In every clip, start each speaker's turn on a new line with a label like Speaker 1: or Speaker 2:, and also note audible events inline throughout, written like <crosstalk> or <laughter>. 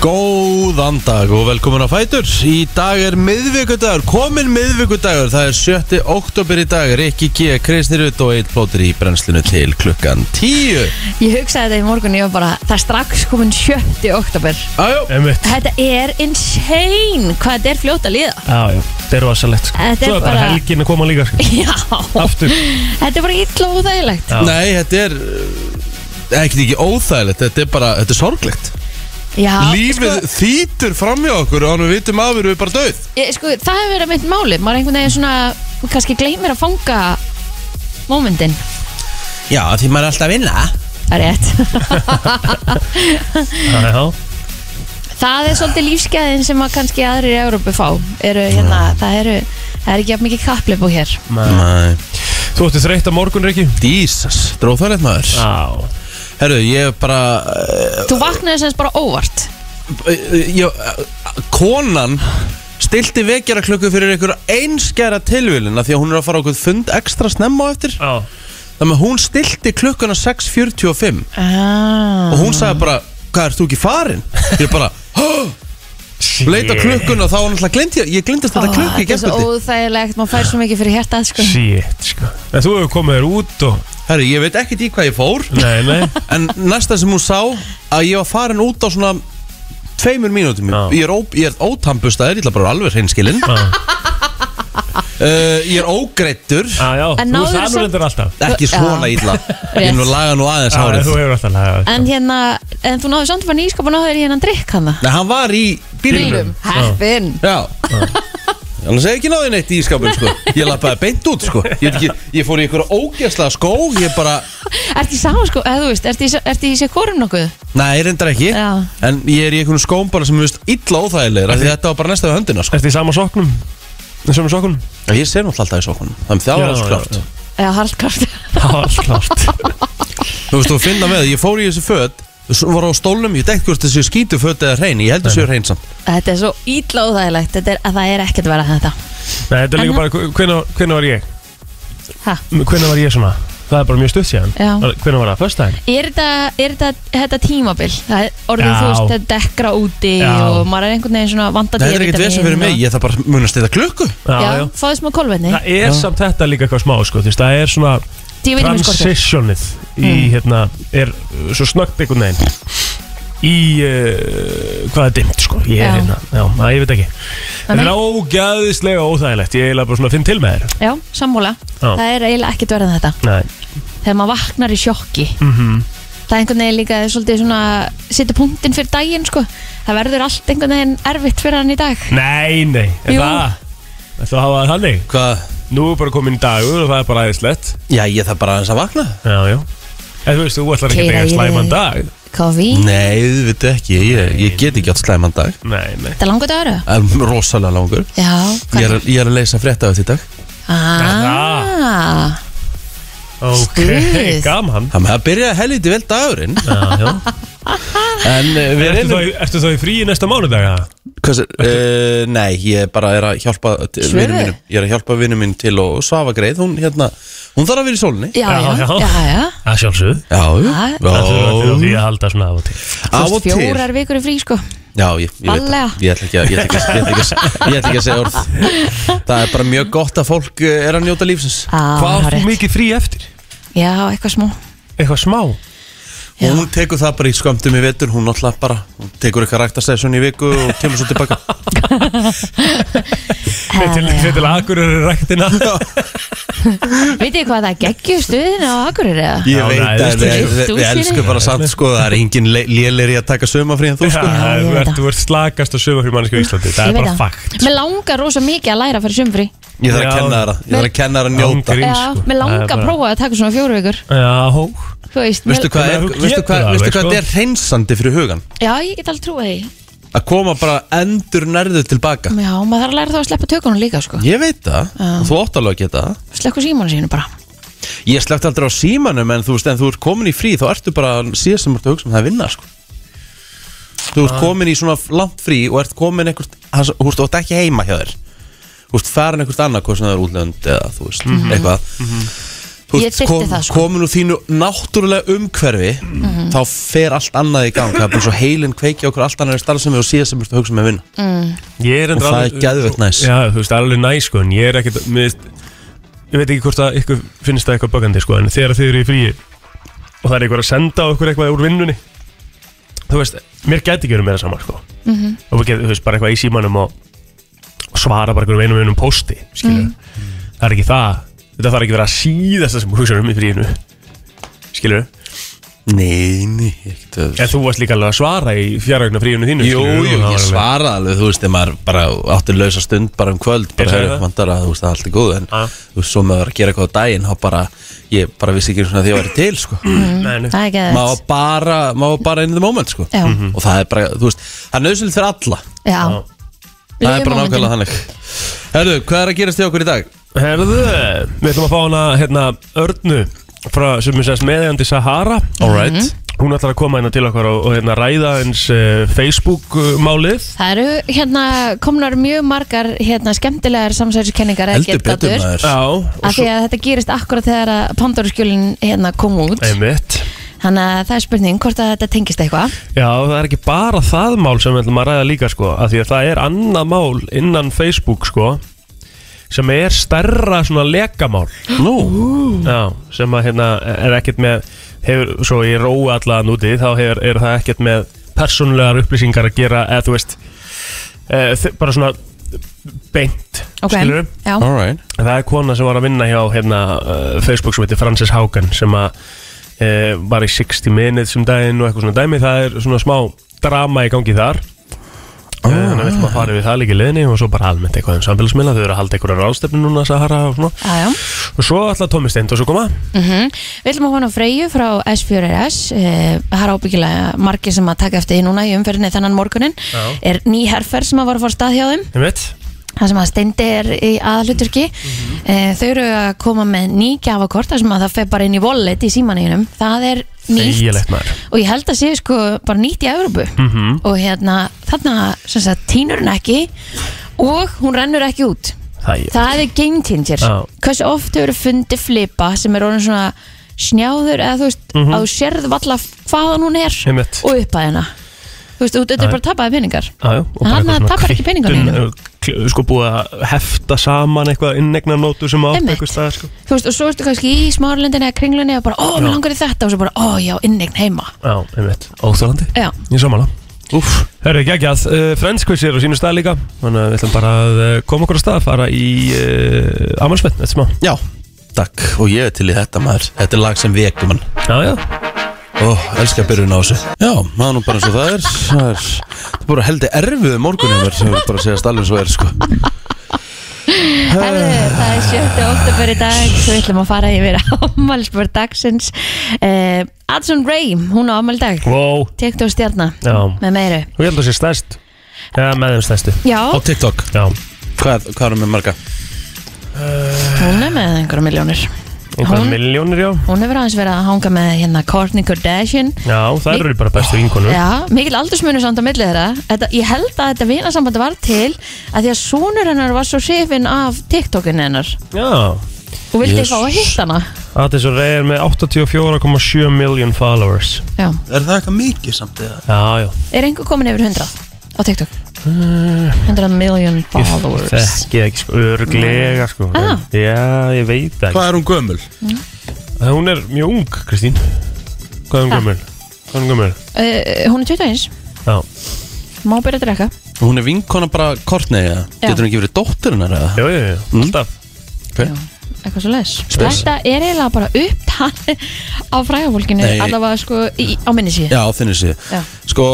Speaker 1: Góðan dag og velkomin á Fætur Í dag er miðvikudagur, komin miðvikudagur Það er 7. oktober í dag Rikki G, Kristnir Rutt og Eitt Plótur í brennslinu til klukkan 10
Speaker 2: Ég hugsaði þetta í morgun, ég var bara, það er strax komin 7. oktober.
Speaker 1: Ajó
Speaker 3: Einmitt.
Speaker 2: Þetta er insane hvað þetta er fljóta liða.
Speaker 3: Já, já, þetta er rosalegt sko.
Speaker 2: Þetta er
Speaker 3: Svo er bara
Speaker 2: bara-
Speaker 3: helgin að koma líka sko.
Speaker 2: <laughs> Já,
Speaker 3: Aftur
Speaker 2: þetta er bara illa og þægilegt.
Speaker 3: Já.
Speaker 1: Nei, þetta er eh, ekkert ekki óþægilegt Þetta er bara, þetta er sorglegt
Speaker 2: Já,
Speaker 1: Lífið
Speaker 2: sko,
Speaker 1: þýtur fram hjá okkur og við vitum að við erum bara döð
Speaker 2: ég, sko, það hefur verið mitt máli. Maður einhvern veginn svona, kannski gleymir að fanga mómentin.
Speaker 1: Já, því maður er alltaf að vinna
Speaker 2: Það er rétt. <laughs>
Speaker 3: Já, já.
Speaker 2: Það er svolítið lífsgæðin sem að kannski aðrir í Európu fá. Eru, hérna, það, eru, það er ekki jafn mikið kaplið búið hér.
Speaker 3: Nei.
Speaker 1: Nei,
Speaker 3: Þú ætti þreytt á morgun, Riki?
Speaker 1: dísas, dróþægilegt maður
Speaker 3: Já
Speaker 1: Herru, ég bara, eh,
Speaker 2: Þú vaknaði sem sagt bara óvart.
Speaker 1: já, konan stilti vekjara klukku fyrir einhver einskæra tilvílina því að hún er að fara á okkur fund ekstra snemma á eftir
Speaker 3: Já,
Speaker 1: þannig að hún stilti klukkuna 6.45
Speaker 2: Ah.
Speaker 1: og hún sagði bara, hvað ert þú ekki farin? ég bara, <gasps> leita klukkuna þá var náttúrulega glind ég, ég glindist
Speaker 2: Ó,
Speaker 1: þetta klukku í
Speaker 2: Ah, Þetta er svo
Speaker 1: gerðböldi
Speaker 2: óþægilegt, maður fær svo mikið fyrir hértað sko.
Speaker 3: Shit, sko En þú hefur komið þér út og
Speaker 1: herru, ég veit ekkert í hvað ég fór
Speaker 3: Nei, nei
Speaker 1: <laughs> en næsta sem hún sá að ég var farin út á svona tveimur mínútum,
Speaker 3: Já.
Speaker 1: ég er, ó, ég er ótambustaður, ég ætla bara að vera alveg hreinskilinn <laughs>
Speaker 3: Já,
Speaker 1: uh, ég er ógreittur
Speaker 3: já, já.
Speaker 2: En
Speaker 3: Þú
Speaker 2: náðurðu
Speaker 3: veist það nú
Speaker 2: samt-
Speaker 3: reyndir alltaf
Speaker 1: ekki svona
Speaker 2: Já. <laughs>
Speaker 1: illa ég er nú að laga nú aðeins
Speaker 3: Já, en
Speaker 1: hárið
Speaker 3: þú hefur alltaf lagað
Speaker 2: En hérna, en þú náðu samt hérna að fara nýskap og náðu þér í hennan drikk hann það
Speaker 1: Nei, hann var í bílnum
Speaker 3: Bílnum.
Speaker 2: Heppin
Speaker 1: Já Annars hef ég ekki náði neitt í ískapin sko Ég lappaði beint út sko Ég, veit ekki, ég fór í einhverja ógeðslega skó Ég bara,
Speaker 2: Ertu í sama sko, eða þú veist, ertu í, ertu í sekorum nokkuð?
Speaker 1: nei, reyndar ekki
Speaker 2: Já.
Speaker 1: En ég er í einhverjum skóm bara sem er vist illa óþægilegir af Því þetta var bara næsta við höndina sko
Speaker 3: Ertu í sama soknum? Í sama soknum?
Speaker 1: Já, Ég sé náttúrulega alltaf í sókunum Það er það var alls klart
Speaker 2: Eða haldkart
Speaker 3: Það var alls klart
Speaker 1: Þú veist, þú finna með, ég fór í þessi föt Svo var á stólnum, ég dekkt hvort þessi skítu föt eða hrein Ég heldur séu hrein samt
Speaker 2: <laughs> Þetta er svo ítla óþægilegt, þetta er að það er ekkert að vera þetta
Speaker 3: Nei, þetta er líka
Speaker 2: En-
Speaker 3: bara Hvenær hvenær var ég?
Speaker 2: Ha.
Speaker 3: Hvenær var ég svona? Það er bara mjög stutt síðan
Speaker 2: Já.
Speaker 3: Hvenær var það? Föstudaginn?
Speaker 2: Er þetta, er þetta, þetta tímabil? Það er orðið,
Speaker 3: Já.
Speaker 2: þú veist, þetta dekkra úti
Speaker 3: Já.
Speaker 2: og maður er einhvern veginn svona vanda
Speaker 1: Þetta er ekkert vesen fyrir mig, ég þarf bara að munast þetta klukku
Speaker 2: hérna. Já, já. fáðu smá kolvetni
Speaker 3: Það er samt þetta líka eitthvað smá sko, þú veist, Það er svona
Speaker 2: Dívitamín skortir
Speaker 3: transitionið í
Speaker 2: Mm.
Speaker 3: hérna er uh, svo snöggt einhvern veginn í uh, hvað er dimmt sko ég
Speaker 2: Já.
Speaker 3: er hérna, já, að, ég veit ekki
Speaker 2: Nei,
Speaker 3: þetta er ógæðislega óþægilegt ég er eiginlega bara svona að finn til með þér
Speaker 2: Já, sammála
Speaker 3: Já.
Speaker 2: Það er eiginlega ekkert verið þetta
Speaker 3: Nei.
Speaker 2: Þegar maður vaknar í sjokki
Speaker 3: Mm -hmm.
Speaker 2: það er einhvern veginn líka svolítið svona setja punktinn fyrir daginn sko það verður allt einhvern veginn erfitt fyrir hann í dag
Speaker 3: nei, nei, er
Speaker 2: Jú.
Speaker 3: það ættu að hafa það þannig
Speaker 1: Hvað,
Speaker 3: nú er bara komin dagur og það er bara æðislegt
Speaker 1: já, ég þarf bara aðeins að vakna
Speaker 3: já, já En þú veist, þú ætlar ekki að
Speaker 2: Keyra
Speaker 3: eiga
Speaker 2: í
Speaker 3: slæman
Speaker 2: þig.
Speaker 3: dag
Speaker 2: kofi,
Speaker 1: Nei, þú veit ekki, ég, ég get ekki átt slæman dag
Speaker 3: Nei, nei
Speaker 2: þetta er langur dagur eða?
Speaker 1: Það er rosalega langur
Speaker 2: já,
Speaker 1: Ég er, ég er að leysa frétta á þetta í dag
Speaker 2: aaaah
Speaker 3: Ok,
Speaker 2: Stuð.
Speaker 3: gaman
Speaker 1: Þannig að það byrjaði helviti vel dagurinn
Speaker 3: Já, já
Speaker 1: En eh, við
Speaker 3: Ertu
Speaker 1: reynum
Speaker 3: þá í- Ertu þá í fríi næsta mánudaga?
Speaker 1: Hvað er, uh, Nei, ég bara er að hjálpa til
Speaker 2: Svövu?
Speaker 1: vinum mínum Ég er að hjálpa vinum minn til og svafa greið Hún, hérna, hún þarf að vera í sólni
Speaker 2: já, já,
Speaker 3: Já,
Speaker 2: já,
Speaker 3: já.
Speaker 2: já, já.
Speaker 3: Það sjálfsögð
Speaker 1: Já,
Speaker 2: Það-
Speaker 3: Það þurfa
Speaker 1: já
Speaker 3: því að halda svona af og
Speaker 1: Á
Speaker 3: til
Speaker 2: Þú
Speaker 1: og
Speaker 2: veist,
Speaker 1: til
Speaker 2: fjórar vikur í frí sko
Speaker 1: Já, ég, ég veit
Speaker 2: Varlega.
Speaker 1: það Ég ætla ekki að- ég ætla ekki að ég ætla ekki að- ég ætla ekki að segja orð Það er bara mjög gott að fólk eh, er að njóta lífsins
Speaker 2: Á,
Speaker 3: Hvað átt
Speaker 2: hárrétt.
Speaker 3: þú mikið frí eftir?
Speaker 2: Ah, já, eitthvað
Speaker 3: <laughs>
Speaker 2: smá
Speaker 3: Eitthvað smá?
Speaker 2: Já.
Speaker 1: Hún tekur það bara í skömmtum í vetur Hún alltaf bara hún tekur eitthvað ræktastation í viku og kemur svo tilbaka
Speaker 3: Fyrir til,
Speaker 2: Herra.
Speaker 3: fyrir til agurir ræktina
Speaker 2: vitið þið hvað það geggjur stuðin á Akureyri eða?
Speaker 1: Ég
Speaker 3: Já,
Speaker 1: veit
Speaker 3: nei,
Speaker 1: að
Speaker 3: þú
Speaker 1: við,
Speaker 2: skilur.
Speaker 1: við,
Speaker 2: Þú
Speaker 1: við
Speaker 2: skilur.
Speaker 1: elskum bara samt sko Það er engin lélir í að taka sömafrí en þú sko
Speaker 2: Já, ég
Speaker 3: Þú
Speaker 2: veit
Speaker 3: ert-
Speaker 2: það.
Speaker 3: þú ert slakast og sögur fyrir mannesku í Íslandi
Speaker 2: Ég
Speaker 3: Það er
Speaker 2: veit
Speaker 3: bara
Speaker 2: það.
Speaker 3: fakt
Speaker 2: Mér langar rosa mikið að læra að fara í sumfrí
Speaker 1: Ég þarf
Speaker 3: Já.
Speaker 1: að kenna það Ég þarf að kenna það að njóta
Speaker 3: Ángrín,
Speaker 2: Já,
Speaker 3: sko.
Speaker 2: mér
Speaker 3: Það er
Speaker 2: langar að
Speaker 3: bara-
Speaker 2: prófa að taka svona fjóru vikur
Speaker 3: Já, hó
Speaker 2: Þú veist, mér-
Speaker 1: Veistu hvað
Speaker 3: Ég
Speaker 1: er,
Speaker 3: meina, þú
Speaker 1: veistu
Speaker 3: getur
Speaker 1: hvað,
Speaker 3: það
Speaker 1: veistu
Speaker 3: alveg,
Speaker 1: hvað
Speaker 3: sko.
Speaker 1: þetta er hreinsandi fyrir hugan
Speaker 2: Já, ég get alveg trúið því
Speaker 1: Að koma bara endur nærðu tilbaka
Speaker 2: Já, maður þarf að læra þá að sleppa tökunum líka sko
Speaker 1: Ég veit það, og þú ótt alveg að geta það
Speaker 2: Slekku símanu sínu bara
Speaker 1: Ég slekti aldrei á símanum en þú veist, en þú ert komin í frí þá ertu bara síðast sem þú ert að hugsa um það að vinna sko. Þú
Speaker 2: Ah.
Speaker 1: ert komin í svona langt frí og ert komin einhvert hans- þú veist, þú ert ekki heima hjá þér Þú ert farin einhvert annað hvað sem það er útlönd eða þú veist, eitthvað þú
Speaker 2: Mhm. Ég
Speaker 1: veist,
Speaker 2: þyrfti
Speaker 1: kom,
Speaker 2: það, sko. Mhm.
Speaker 1: komin úr þínu náttúrulega umhverfi þá fer allt annað í gang það er bara svo heilin kveiki okkur allt annað starfsemi og síðan sem ertu að hugsa með vinna
Speaker 3: Mm. Ég er
Speaker 1: Og
Speaker 3: endur
Speaker 1: það er geðveikt næs.
Speaker 3: Já, þú veist, alveg næs sko En ég er ekkert mér veist, Ég veit ekki hvort að ykkur finnst það eitthvað bögandi sko En þegar þið eru í fríi Og það er ykkur að senda okkur eitthvað úr vinnunni Þú veist, mér gæti ekki verið meira saman sko
Speaker 2: Mhm.
Speaker 3: Og við getum, þú veist, bara eitthvað í símanum Og, og svara bara einhverjum einum einum posti Skilur Það er ekki það Þetta þarf ekki að vera síðasta sem hugsa um í fríinu Skilur
Speaker 1: Nei, nei, ekkert öðru.
Speaker 3: En þú varst líka alveg að svara í fjárögna fríinu þínu
Speaker 1: Jú,
Speaker 3: skilurðu,
Speaker 1: jú, ég
Speaker 3: og það var alveg-
Speaker 1: svara alveg, þú veist, ef maður bara átti lausa stund bara um kvöld,
Speaker 3: Ég
Speaker 1: bara
Speaker 3: sagði
Speaker 1: hefur
Speaker 3: það.
Speaker 1: vandar að þú veist, það er allt í góð, en
Speaker 3: Ah.
Speaker 1: þú veist, svo maður var að gera eitthvað á daginn, þá bara, ég bara vissi ekki svona því að ég væri til,
Speaker 2: <clears throat>
Speaker 1: sko.
Speaker 3: Nei, nei.
Speaker 2: Mm, Það er ekki
Speaker 1: Maður var bara, maður var bara in the moment, sko.
Speaker 2: Já.
Speaker 1: Mhm. Og það er bara, þú veist, það er nöðsynlegt fyrir alla.
Speaker 2: Já,
Speaker 3: Já.
Speaker 1: Það er
Speaker 2: Lifum
Speaker 1: bara
Speaker 2: momentinu.
Speaker 1: nákvæmlega þannig. Herðu, hvað er að gerast í okkur í dag?
Speaker 3: Herðu, við ætlum að fá hana hérna Örnu frá, sem er sérst meðjandi Sahara
Speaker 1: All right.
Speaker 3: Hún ætlar að koma hérna til okkar og, og hérna ræða eins uh, Facebook-málið
Speaker 2: Það eru hérna komnar mjög margar hérna skemmtilegar samsæðiskenningar eða
Speaker 1: Heldur betur
Speaker 2: getgátur.
Speaker 1: maður.
Speaker 3: Já, og
Speaker 2: Af því að þetta gerist akkurat þegar að Pandoruskjölin hérna kom út
Speaker 3: Einmitt
Speaker 2: Þannig að það er spurning hvort að þetta tengist eitthvað
Speaker 3: Já, það er ekki bara það mál sem við ætlum að ræða líka sko, af því að það er annað mál innan Facebook sko sem er stærra svona lekamál
Speaker 1: Nú,
Speaker 3: Já, sem að hérna er ekkert með hefur, svo ég róa allan úti þá hefur, er það ekkert með persónulegar upplýsingar að gera eða þú veist e, bara svona beint
Speaker 2: Ok,
Speaker 3: skilurðu?
Speaker 2: já,
Speaker 1: all right.
Speaker 3: það er kona sem var að vinna hjá hérna, eh, Facebook sem heitir Frances Haugen sem að e, var í 60 minutes um daginn og eitthvað svona dæmi það er svona smá drama í gangi þar Eh, Þannig að við ætlum að fara við það líka í leðinni og svo bara almennt eitthvað um samfélagsmiðla, þau eru að halda einhverja ráðstefni núna Sahara og svona
Speaker 2: já, já.
Speaker 3: og svo ætla Tómi Steind og svo koma
Speaker 2: Mm Við ætlum að hóna Freyju frá S4RS eh, Það er ábyggilega margir sem að taka eftir því núna í umferðinni þennan morgunin
Speaker 3: Já.
Speaker 2: Er ný herferð sem að var að fara af stað hjá þeim
Speaker 3: einmitt
Speaker 2: Það sem að steindi er í aðaluturki
Speaker 3: Mhm.
Speaker 2: eh, Þau eru að koma með ný gjafakort þar sem að það fer bara inn í wallet í símaninum Það er nýtt
Speaker 3: Þegilegt maður Mhm.
Speaker 2: og ég held að sé sko bara nýtt í Evrópu og hérna þarna sem sagt tínur hún ekki og hún rennur ekki út
Speaker 3: Það er
Speaker 2: það er game changer
Speaker 3: Já.
Speaker 2: hversu oft hefur fundið flipa sem er orðin svona snjáður eða þú veist að þú sérð valla hvaðan hún er
Speaker 3: Mhm. Einmitt.
Speaker 2: og upp að hennar þú veist, þú- þetta er
Speaker 3: Já.
Speaker 2: bara tapaði peningar
Speaker 3: Já, já, og bara
Speaker 2: Hann
Speaker 3: eitthvað svona
Speaker 2: tapar ekki peningum
Speaker 3: kvittun, kl- Sko búið að hefta saman eitthvað innegnarnótu sem átt
Speaker 2: Einmitt.
Speaker 3: eitthvað stað sko.
Speaker 2: þú veist, og svo ertu kannski í smárlendinni eða kringlunni og bara, ó, mér
Speaker 3: Já.
Speaker 2: langar í þetta og svo bara, ó, já, innegn heima
Speaker 3: Já, einmitt, óþólandi
Speaker 2: já,
Speaker 3: Ég samála
Speaker 1: Úf,
Speaker 3: Herru, geggjað, uh, Friendsquiz er á sínu stað líka Þannig að við ætlum bara að eh, koma okkur á stað fara í uh, Amalsmenn, þetta smá
Speaker 1: já, takk. Og ég er til í þetta maður. Þetta er lag sem vekum hann.
Speaker 3: Já, já,
Speaker 1: Ó, elskar byrjun á þessu Já, það er nú bara eins og það er Það er, það er bara heldig erfið morgunumver sem við bara að segja stallum svo er sko
Speaker 2: Herðu, það er 7. oktober í dag Svo ætlum að fara yfir <laughs> ámælspörð dagsins uh, Adson Ray, hún á ámæl dag
Speaker 3: wow
Speaker 2: Tektu á stjarna
Speaker 3: Já,
Speaker 2: með meiru
Speaker 3: og ég held að það sé stærst Já, með þeim stærstu
Speaker 2: Já,
Speaker 1: Á TikTok,
Speaker 3: Já,
Speaker 1: hvað, hvað erum við marga?
Speaker 3: Eh.
Speaker 2: hún er með einhverja miljónir
Speaker 3: einhverja
Speaker 2: Hún-
Speaker 3: miljónir, já
Speaker 2: Hún hefur aðeins verið að hanga með hérna Kourtney Kardashian
Speaker 3: Já, það eru bara bestu vinkonur
Speaker 2: Já, mikill aldursmunur samt á milli þeirra þetta, Ég held að þetta vinasambandi var til að því að sonur hennar var svo sifin af TikTokin hennar
Speaker 3: Já,
Speaker 2: og vildi
Speaker 1: Jesus.
Speaker 2: fá að hitta hana
Speaker 3: Addis og Rey er með 84,7 million followers
Speaker 2: Já,
Speaker 1: Er það eitthvað mikið samt eða?
Speaker 3: Já, já
Speaker 2: er einhver komin yfir 100 á TikTok? 100 million followers
Speaker 3: Eh. Ég þekki ekki sko, örglega sko
Speaker 2: Ah.
Speaker 3: Já, ég veit það ekki Eh,
Speaker 1: Hvað er hún gömul?
Speaker 3: Hún er mjög ung, Kristín Hvað er hún
Speaker 2: Ha.
Speaker 3: gömul? Hvað er hún gömul?
Speaker 2: Uh, hún er 21,
Speaker 3: Já,
Speaker 2: má byrja að drekka
Speaker 1: Hún er vinkona bara kortnei eða?
Speaker 2: Já.
Speaker 1: Getur hún ekki verið dótturinnar eða?
Speaker 3: já, já, já,
Speaker 1: Mm.
Speaker 3: alltaf
Speaker 2: Já, eitthvað svo les
Speaker 1: Spes.
Speaker 2: Þetta er eiginlega bara upptalið á frægafólkinu
Speaker 1: Nei.
Speaker 2: allavega sko í, á minni síðu
Speaker 1: Já, á þinni síðu
Speaker 2: Já.
Speaker 1: Sko,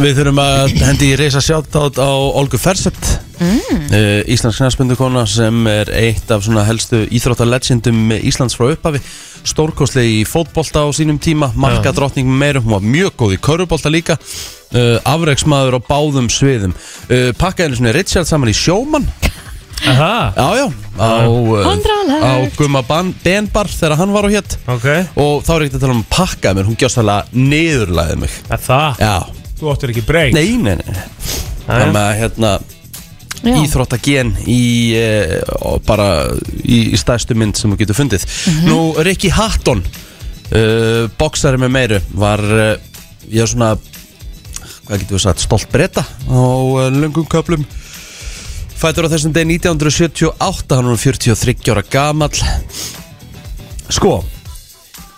Speaker 1: við þurfum að hendi í reysa sjáttátt á Olgu Fersett mm. Íslands knæspundukona sem er eitt af svona helstu íþróttalegendum Íslands frá upphafi Stórkostleg í fótbolta á sínum tíma Marka drottning með meirum, hún var mjög góð í körfubolta líka uh, Afreiksmaður á báðum sviðum uh, Pakkaðinu svona Richard saman í sjóman
Speaker 3: Aha,
Speaker 1: Já, já, á, eh,
Speaker 2: Hundralegt.
Speaker 1: á Guma Ban- Benbar þegar hann var á hétt
Speaker 3: ok
Speaker 1: Og þá er ekkert að tala um pakkaði mér, hún gjóst alveg niðurlæði mig
Speaker 3: Er það?
Speaker 1: Já,
Speaker 3: Þú áttir ekki breyk
Speaker 1: Nei, nei, nei
Speaker 3: Jæja.
Speaker 1: Þannig að hérna
Speaker 2: Já.
Speaker 1: íþróttagen í eh, og bara í, í stærstu mynd sem þú getur fundið Nú, Ricky Hatton uh, boksari með meiru var uh, ég er svona hvað getur við sagt, stolt breyta á uh, löngum köplum Fætur á þessum degi 1978, hann var 43 ára gamall Sko,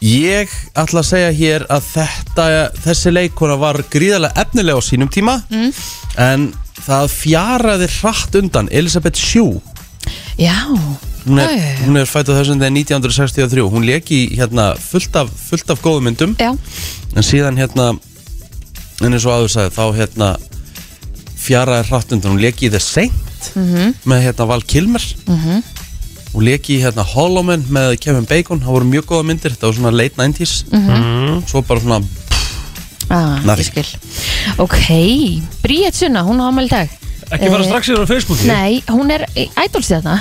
Speaker 1: ég ætla að segja hér að þetta, þessi leikona var gríðarlega efnilega á sínum tíma
Speaker 2: Mm.
Speaker 1: En það fjaraði hratt undan Elisabeth Shue
Speaker 2: Já,
Speaker 1: Hún er,
Speaker 2: Æ.
Speaker 1: hún er fætt á þessum degi 1963 Hún leik í hérna fullt af, fullt af góðum myndum
Speaker 2: já,
Speaker 1: En síðan hérna En eins og aður sagði þá hérna Fjaraði hratt undan Hún leki í The Saint
Speaker 2: Mhm.
Speaker 1: Með hérna Val Kilmer Hún leki í hérna Hollow Man með Kevin Bacon Það voru mjög góða myndir Þetta var svona late 90s
Speaker 3: Mhm.
Speaker 1: Svo bara svona
Speaker 2: ah,
Speaker 1: Nothing.
Speaker 2: ég skil Ok, Bríett Sunna, hún á amal í dag
Speaker 3: Ekki fara strax yfir á Facebooki
Speaker 2: Eh. Nei, hún er ædolstjarna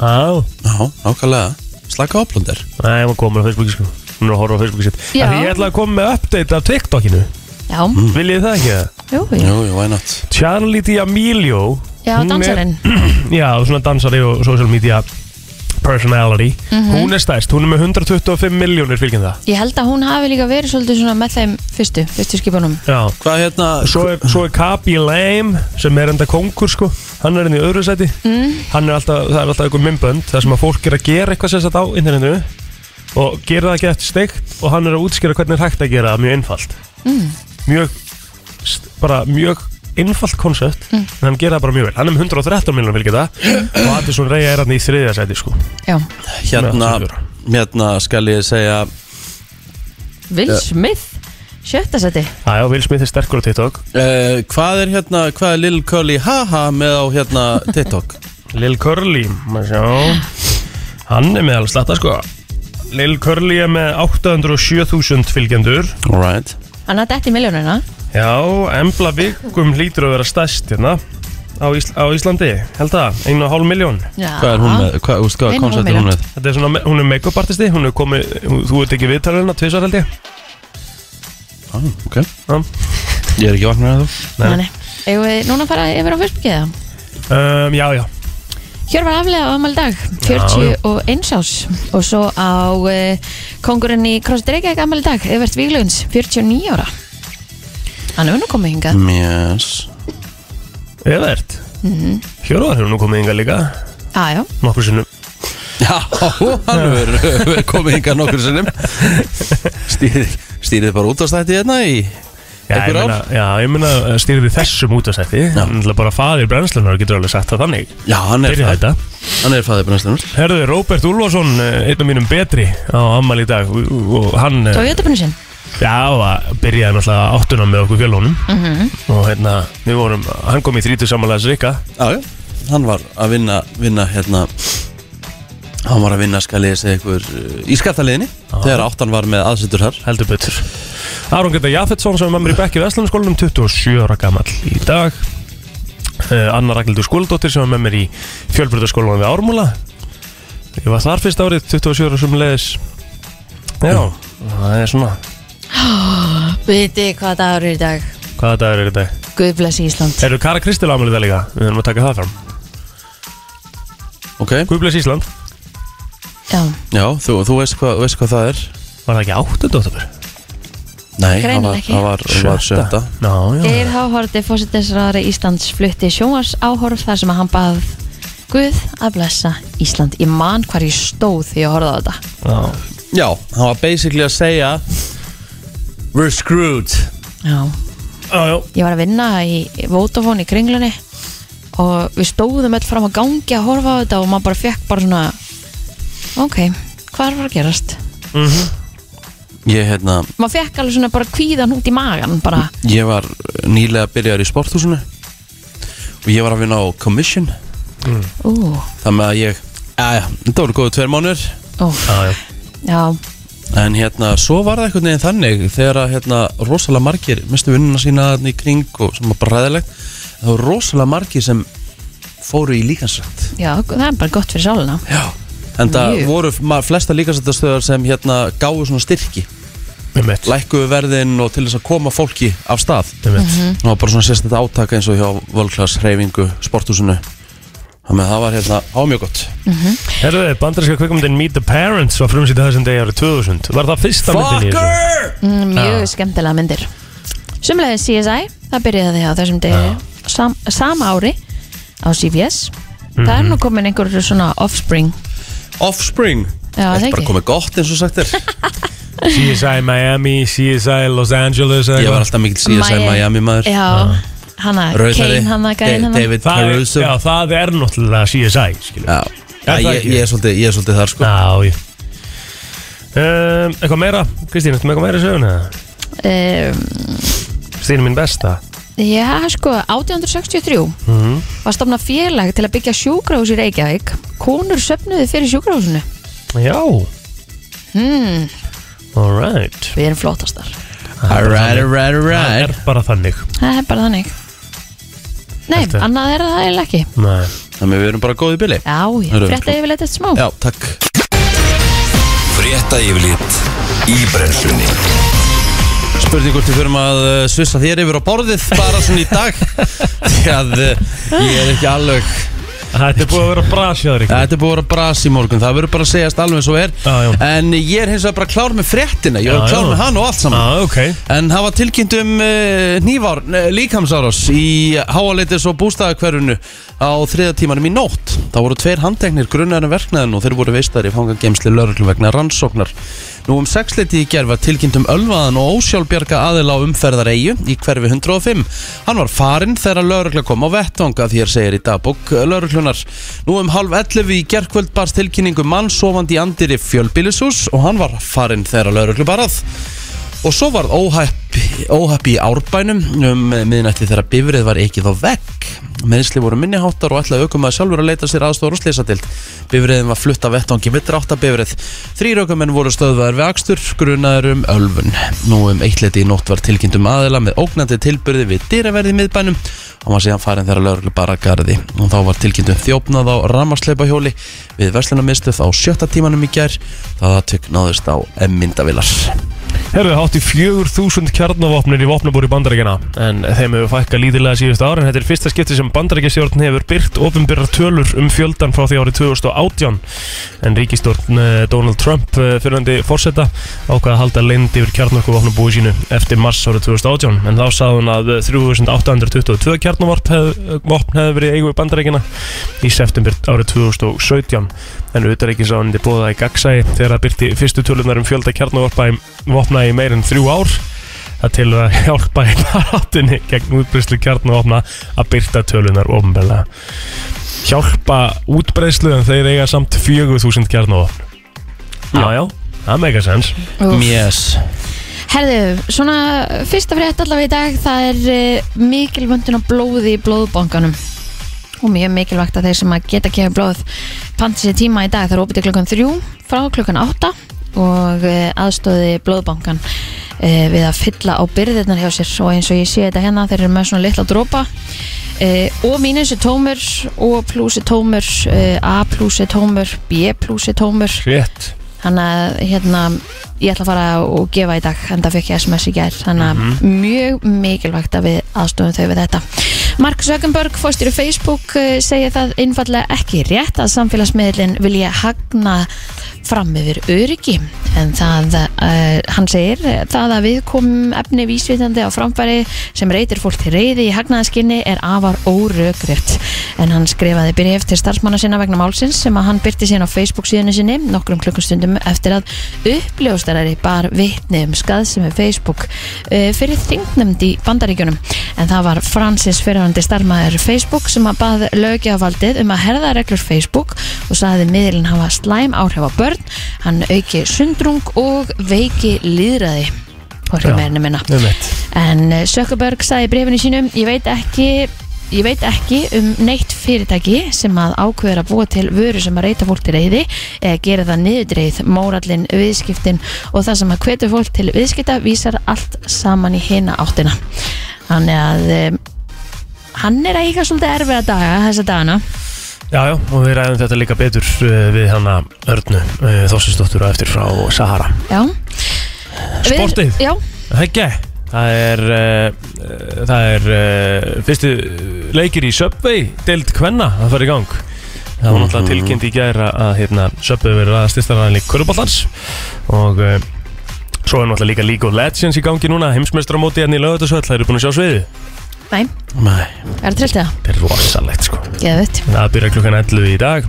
Speaker 3: Á,
Speaker 1: Já, nákvæmlega Slaka áplundir
Speaker 3: Nei, hún komur á Facebooki sko Hún er að horfa á Facebooki sitt
Speaker 2: Já.
Speaker 3: Því ég ætla að koma með update af TikTokinu
Speaker 2: Já,
Speaker 3: Viljið þið það ekki það?
Speaker 2: jú, jú.
Speaker 1: Mm. Jú, jú, why not
Speaker 3: Charlie D'Amelio
Speaker 2: Já,
Speaker 3: hún er-
Speaker 2: dansarinn
Speaker 3: Já, svona dansari og social media personality
Speaker 2: Mhm.
Speaker 3: Hún er stærst, hún er með 125 miljónir fylgjum það
Speaker 2: Ég held að hún hafi líka verið svolítið svona með þeim fyrstu, fyrstu skipunum
Speaker 3: Já
Speaker 1: Hvað hérna
Speaker 3: Svo er, svo er Kabi Lame sem er enda kongur sko Hann er enda í öðru sæti mm. er alltaf, Það er alltaf einhver mymbönd Það sem að fólk er að gera eitthvað sem sagt á internetinu Og gera það ekki eftir steikt Og hann er að útskýra hvernig er hægt að gera það Mjög einfalt mm. Mjög, st- bara mjög einfalt koncept En hann gera það bara mjög vel Hann er um með 113 miljonum fylgir það Og Addison Ray er hann í þriðja sæti sko
Speaker 2: Já,
Speaker 1: Hérna
Speaker 3: Nei, það
Speaker 1: Hérna skal ég segja
Speaker 2: Will Smith, sjötta seti
Speaker 3: Æjá, Will Smith er sterkur á TikTok
Speaker 1: uh, Hvað er hérna Hvað er Lil Curly Haha með á hérna TikTok
Speaker 3: Lil Curly maður sjá Hann er með alveg slatta sko Lil Curly er með 807.000 fylgjendur
Speaker 1: Alright
Speaker 2: Hann hafði dætt í miljónina
Speaker 3: Já, Embla Vigum hlýtur að vera stærst hérna á, Ís á Íslandi held það, einu og hálf miljón
Speaker 2: Já.
Speaker 1: Hvað er hún með Hvað, þú veist, hvað
Speaker 2: Einu
Speaker 1: er konceptið
Speaker 2: hálf
Speaker 1: hún með
Speaker 3: Þetta er svona, me- hún er make-up artisti hún er komið, hún, þú ert ekki viðtalina tvisar held ég
Speaker 1: ah, Ok
Speaker 3: Já.
Speaker 1: Ég er ekki vaknað að þú
Speaker 3: Nei.
Speaker 2: Nei, nei. Eigum við núna að fara yfir á Facebookið eða?
Speaker 3: um, Já, já,
Speaker 2: Hér var aflega á amal dag, 41 ás og svo á uh, kongurinn í Krossið Reykjavík amal dag, Evert Víglunds, 49 ára Hann er nú komið hingað
Speaker 1: Yes
Speaker 3: Evert mm
Speaker 2: Mhm.
Speaker 3: -hmm. Hjörvar hefur nú komið yngar líka
Speaker 2: Aðjá,
Speaker 3: nokkur sinnum
Speaker 1: Já, hann hefur hefur komið hingað nokkur sinnum Stýrið stýrið bara út af stætti hérna í
Speaker 3: Já, ég
Speaker 1: Einhver ár?
Speaker 3: meina, já, ég meina að stýrið við þessum útastætti
Speaker 1: Já.
Speaker 3: Þannig að bara faðir brennslunar getur alveg sagt það þannig
Speaker 1: Já, hann er
Speaker 3: Fyrir þetta
Speaker 1: Hann er fæðið brennstæðnur
Speaker 3: Herðu, Róbert Úlfarsson, eh, einn af mínum betri á ammal í dag og- og hann, eh,
Speaker 2: svo jötabunni sinn
Speaker 3: já, að byrjaði náttúrulega áttuna með okkur fjölónum
Speaker 2: Mhm.
Speaker 3: og hérna, við vorum, hann kom í þrítu samanlega Rikka
Speaker 1: Já, já Hann var að vinna, vinna hérna Hann var að vinna, skal ég segja ykkur uh, Í skattaliðinni Þegar áttan var með aðsettur þar
Speaker 3: heldur betur Aron Greta Jafetsson sem er með mér í bekki Vestlunarskólanum 27 ára gamall í dag Eh, Anna Ragnhildur Skúldóttir sem er með mér í fjölbrytarskólanum við Ármúla Ég var þar fyrst árið 27 ára sem leiðis Já, það er svona
Speaker 2: <gasps> Viti hvað dagur er í dag
Speaker 3: Hvaða dagur er þetta?
Speaker 2: Guð blessi Ísland
Speaker 3: Eru Kara Kristil ámælið það líka? Við erum að taka það fram
Speaker 1: Ok,
Speaker 3: Guðblæs Ísland
Speaker 2: Já,
Speaker 1: já, þú, þú veist, hvað, veist hvað það er
Speaker 3: Var það ekki 8. oktober?
Speaker 1: Nei, hann var,
Speaker 2: Greinilega ekki.
Speaker 1: hann var, hann var sjötta
Speaker 3: Ná, já
Speaker 2: Geir Háhorti, fósitisraðari Íslands flutti sjónars áhorf þar sem hann bað Guð að blessa Ísland Ég man hvar ég stóð því ég horfði á þetta
Speaker 3: Já,
Speaker 1: Já, hann var basically að segja We're screwed
Speaker 2: Já,
Speaker 3: já, já.
Speaker 2: ég var að vinna í Vótafón í kringlunni og við stóðum öll fram að gangi að horfa á þetta og maður bara fekk bara svona ok, hvað er að fara að gerast?
Speaker 3: Mhm.
Speaker 1: Ég, hérna,
Speaker 2: Maður fekk alveg svona bara kvíðan út í magan bara,
Speaker 1: ég var nýlega byrjar í sporthúsinu og ég var að vinna á commission Mm.
Speaker 2: ú,
Speaker 1: þar með að ég, aðja, þetta voru góðu tveir mánuður
Speaker 2: ú,
Speaker 3: já, já.
Speaker 2: já
Speaker 1: en hérna, svo var það einhvern veginn þannig þegar að hérna, rosalega margir mistu vinnuna sína þarna í kring og sem var bara ræðilegt það voru rosalega margir sem fóru í líkansrætt
Speaker 2: Já, það er bara gott fyrir sáluna
Speaker 1: Já En það
Speaker 2: Mjög.
Speaker 1: voru ma- flesta líkansrættastöðar sem hérna gáðu svona styrki
Speaker 3: Einmitt,
Speaker 1: lækkuðu verðin og til þess að koma fólki af stað
Speaker 3: einmitt.
Speaker 2: Mhm.
Speaker 1: Það var bara svona sérstætt átaka eins og hjá völklass hreyfingu sporthúsinu Þannig að það var hérna ámjög gott
Speaker 3: Herðu þið, bandarinska kvikmyndin Meet the Parents var frumsýtt þessum degi árið 2000 Var það fyrsta myndin í þessu?
Speaker 1: Fucker!
Speaker 2: Mm, mjög skemmtilega myndir Sumlega CSI, það byrjaði á þessum degi sam, sama ári á CBS Það
Speaker 3: Mhm.
Speaker 2: er nú komin einhver svona offspring
Speaker 1: Offspring
Speaker 2: Já, það
Speaker 1: Þetta bara
Speaker 2: ekki
Speaker 1: komið gott eins og sagt
Speaker 3: <laughs>
Speaker 1: er Ég
Speaker 3: CSI Miami, CSI Los Angeles eða
Speaker 1: var
Speaker 3: eitthvað.
Speaker 1: alltaf mikill CSI
Speaker 2: Miami-
Speaker 1: Miami maður
Speaker 2: Já, hana,
Speaker 1: Rauðari,
Speaker 2: Kane, hana, gæðin hana
Speaker 1: David
Speaker 3: það, er,
Speaker 1: Caruso
Speaker 3: já, það er náttúrulega CSI skilur.
Speaker 1: Já,
Speaker 3: Er það
Speaker 1: ég,
Speaker 3: ekki?
Speaker 1: ég, er svolítið, ég er svolítið þar sko
Speaker 3: Já, já um, Eitthvað meira, Kristín, ertu með eitthvað meira í söguna?
Speaker 2: um,
Speaker 3: Kristín er minn besta
Speaker 2: Já, sko, 1863
Speaker 3: Mhm.
Speaker 2: var stofna félag til að byggja sjúkrahús í Reykjavík Konur söfnuðu fyrir sjúkrahúsinu
Speaker 3: Já
Speaker 2: hmm,
Speaker 3: Alright
Speaker 2: Við erum flottastar
Speaker 1: Alright, alright,
Speaker 3: Það
Speaker 1: alright
Speaker 3: er bara þannig
Speaker 2: Það er bara þannig Nei,
Speaker 3: Ertu-
Speaker 2: annað er það eiginlega ekki
Speaker 3: Nei.
Speaker 1: Þannig við erum bara góð í bili
Speaker 2: Já, ég
Speaker 1: Erum við
Speaker 2: frétta
Speaker 1: sko-
Speaker 2: yfirleitt eftir smá
Speaker 1: Já, takk
Speaker 4: Frétta yfirlit í brennslunni
Speaker 1: Spurning hvort við förum að uh, svissa þér yfir á borðið bara svona í
Speaker 3: <laughs>
Speaker 1: dag því að uh, ég er ekki alveg
Speaker 3: Þetta er búið að vera brasjaður ykkur
Speaker 1: Þetta er búið að vera bras í morgun, það verður bara að segjast alveg svo er
Speaker 3: Já, já.
Speaker 1: En ég er hins vegar bara klár með fréttina, ég
Speaker 3: Já,
Speaker 1: var
Speaker 3: já.
Speaker 1: klár með hann og allt saman
Speaker 3: ah, ok
Speaker 1: En það var tilkynnt um uh, nývar uh, líkamsárás í háaleitis og bústæðakverfinu á þriða tímanum í nótt. Það voru tveir handteknir grunnar en verknæðin og þeir voru veistar í fangagemsli lörglu vegna rannsóknar. Nú um sexleiti í gerð var tilkynnt um ölvaðan og ósjálfbjarga aðila á umferðareigu í hverfi 105. Hann var farinn þegar lörgla kom á vettvanga því er segir í dagbók lörglunar. Nú um halv 11 í gerðkvöld barst tilkynningu mann sofandi í andiri fjölbýlishús og hann var farinn þegar lörglu barað. Og svo varð óhæppi, óhæppi í árbænum um miðnætti þegar bifrið var ekið á vegg. Meðsli voru minniháttar og ætlaði aukum að sjálfur að leita sér aðstóður og slísadild. Bifriðin var flutt af vettvangi við drátt af bifrið. Þrýr aukumenn voru stöðvaðar við akstur, grunaður um ölfun. Nú um eittleti í nótt var tilkynnt um aðila með ógnandi tilbyrði við dýraverði í miðbænum. Hann var síðan farin þegar lögreglu bara garði. Og þá var tilkynnt um þjófnað á rammarsleipahjóli við verslunarmiðstöð á sjötta tímanum í gær. Það aðtök náðist á myndavilar.
Speaker 3: Herðu, hátti 4000 kjarnavopnir í vopnabúri bandaríkjana en þeim hefur fækka lítilega síðust ára en þetta er fyrsta skipti sem bandaríkjastjórn hefur byrt ofinbyrra tölur um fjöldan frá því árið 2018 en ríkistjórn eh, Donald Trump fyrrandi fórseta ákvaða að halda leynd yfir kjarnorku vopnabúi sínu eftir mars árið 2018 en þá sagði hún að eh, 3822 kjarnavopn hef, vopn hefur verið í eigu bandaríkjana í september árið 2017 en utaríkisáninni bóðaði gagsæi þegar það byrti fyrstu tölunar um fjölda kjarnavopna í- vopna í meir en þrjú ár það til að hjálpa í baráttunni gegn útbreyslu kjarnavopna að byrta tölunar ofnbæðlega hjálpa útbreyslu en þeir eiga samt 4000 kjarnavopn já já, það meika sens
Speaker 2: Úff.
Speaker 1: Yes.
Speaker 2: Herðu, svona fyrsta frétt allavega í dag það er uh, mikil vöndun á blóði í blóðbankanum og mjög mikilvægt að þeir sem að geta kefið blóð panti sér tíma í dag það er opið til klukkan 3 frá klukkan 8 og uh, aðstóði blóðbankan uh, við að fylla á byrðirnar hjá sér og eins og ég sé þetta hérna þeir eru með svona litla dropa uh, og mínus er tómur og plúsi tómur uh, A plúsi tómur B plúsi tómur
Speaker 3: Shit.
Speaker 2: þannig að hérna ég ætla að fara og gefa í dag en það fekk ég sms í gær þannig að mjög mikilvægt að við aðstofum þau við þetta Mark Zuckerberg, fórstýru Facebook eh, segir það einfallega ekki rétt að samfélagsmiðlinn vilja hagna fram yfir öryggi en það, uh, hann segir eh, það að við komum efni vísvitandi á framfæri sem reytir fólk til reyði í hagnaðaskinni er afar órökrétt en hann skrifaði byrjef til starfsmanna sinna vegna málsins sem að hann byrti síðan á Facebook síðunni sinni nokkrum klukkustundum eftir að uppljóstarari bar vitni um skaðsemi Facebook uh, fyrir þingnefnd í bandaríkjunum en það var Francis fyrirhandi starfmaður Facebook sem að bað lögjafaldið um að herða reglur Facebook og sagði miðlinn hafa slæm áhrif á börn hann auki sundrung og veiki líðræði hvorki
Speaker 3: Já.
Speaker 2: meirinu minna
Speaker 3: um eitt
Speaker 2: En eh, Zuckerberg sagði í brefinu sínum Ég veit ekki Ég veit ekki um neitt fyrirtæki sem að ákveður að búa til vöru sem að reyta fólk til reyði eða gera það niðurdreið, mórallin, viðskiptin og það sem að hvetur fólk til viðskipta vísar allt saman í hina áttina. Þannig að um, hann er að hika svolítið erfiða daga þessa dagana.
Speaker 3: Já, já, og við ræðum þetta líka betur eh, við hana Örnu eh, Þorsinsdóttur á eftir frá Sahara
Speaker 2: Já. Við-
Speaker 3: Sportið?
Speaker 2: Já,
Speaker 3: Það ekki Það er, uh, eh, það er uh, fyrstu leikir í Subway deild Kvenna að fara í gang Það var náttúrulega tilkynnt í gæra að hérna, söpbuðu verið aða styrstaræðanleik Körbóllans og uh, svo er náttúrulega líka League of Legends í gangi núna heimsmeistramóti hérna í lögutarsvöld, það eru búin að sjá sviði
Speaker 2: Nei,
Speaker 1: Nei,
Speaker 2: er það trillt það?
Speaker 3: Þetta er rosalegt sko
Speaker 2: Geðvitt
Speaker 3: Það byrja klukkan 11 í dag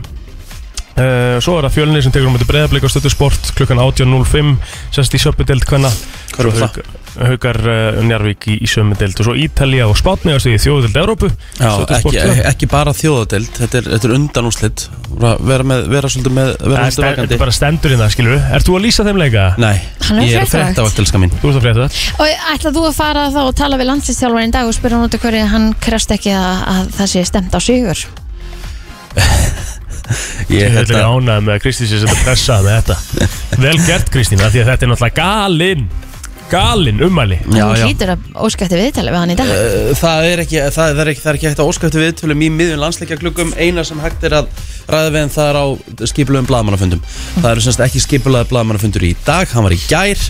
Speaker 3: uh, Svo er það fjölni sem tekur um þetta breyðablík á stötu sport klukkan 18.05 sérst í söpudeld hvenna
Speaker 1: Hvað er það?
Speaker 3: Haukar uh, Njarvík í, í sömudeld og svo Ítalía og Spátni í þjóðudeld Evrópu
Speaker 1: Já,
Speaker 3: Stötu Sport
Speaker 1: ekki,
Speaker 3: tvö.
Speaker 1: ekki bara þjóðadeild Þetta er, þetta er undanúslit vera, með, vera svolítið með vera
Speaker 3: Það er
Speaker 1: svolítið
Speaker 3: sten- Þetta
Speaker 1: vakandi
Speaker 3: er bara stendur inn það skilur Ert þú að lýsa þeim leika?
Speaker 1: Nei,
Speaker 2: Hann er
Speaker 1: ég er
Speaker 2: fréttavakt.
Speaker 1: þetta vaktelska mín
Speaker 3: Þú ert að frétta það?
Speaker 2: Og ætlað þú að fara þá og tala við landslistjálfarinn í dag og spyrja hann út af hverju hann krefst ekki að, að það sé stemt á sigur
Speaker 1: Ég
Speaker 3: Ég
Speaker 1: er hérna. þetta
Speaker 3: ætla ekki ánað með að Kristín sé að pressa með þetta Vel gert Kristín, af því að þetta er náttúrulega galinn Galinn ummæli
Speaker 1: Já,
Speaker 2: Þú
Speaker 1: já.
Speaker 2: hlýtur að óskætti viðtalið við hann í dag
Speaker 3: Eh,
Speaker 1: Uh, Það er ekki, það, það er ekki, það er ekki hægt að óskæftu viðtölum í miðjum landsleikjagluggum eina sem hægt er að ræða við en það er á skipulöðum blaðmannafundum Það eru semst ekki skipulöðu blaðmannafundur í dag, hann var í gær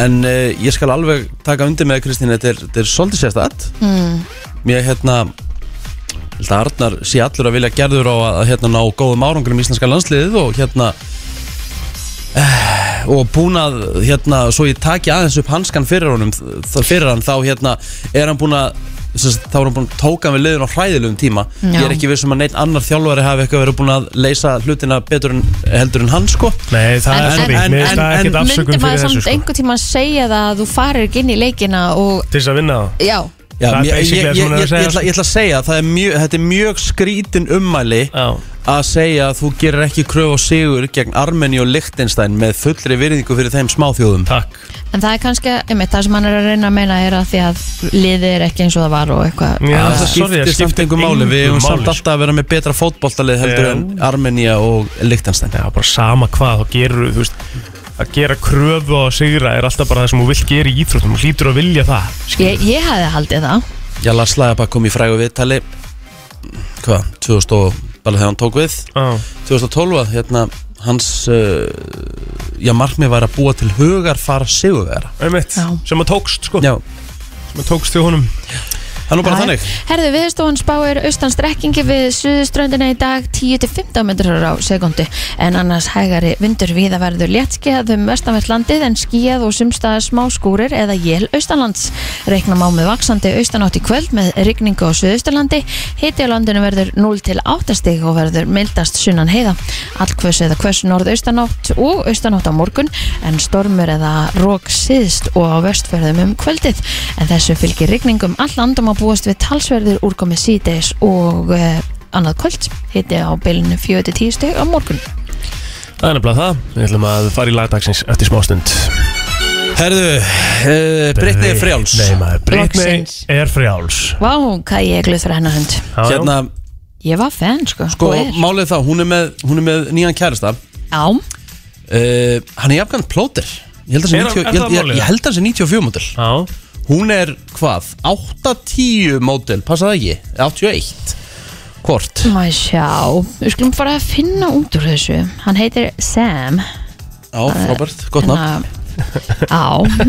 Speaker 1: en uh, ég skal alveg taka undir með Kristín, þetta er, þetta er svolítið sérstætt mm. Mér hérna held að Arnar sé allur að vilja gerður á að, að hérna ná góðum árangrum í íslenska landsliðið og hérna eh, og búin að hérna, svo ég taki aðeins upp hanskan fyrir honum þ- fyrir hann, þá hérna er hann búin að sem sagt, þá er hann búin að tóka hann við liðin á hræðilegum tíma
Speaker 2: Já.
Speaker 1: ég er ekki vissum að neitt annar þjálfari hafi eitthvað verið búin að leysa hlutina betur en heldur en hann sko
Speaker 3: Nei, það er
Speaker 1: En-
Speaker 3: sorry,
Speaker 1: en-
Speaker 3: mér finnst
Speaker 1: en-
Speaker 3: það
Speaker 1: en-
Speaker 3: ekkert
Speaker 2: Myndi
Speaker 3: afsökun
Speaker 2: maður
Speaker 3: fyrir
Speaker 2: samt
Speaker 3: þessu sko
Speaker 2: einhvern tíma að segja það að þú farir ekki inn í leikina og
Speaker 3: Til þess að vinna það
Speaker 2: já,
Speaker 1: Já,
Speaker 3: Það er
Speaker 1: mér- ég, ég,
Speaker 3: basically
Speaker 1: ég,
Speaker 3: það
Speaker 1: ég,
Speaker 3: sem hún er að
Speaker 1: ég,
Speaker 3: segja,
Speaker 1: ætla,
Speaker 3: sko.
Speaker 1: ég ætla að segja það er mjög, þetta er mjög skrítin ummæli
Speaker 3: Já,
Speaker 1: að segja að þú gerir ekki kröf á sigur gegn Armeni og Lichtenstein með fullri virðingu fyrir þeim smáþjóðum
Speaker 3: takk
Speaker 2: en það er kannski einmitt það sem hann er að reyna að meina er að því að liðið er ekki eins og það var og eitthvað
Speaker 3: Já,
Speaker 1: það
Speaker 3: það- sorry,
Speaker 1: skiptir samt engu máli við
Speaker 3: engu
Speaker 1: erum samt
Speaker 3: máli, sko.
Speaker 1: alltaf að vera með betra fótboltalið heldur
Speaker 3: Já.
Speaker 1: en Armenia og Lichtenstein
Speaker 3: Já, bara sama hvað, þá gerur þú veist Að gera kröfu og sigra er alltaf bara það sem þú vilt gera í íþróttum Þú hlýtur að vilja það
Speaker 2: ég, ég hafði haldið það
Speaker 1: Já, Lars Lægabak kom í frægu viðtali hvað, 2000 og bara þegar hann tók við
Speaker 3: Já,
Speaker 1: 2012, hérna hans uh, já, markmið var að búa til hugarfar sigurvera
Speaker 3: einmitt,
Speaker 2: Já.
Speaker 3: sem að tókst sko
Speaker 1: Já,
Speaker 3: Sem að tókst þjó honum
Speaker 1: það er nú bara
Speaker 2: Já.
Speaker 1: þannig
Speaker 2: Herðu viðstofan spáir austan strekkingi við suðuströndina í dag 10-15 metrar á sekundu en annars hægari vindur viða verður léttskið um vestanvert landið en skíð og sumstaðar smá skúrir eða jél austanlands. Rekna má með vaksandi austanátt í kvöld með rigningu á suðusturlandi. Hiti á landinu verður 0-8 stig og verður mildast sunnan heiða. Allkvöss eða kvöss norðaustanátt og austanátt á morgun en stormur eða rók síðst og á vestferðum um kvöldið en þessu fylgir um rigningum all landum að búast við talsverður úrkomi síðdeis og uh, annað kvöld hitti á bylunu 4-10 steg á morgun
Speaker 3: Það er nefnilega það, við ætlum að fara í lagdagsins eftir smástund
Speaker 1: Herðu, uh, Brittany er frjáls
Speaker 3: Nei maður, Britney
Speaker 2: Loksins.
Speaker 3: er frjáls
Speaker 2: Vá, hvað ég er gluð fyrir hennar hund
Speaker 3: Já, já.
Speaker 1: Hérna,
Speaker 2: Ég var fenn, sko,
Speaker 1: sko,
Speaker 2: og er
Speaker 1: málið þá, hún er með, hún er með nýjan kærasta
Speaker 2: Já,
Speaker 1: uh, Hann er jafnkvæmt plóter Ég held að
Speaker 3: Er hann- er það
Speaker 1: hann
Speaker 3: málið?
Speaker 1: sé 94 mótil
Speaker 3: Já,
Speaker 1: Hún er hvað? 8-10 mótil, passa það ekki? 81 Hvort?
Speaker 2: maður sjá Við skulum bara finna út úr þessu Hann heitir Sam
Speaker 1: Já, Robert, gott nafn
Speaker 2: Þannig að- Eh, hérna- Já, <laughs>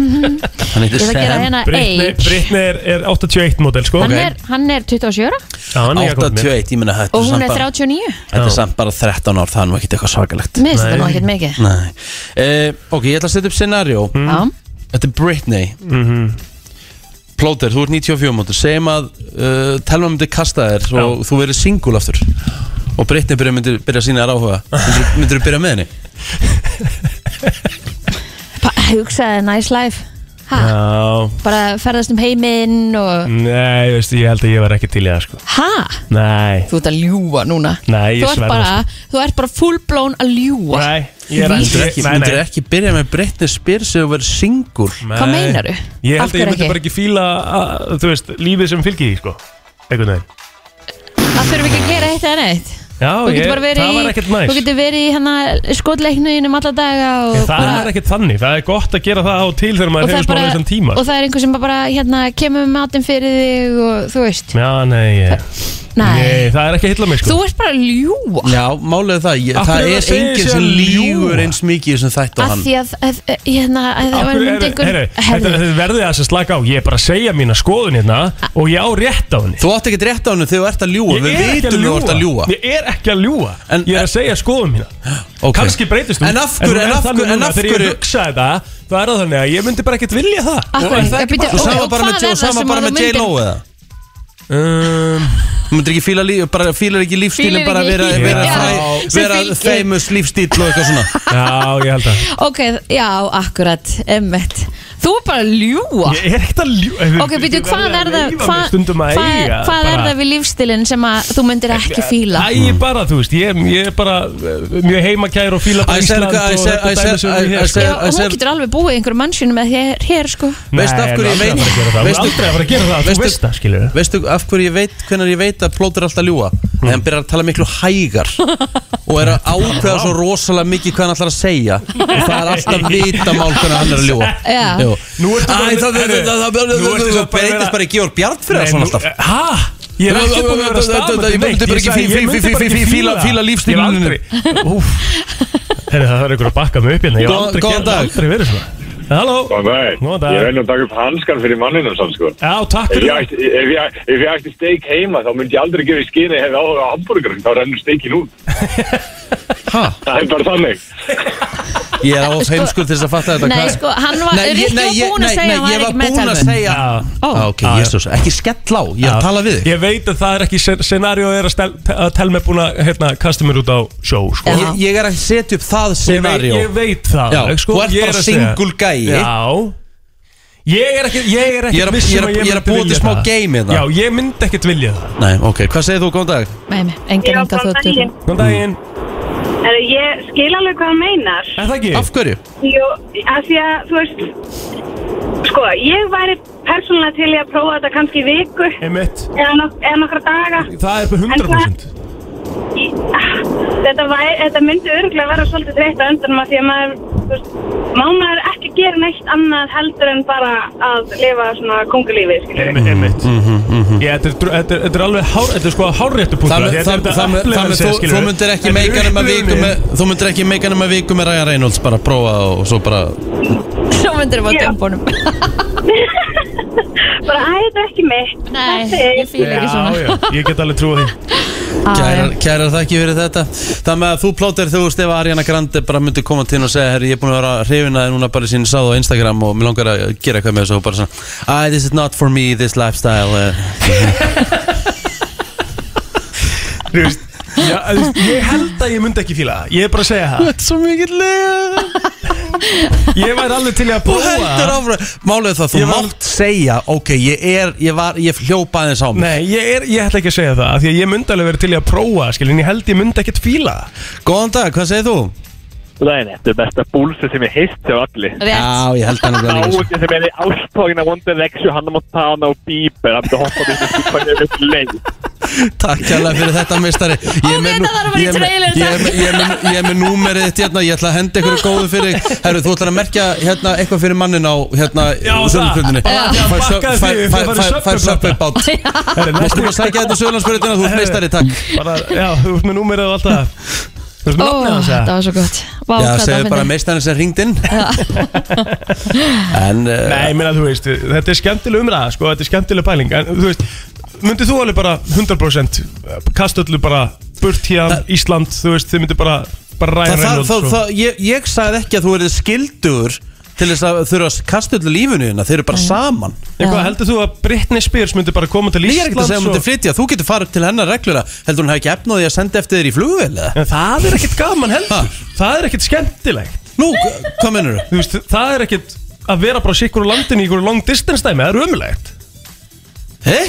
Speaker 1: Hann
Speaker 2: ég
Speaker 1: heitir
Speaker 2: ætla að gera
Speaker 1: Sam
Speaker 2: hérna
Speaker 3: Britney,
Speaker 2: age
Speaker 3: Britney er, er 81 model sko
Speaker 2: Hann er, hann er 27 ára
Speaker 3: Já, hann er ekki að koma með.
Speaker 1: 81, ég meina
Speaker 2: og
Speaker 1: þetta er
Speaker 2: hún
Speaker 1: samt
Speaker 2: er
Speaker 1: bara-
Speaker 2: 39
Speaker 1: Þetta er
Speaker 3: Já.
Speaker 1: samt bara 13 ár, það er nú ekkert eitthvað svakalegt
Speaker 2: Mér finnst
Speaker 3: Nei.
Speaker 2: þetta nú ekkert mikið
Speaker 1: Nei uh, Ok, ég ætla að setja upp scenario
Speaker 3: Mm.
Speaker 2: Já,
Speaker 1: Þetta er Britney
Speaker 3: Mhm.
Speaker 1: Plóter, þú ert 94 mótur Segjum að uh, telma myndi kasta þér og þú verður singul aftur og Britney byrja, myndi byrja að sína þér áhuga myndir, myndir þú byrja með henni?
Speaker 2: Pa- hugsaði nice life ha,
Speaker 3: Já,
Speaker 2: Bara ferðast um heiminn og
Speaker 3: nei, veistu, ég held að ég var ekki til í það sko
Speaker 2: Ha?
Speaker 3: Nei,
Speaker 2: Þú ert að ljúa núna
Speaker 3: Nei, ég
Speaker 2: þú, ert
Speaker 3: sverða
Speaker 2: bara, þú ert bara full blown að ljúa
Speaker 3: sko. nei, ég er
Speaker 2: Víst.
Speaker 1: Myndir ekki,
Speaker 3: nei, nei.
Speaker 1: myndir ekki byrja með Britney Spears eða verður singul?
Speaker 3: Nei.
Speaker 2: Hvað meinarðu?
Speaker 3: Ég
Speaker 2: Af hverju
Speaker 3: held að ég myndi
Speaker 2: ekki?
Speaker 3: bara ekki fíla, að, þú veist, lífið sem fylgir því sko Einhvern veginn
Speaker 2: Það þurfum ekki að gera eitt eða neitt
Speaker 3: Já,
Speaker 2: Þú
Speaker 3: ég,
Speaker 2: getur bara verið
Speaker 3: það var
Speaker 2: í
Speaker 3: ekkert næs
Speaker 2: Þú getur verið í hana skotleiknuðinum alla daga og,
Speaker 3: Ég, Það
Speaker 2: bara,
Speaker 3: er ekkert þannig, það er gott að gera það á og til
Speaker 2: og
Speaker 3: þegar maður
Speaker 2: það
Speaker 3: hefur
Speaker 2: er
Speaker 3: spáð þessan tíma
Speaker 2: og það er einhver sem bara hérna, kemur með matinn fyrir þig og þú veist
Speaker 3: Já, nei, ég,
Speaker 2: Nei,
Speaker 3: Nei, það er ekki að hilla mig sko
Speaker 2: þú ert bara að ljúa
Speaker 1: Já, málið er það, ég,
Speaker 3: Af
Speaker 1: það
Speaker 3: hverju
Speaker 1: er
Speaker 3: það segir
Speaker 1: enginn
Speaker 3: sér
Speaker 1: sem
Speaker 3: að
Speaker 1: lígur
Speaker 3: ljúga?
Speaker 1: eins mikið sem þetta og
Speaker 2: að
Speaker 1: hann
Speaker 2: því að, að, að hérna, að það
Speaker 3: Af
Speaker 2: var
Speaker 3: hverju
Speaker 2: myndi
Speaker 3: eru-
Speaker 2: einhver
Speaker 3: heyrðu, Þetta
Speaker 2: herði,
Speaker 3: þetta verðið að slaka á Ég er bara að segja mína skoðun hérna Og ég á rétt á henni
Speaker 1: Þú átt ekkert rétt á hennu þegar þú ert að ljúa Við
Speaker 3: Ég er ekki að
Speaker 1: vitum þú ert að ljúa
Speaker 3: ljúga Ég er ekki að ljúa
Speaker 1: En-
Speaker 3: Ég er að segja skoðum mína
Speaker 1: Ok.
Speaker 3: Kanski breytist þú
Speaker 1: En af hverju-
Speaker 3: þú
Speaker 1: en
Speaker 3: er
Speaker 1: af
Speaker 3: þannig
Speaker 1: hverju- en
Speaker 3: núna.
Speaker 1: af
Speaker 3: Þegar
Speaker 1: hverju-
Speaker 3: ég hugsa þetta Þá er það þannig að ég myndi bara ekkert vilja það
Speaker 1: Og er það ekki bara- Þú sama bara með- og sama bara með J-Lo eða
Speaker 3: um,
Speaker 1: Þú myndir ekki fíla líf, bara fílar ekki lífstílin
Speaker 2: Fílar
Speaker 1: bara
Speaker 2: ekki
Speaker 1: vera,
Speaker 2: lífið,
Speaker 1: vera,
Speaker 3: já,
Speaker 1: fræ,
Speaker 2: sem
Speaker 1: vera
Speaker 2: fylgir.
Speaker 1: famous lífstíl og eitthvað svona
Speaker 3: Já, ég held að
Speaker 2: Ok, já, akkurat, emmitt Þú er bara að ljúa
Speaker 3: Ég er ekkert að ljúa
Speaker 2: Ok, býtu, hvað er það hvað,
Speaker 3: Stundum að
Speaker 2: hvað,
Speaker 3: eiga
Speaker 2: er- hvað er það við lífstilinn sem að þú myndir ekki fíla?
Speaker 3: Æ, ég bara, þú veist, ég, ég er bara eh, mjög heimakær og fíla bara
Speaker 1: Æ,
Speaker 3: Ísland
Speaker 1: segðu hvað, æ,
Speaker 3: og
Speaker 1: segðu- æ,
Speaker 3: þetta dæmi sem
Speaker 1: segðu-
Speaker 3: við
Speaker 1: æ,
Speaker 3: hér, sko.
Speaker 1: segðu-
Speaker 2: Já, og
Speaker 1: sem-
Speaker 2: hún getur alveg búið í einhverjum mannsvinum með þér, hér, sko
Speaker 1: Veistu af hverju ég
Speaker 3: Nei,
Speaker 1: veit-
Speaker 3: hún er aldrei að fara að gera það, hún er
Speaker 1: veistu-
Speaker 3: aldrei að fara að gera það,
Speaker 1: veistu-
Speaker 3: þú veist það, skilur
Speaker 1: Veistu af hverju ég veit hvernig ég veit að plótur er alltaf að ljúa mm. hann byrjar að tala miklu hægar og er að ákveða svo rosalega mikið hvað hann ætlar að segja og það er alltaf vitamál hvernig hann er að ljúa
Speaker 2: Já.
Speaker 1: Jú.
Speaker 3: Nú ertu bara-
Speaker 1: Æ, það- það- það- það- það-
Speaker 3: Nú ertu
Speaker 1: það
Speaker 3: bara-
Speaker 1: breytist bara í Georg Bjartfriðarsson alltaf
Speaker 3: Hæ? Eh, Ég er ekki búin að vera að staðmynda
Speaker 1: Ég myndi bara Ah, ekki fí- fí- fí- fí- fí- fíla- fíla lífstílinn
Speaker 3: Herri, það er ykkur að bakka mig upp hérna Ég hef
Speaker 1: Góðan-
Speaker 3: aldrei
Speaker 1: góðan
Speaker 3: gerð-
Speaker 1: dag.
Speaker 3: aldrei verið svona Halló
Speaker 5: Góðan dag.
Speaker 3: Góðan dag.
Speaker 5: Ég reyni að taka upp hanskan fyrir manninum samt sko.
Speaker 3: Já, takk
Speaker 5: Ef ég,
Speaker 3: fyrir það
Speaker 5: ætti, ef, ég, ef ég ætti steik heima þá myndi ég aldrei gefa í skýni hefði áhuga á hamburgerum, þá rennur steikin út.
Speaker 1: Ha?
Speaker 5: Það er bara þannig.
Speaker 1: Ég er á heimskur til þess að fatta
Speaker 2: Sko,
Speaker 1: þetta
Speaker 2: Nei,
Speaker 1: hvað er-
Speaker 2: sko, hann var,
Speaker 1: Nei,
Speaker 2: Rikki
Speaker 1: ég- nei,
Speaker 2: var
Speaker 1: ég-
Speaker 2: búin að
Speaker 1: nei,
Speaker 2: segja
Speaker 1: nei,
Speaker 2: að hann
Speaker 1: ég
Speaker 2: var
Speaker 1: var
Speaker 2: ekki með
Speaker 1: búin að
Speaker 2: tölvun.
Speaker 1: segja
Speaker 3: Já.
Speaker 1: Á, Ah, Ok,
Speaker 3: Ah, Já, já.
Speaker 1: jésús, ekki skell á Ég er að tala við þig
Speaker 3: Ég veit að það er ekki scenario er að stel- að telma er búin að hérna, kasta mér út á sjó sko.
Speaker 2: Já.
Speaker 1: Ég- Ég er að setja upp það
Speaker 3: Ég veit,
Speaker 1: scenario
Speaker 3: ég veit það
Speaker 1: Já,
Speaker 3: alveg, sko,
Speaker 1: þú ert
Speaker 3: ég er
Speaker 1: bara
Speaker 3: að segja-
Speaker 1: single gæi.
Speaker 3: Já Ég er ekkert ég
Speaker 1: Ég er
Speaker 3: er ekkert
Speaker 1: að-
Speaker 3: viss
Speaker 1: ég er
Speaker 3: um
Speaker 1: að-
Speaker 3: að ég
Speaker 1: ég er að
Speaker 3: myndi
Speaker 1: búa til
Speaker 3: vilja
Speaker 1: smá
Speaker 3: það.
Speaker 1: game hérna.
Speaker 3: Já, ég myndi ekkert vilja það
Speaker 1: Nei, ok, hvað segir þú, góðan dag?
Speaker 2: Nei, nei, engin enga
Speaker 6: Já, góðan
Speaker 2: þóttur
Speaker 6: daginn.
Speaker 3: Góðan daginn,
Speaker 6: Er, ég skil alveg hvað hann meinar.
Speaker 3: er það ekki?
Speaker 1: Af hverju?
Speaker 6: Jú, af því að, þú veist, sko, ég væri persónulega til í að prófa þetta kannski í viku
Speaker 3: Einmitt,
Speaker 6: eða, nok eða nokkra daga.
Speaker 3: það er bara 100%
Speaker 6: Í- ah, Þetta, væri, þetta myndi örgulega vera svolítið þreytt á undanum af því að maður, þú veist, má maður ekki gera neitt annað heldur en bara að lifa svona kongulífið, skilur.
Speaker 3: Einmitt,
Speaker 1: Mm-hmm.
Speaker 3: einmitt Ég, þetta er, dr- þetta, er, þetta er alveg hár, þetta er sko hárréttu punkt
Speaker 1: Þar með- þar- þar með- þar með þú- Þú myndir ekki meika nema viku með Þú myndir ekki meika nema viku með Ryan Reynolds bara að prófa og svo bara
Speaker 2: Svo myndir um við á
Speaker 6: Já.
Speaker 2: dömbunum
Speaker 6: <laughs> Bara, æ, þetta er ekki mitt.
Speaker 2: Nei,
Speaker 6: Þetta er-
Speaker 2: ég fíla ekki
Speaker 3: Já,
Speaker 2: svona
Speaker 3: já, ég get alveg trúið því
Speaker 2: Á, <laughs> já.
Speaker 1: kærar, kærar það ekki verið þetta Það með að þú plótir þú veist ef Ariana Grande bara myndi koma til þín og segja Herri, ég er búin að vera hrifina núna bara sín sáð á Instagram og mér langar að gera eitthvað með þessu og bara svona Æ, this is not for me, this lifestyle
Speaker 3: <laughs>
Speaker 1: uh,
Speaker 3: Þú veist, já, þú veist, Ég held að ég myndi ekki fíla það Ég er bara að segja það
Speaker 1: Þetta er svo mikill lega
Speaker 3: Ég væri alveg til í að
Speaker 1: Þú
Speaker 3: prófa
Speaker 1: heldur
Speaker 3: það.
Speaker 1: áfram Málið er það, þú
Speaker 3: Ég var-
Speaker 1: mátt segja Ok, ég er, ég var, ég hljópa aðeins á mig
Speaker 3: Nei, ég, er, ég ætla ekki að segja það af Því að ég myndi alveg verið til í að prófa það, skilur, En ég held ég myndi ekkert fíla það
Speaker 1: Góðan dag, hvað segir þú?
Speaker 7: Læn, þetta er besta búlsu sem ég heist hjá allir.
Speaker 2: Rétt,
Speaker 1: Já, ég held hann að
Speaker 7: Sá
Speaker 1: vera líka sko.
Speaker 7: ekki sem er í ástfókin af One Direction, Hannah Montana og Bieber, hann myndi hoppa því sem skipar nefnir upp leið.
Speaker 1: Takk hérlega fyrir þetta meistari Ég er með nú-
Speaker 2: þetta þarf að vera í
Speaker 1: ég er með-
Speaker 2: trailer,
Speaker 1: ég er með- ég er með- ég er með númerið þitt hérna Ég ætla að henda einhverju góðu fyrir þig. Herru, þú ætlar að merkja hérna eitthvað fyrir mannin á hérna
Speaker 3: Já, það.
Speaker 1: Suðurlandsbrautinni.
Speaker 3: Bara því að
Speaker 1: Fær sub-
Speaker 3: bakkaði
Speaker 1: fær-
Speaker 3: því,
Speaker 1: fær-
Speaker 3: þú farið
Speaker 1: fær- Fær
Speaker 3: Subway
Speaker 1: söpvei
Speaker 3: bara.
Speaker 1: bát
Speaker 3: Herri,
Speaker 1: Þú
Speaker 3: næstu-
Speaker 1: ætlum að sækja þetta Suðurlandsbröðina Þú ert meistari, takk
Speaker 3: bara, <laughs> Já, þú ert með númerið og allt það Þú
Speaker 2: ó,
Speaker 3: ert með nafnið hans
Speaker 2: þetta
Speaker 3: eða?
Speaker 2: var svo gott Vá,
Speaker 1: Já,
Speaker 2: hvað það
Speaker 1: segðu
Speaker 2: var
Speaker 1: bara
Speaker 2: fyndið.
Speaker 1: meistari sem hringd inn <laughs> En
Speaker 3: Nei,
Speaker 1: eh,
Speaker 3: ég meina, þú veist, þetta er skemmtileg umræða, sko, þetta er skemmtileg pæling, en þú veist, myndið þú alveg bara 100% kasta öllu bara burt hér,
Speaker 1: Það-
Speaker 3: Ísland, þú veist, þið myndið bara, bara ræða
Speaker 1: það-
Speaker 3: sko?
Speaker 1: það-
Speaker 3: Reynolds
Speaker 1: það-
Speaker 3: og-
Speaker 1: það- Ég ég sagði ekki að þú erið skildur Til þess að þurfa að kasta öllu lífinu hérna Þeir eru bara saman
Speaker 3: Ég, hvað,
Speaker 2: Já.
Speaker 3: heldur þú að Britney Spears myndið bara koma til
Speaker 1: Ég er ekkert að
Speaker 3: Íslands
Speaker 1: segja að hún myndi
Speaker 3: og...
Speaker 1: flytja, þú getur farið til hennar reglura Heldur hún hafi ekki efnaði að senda eftir þér í flugvél eða?
Speaker 3: En það er ekkert gaman heldur,
Speaker 1: Ha?
Speaker 3: það er ekkert skemmtilegt,
Speaker 1: Nú, hva- hvað mennur þú?
Speaker 3: þú veist, það er ekkert að vera bara sikkur á landinu í ykkur long distance dæmi, það er ömulegt.
Speaker 1: He?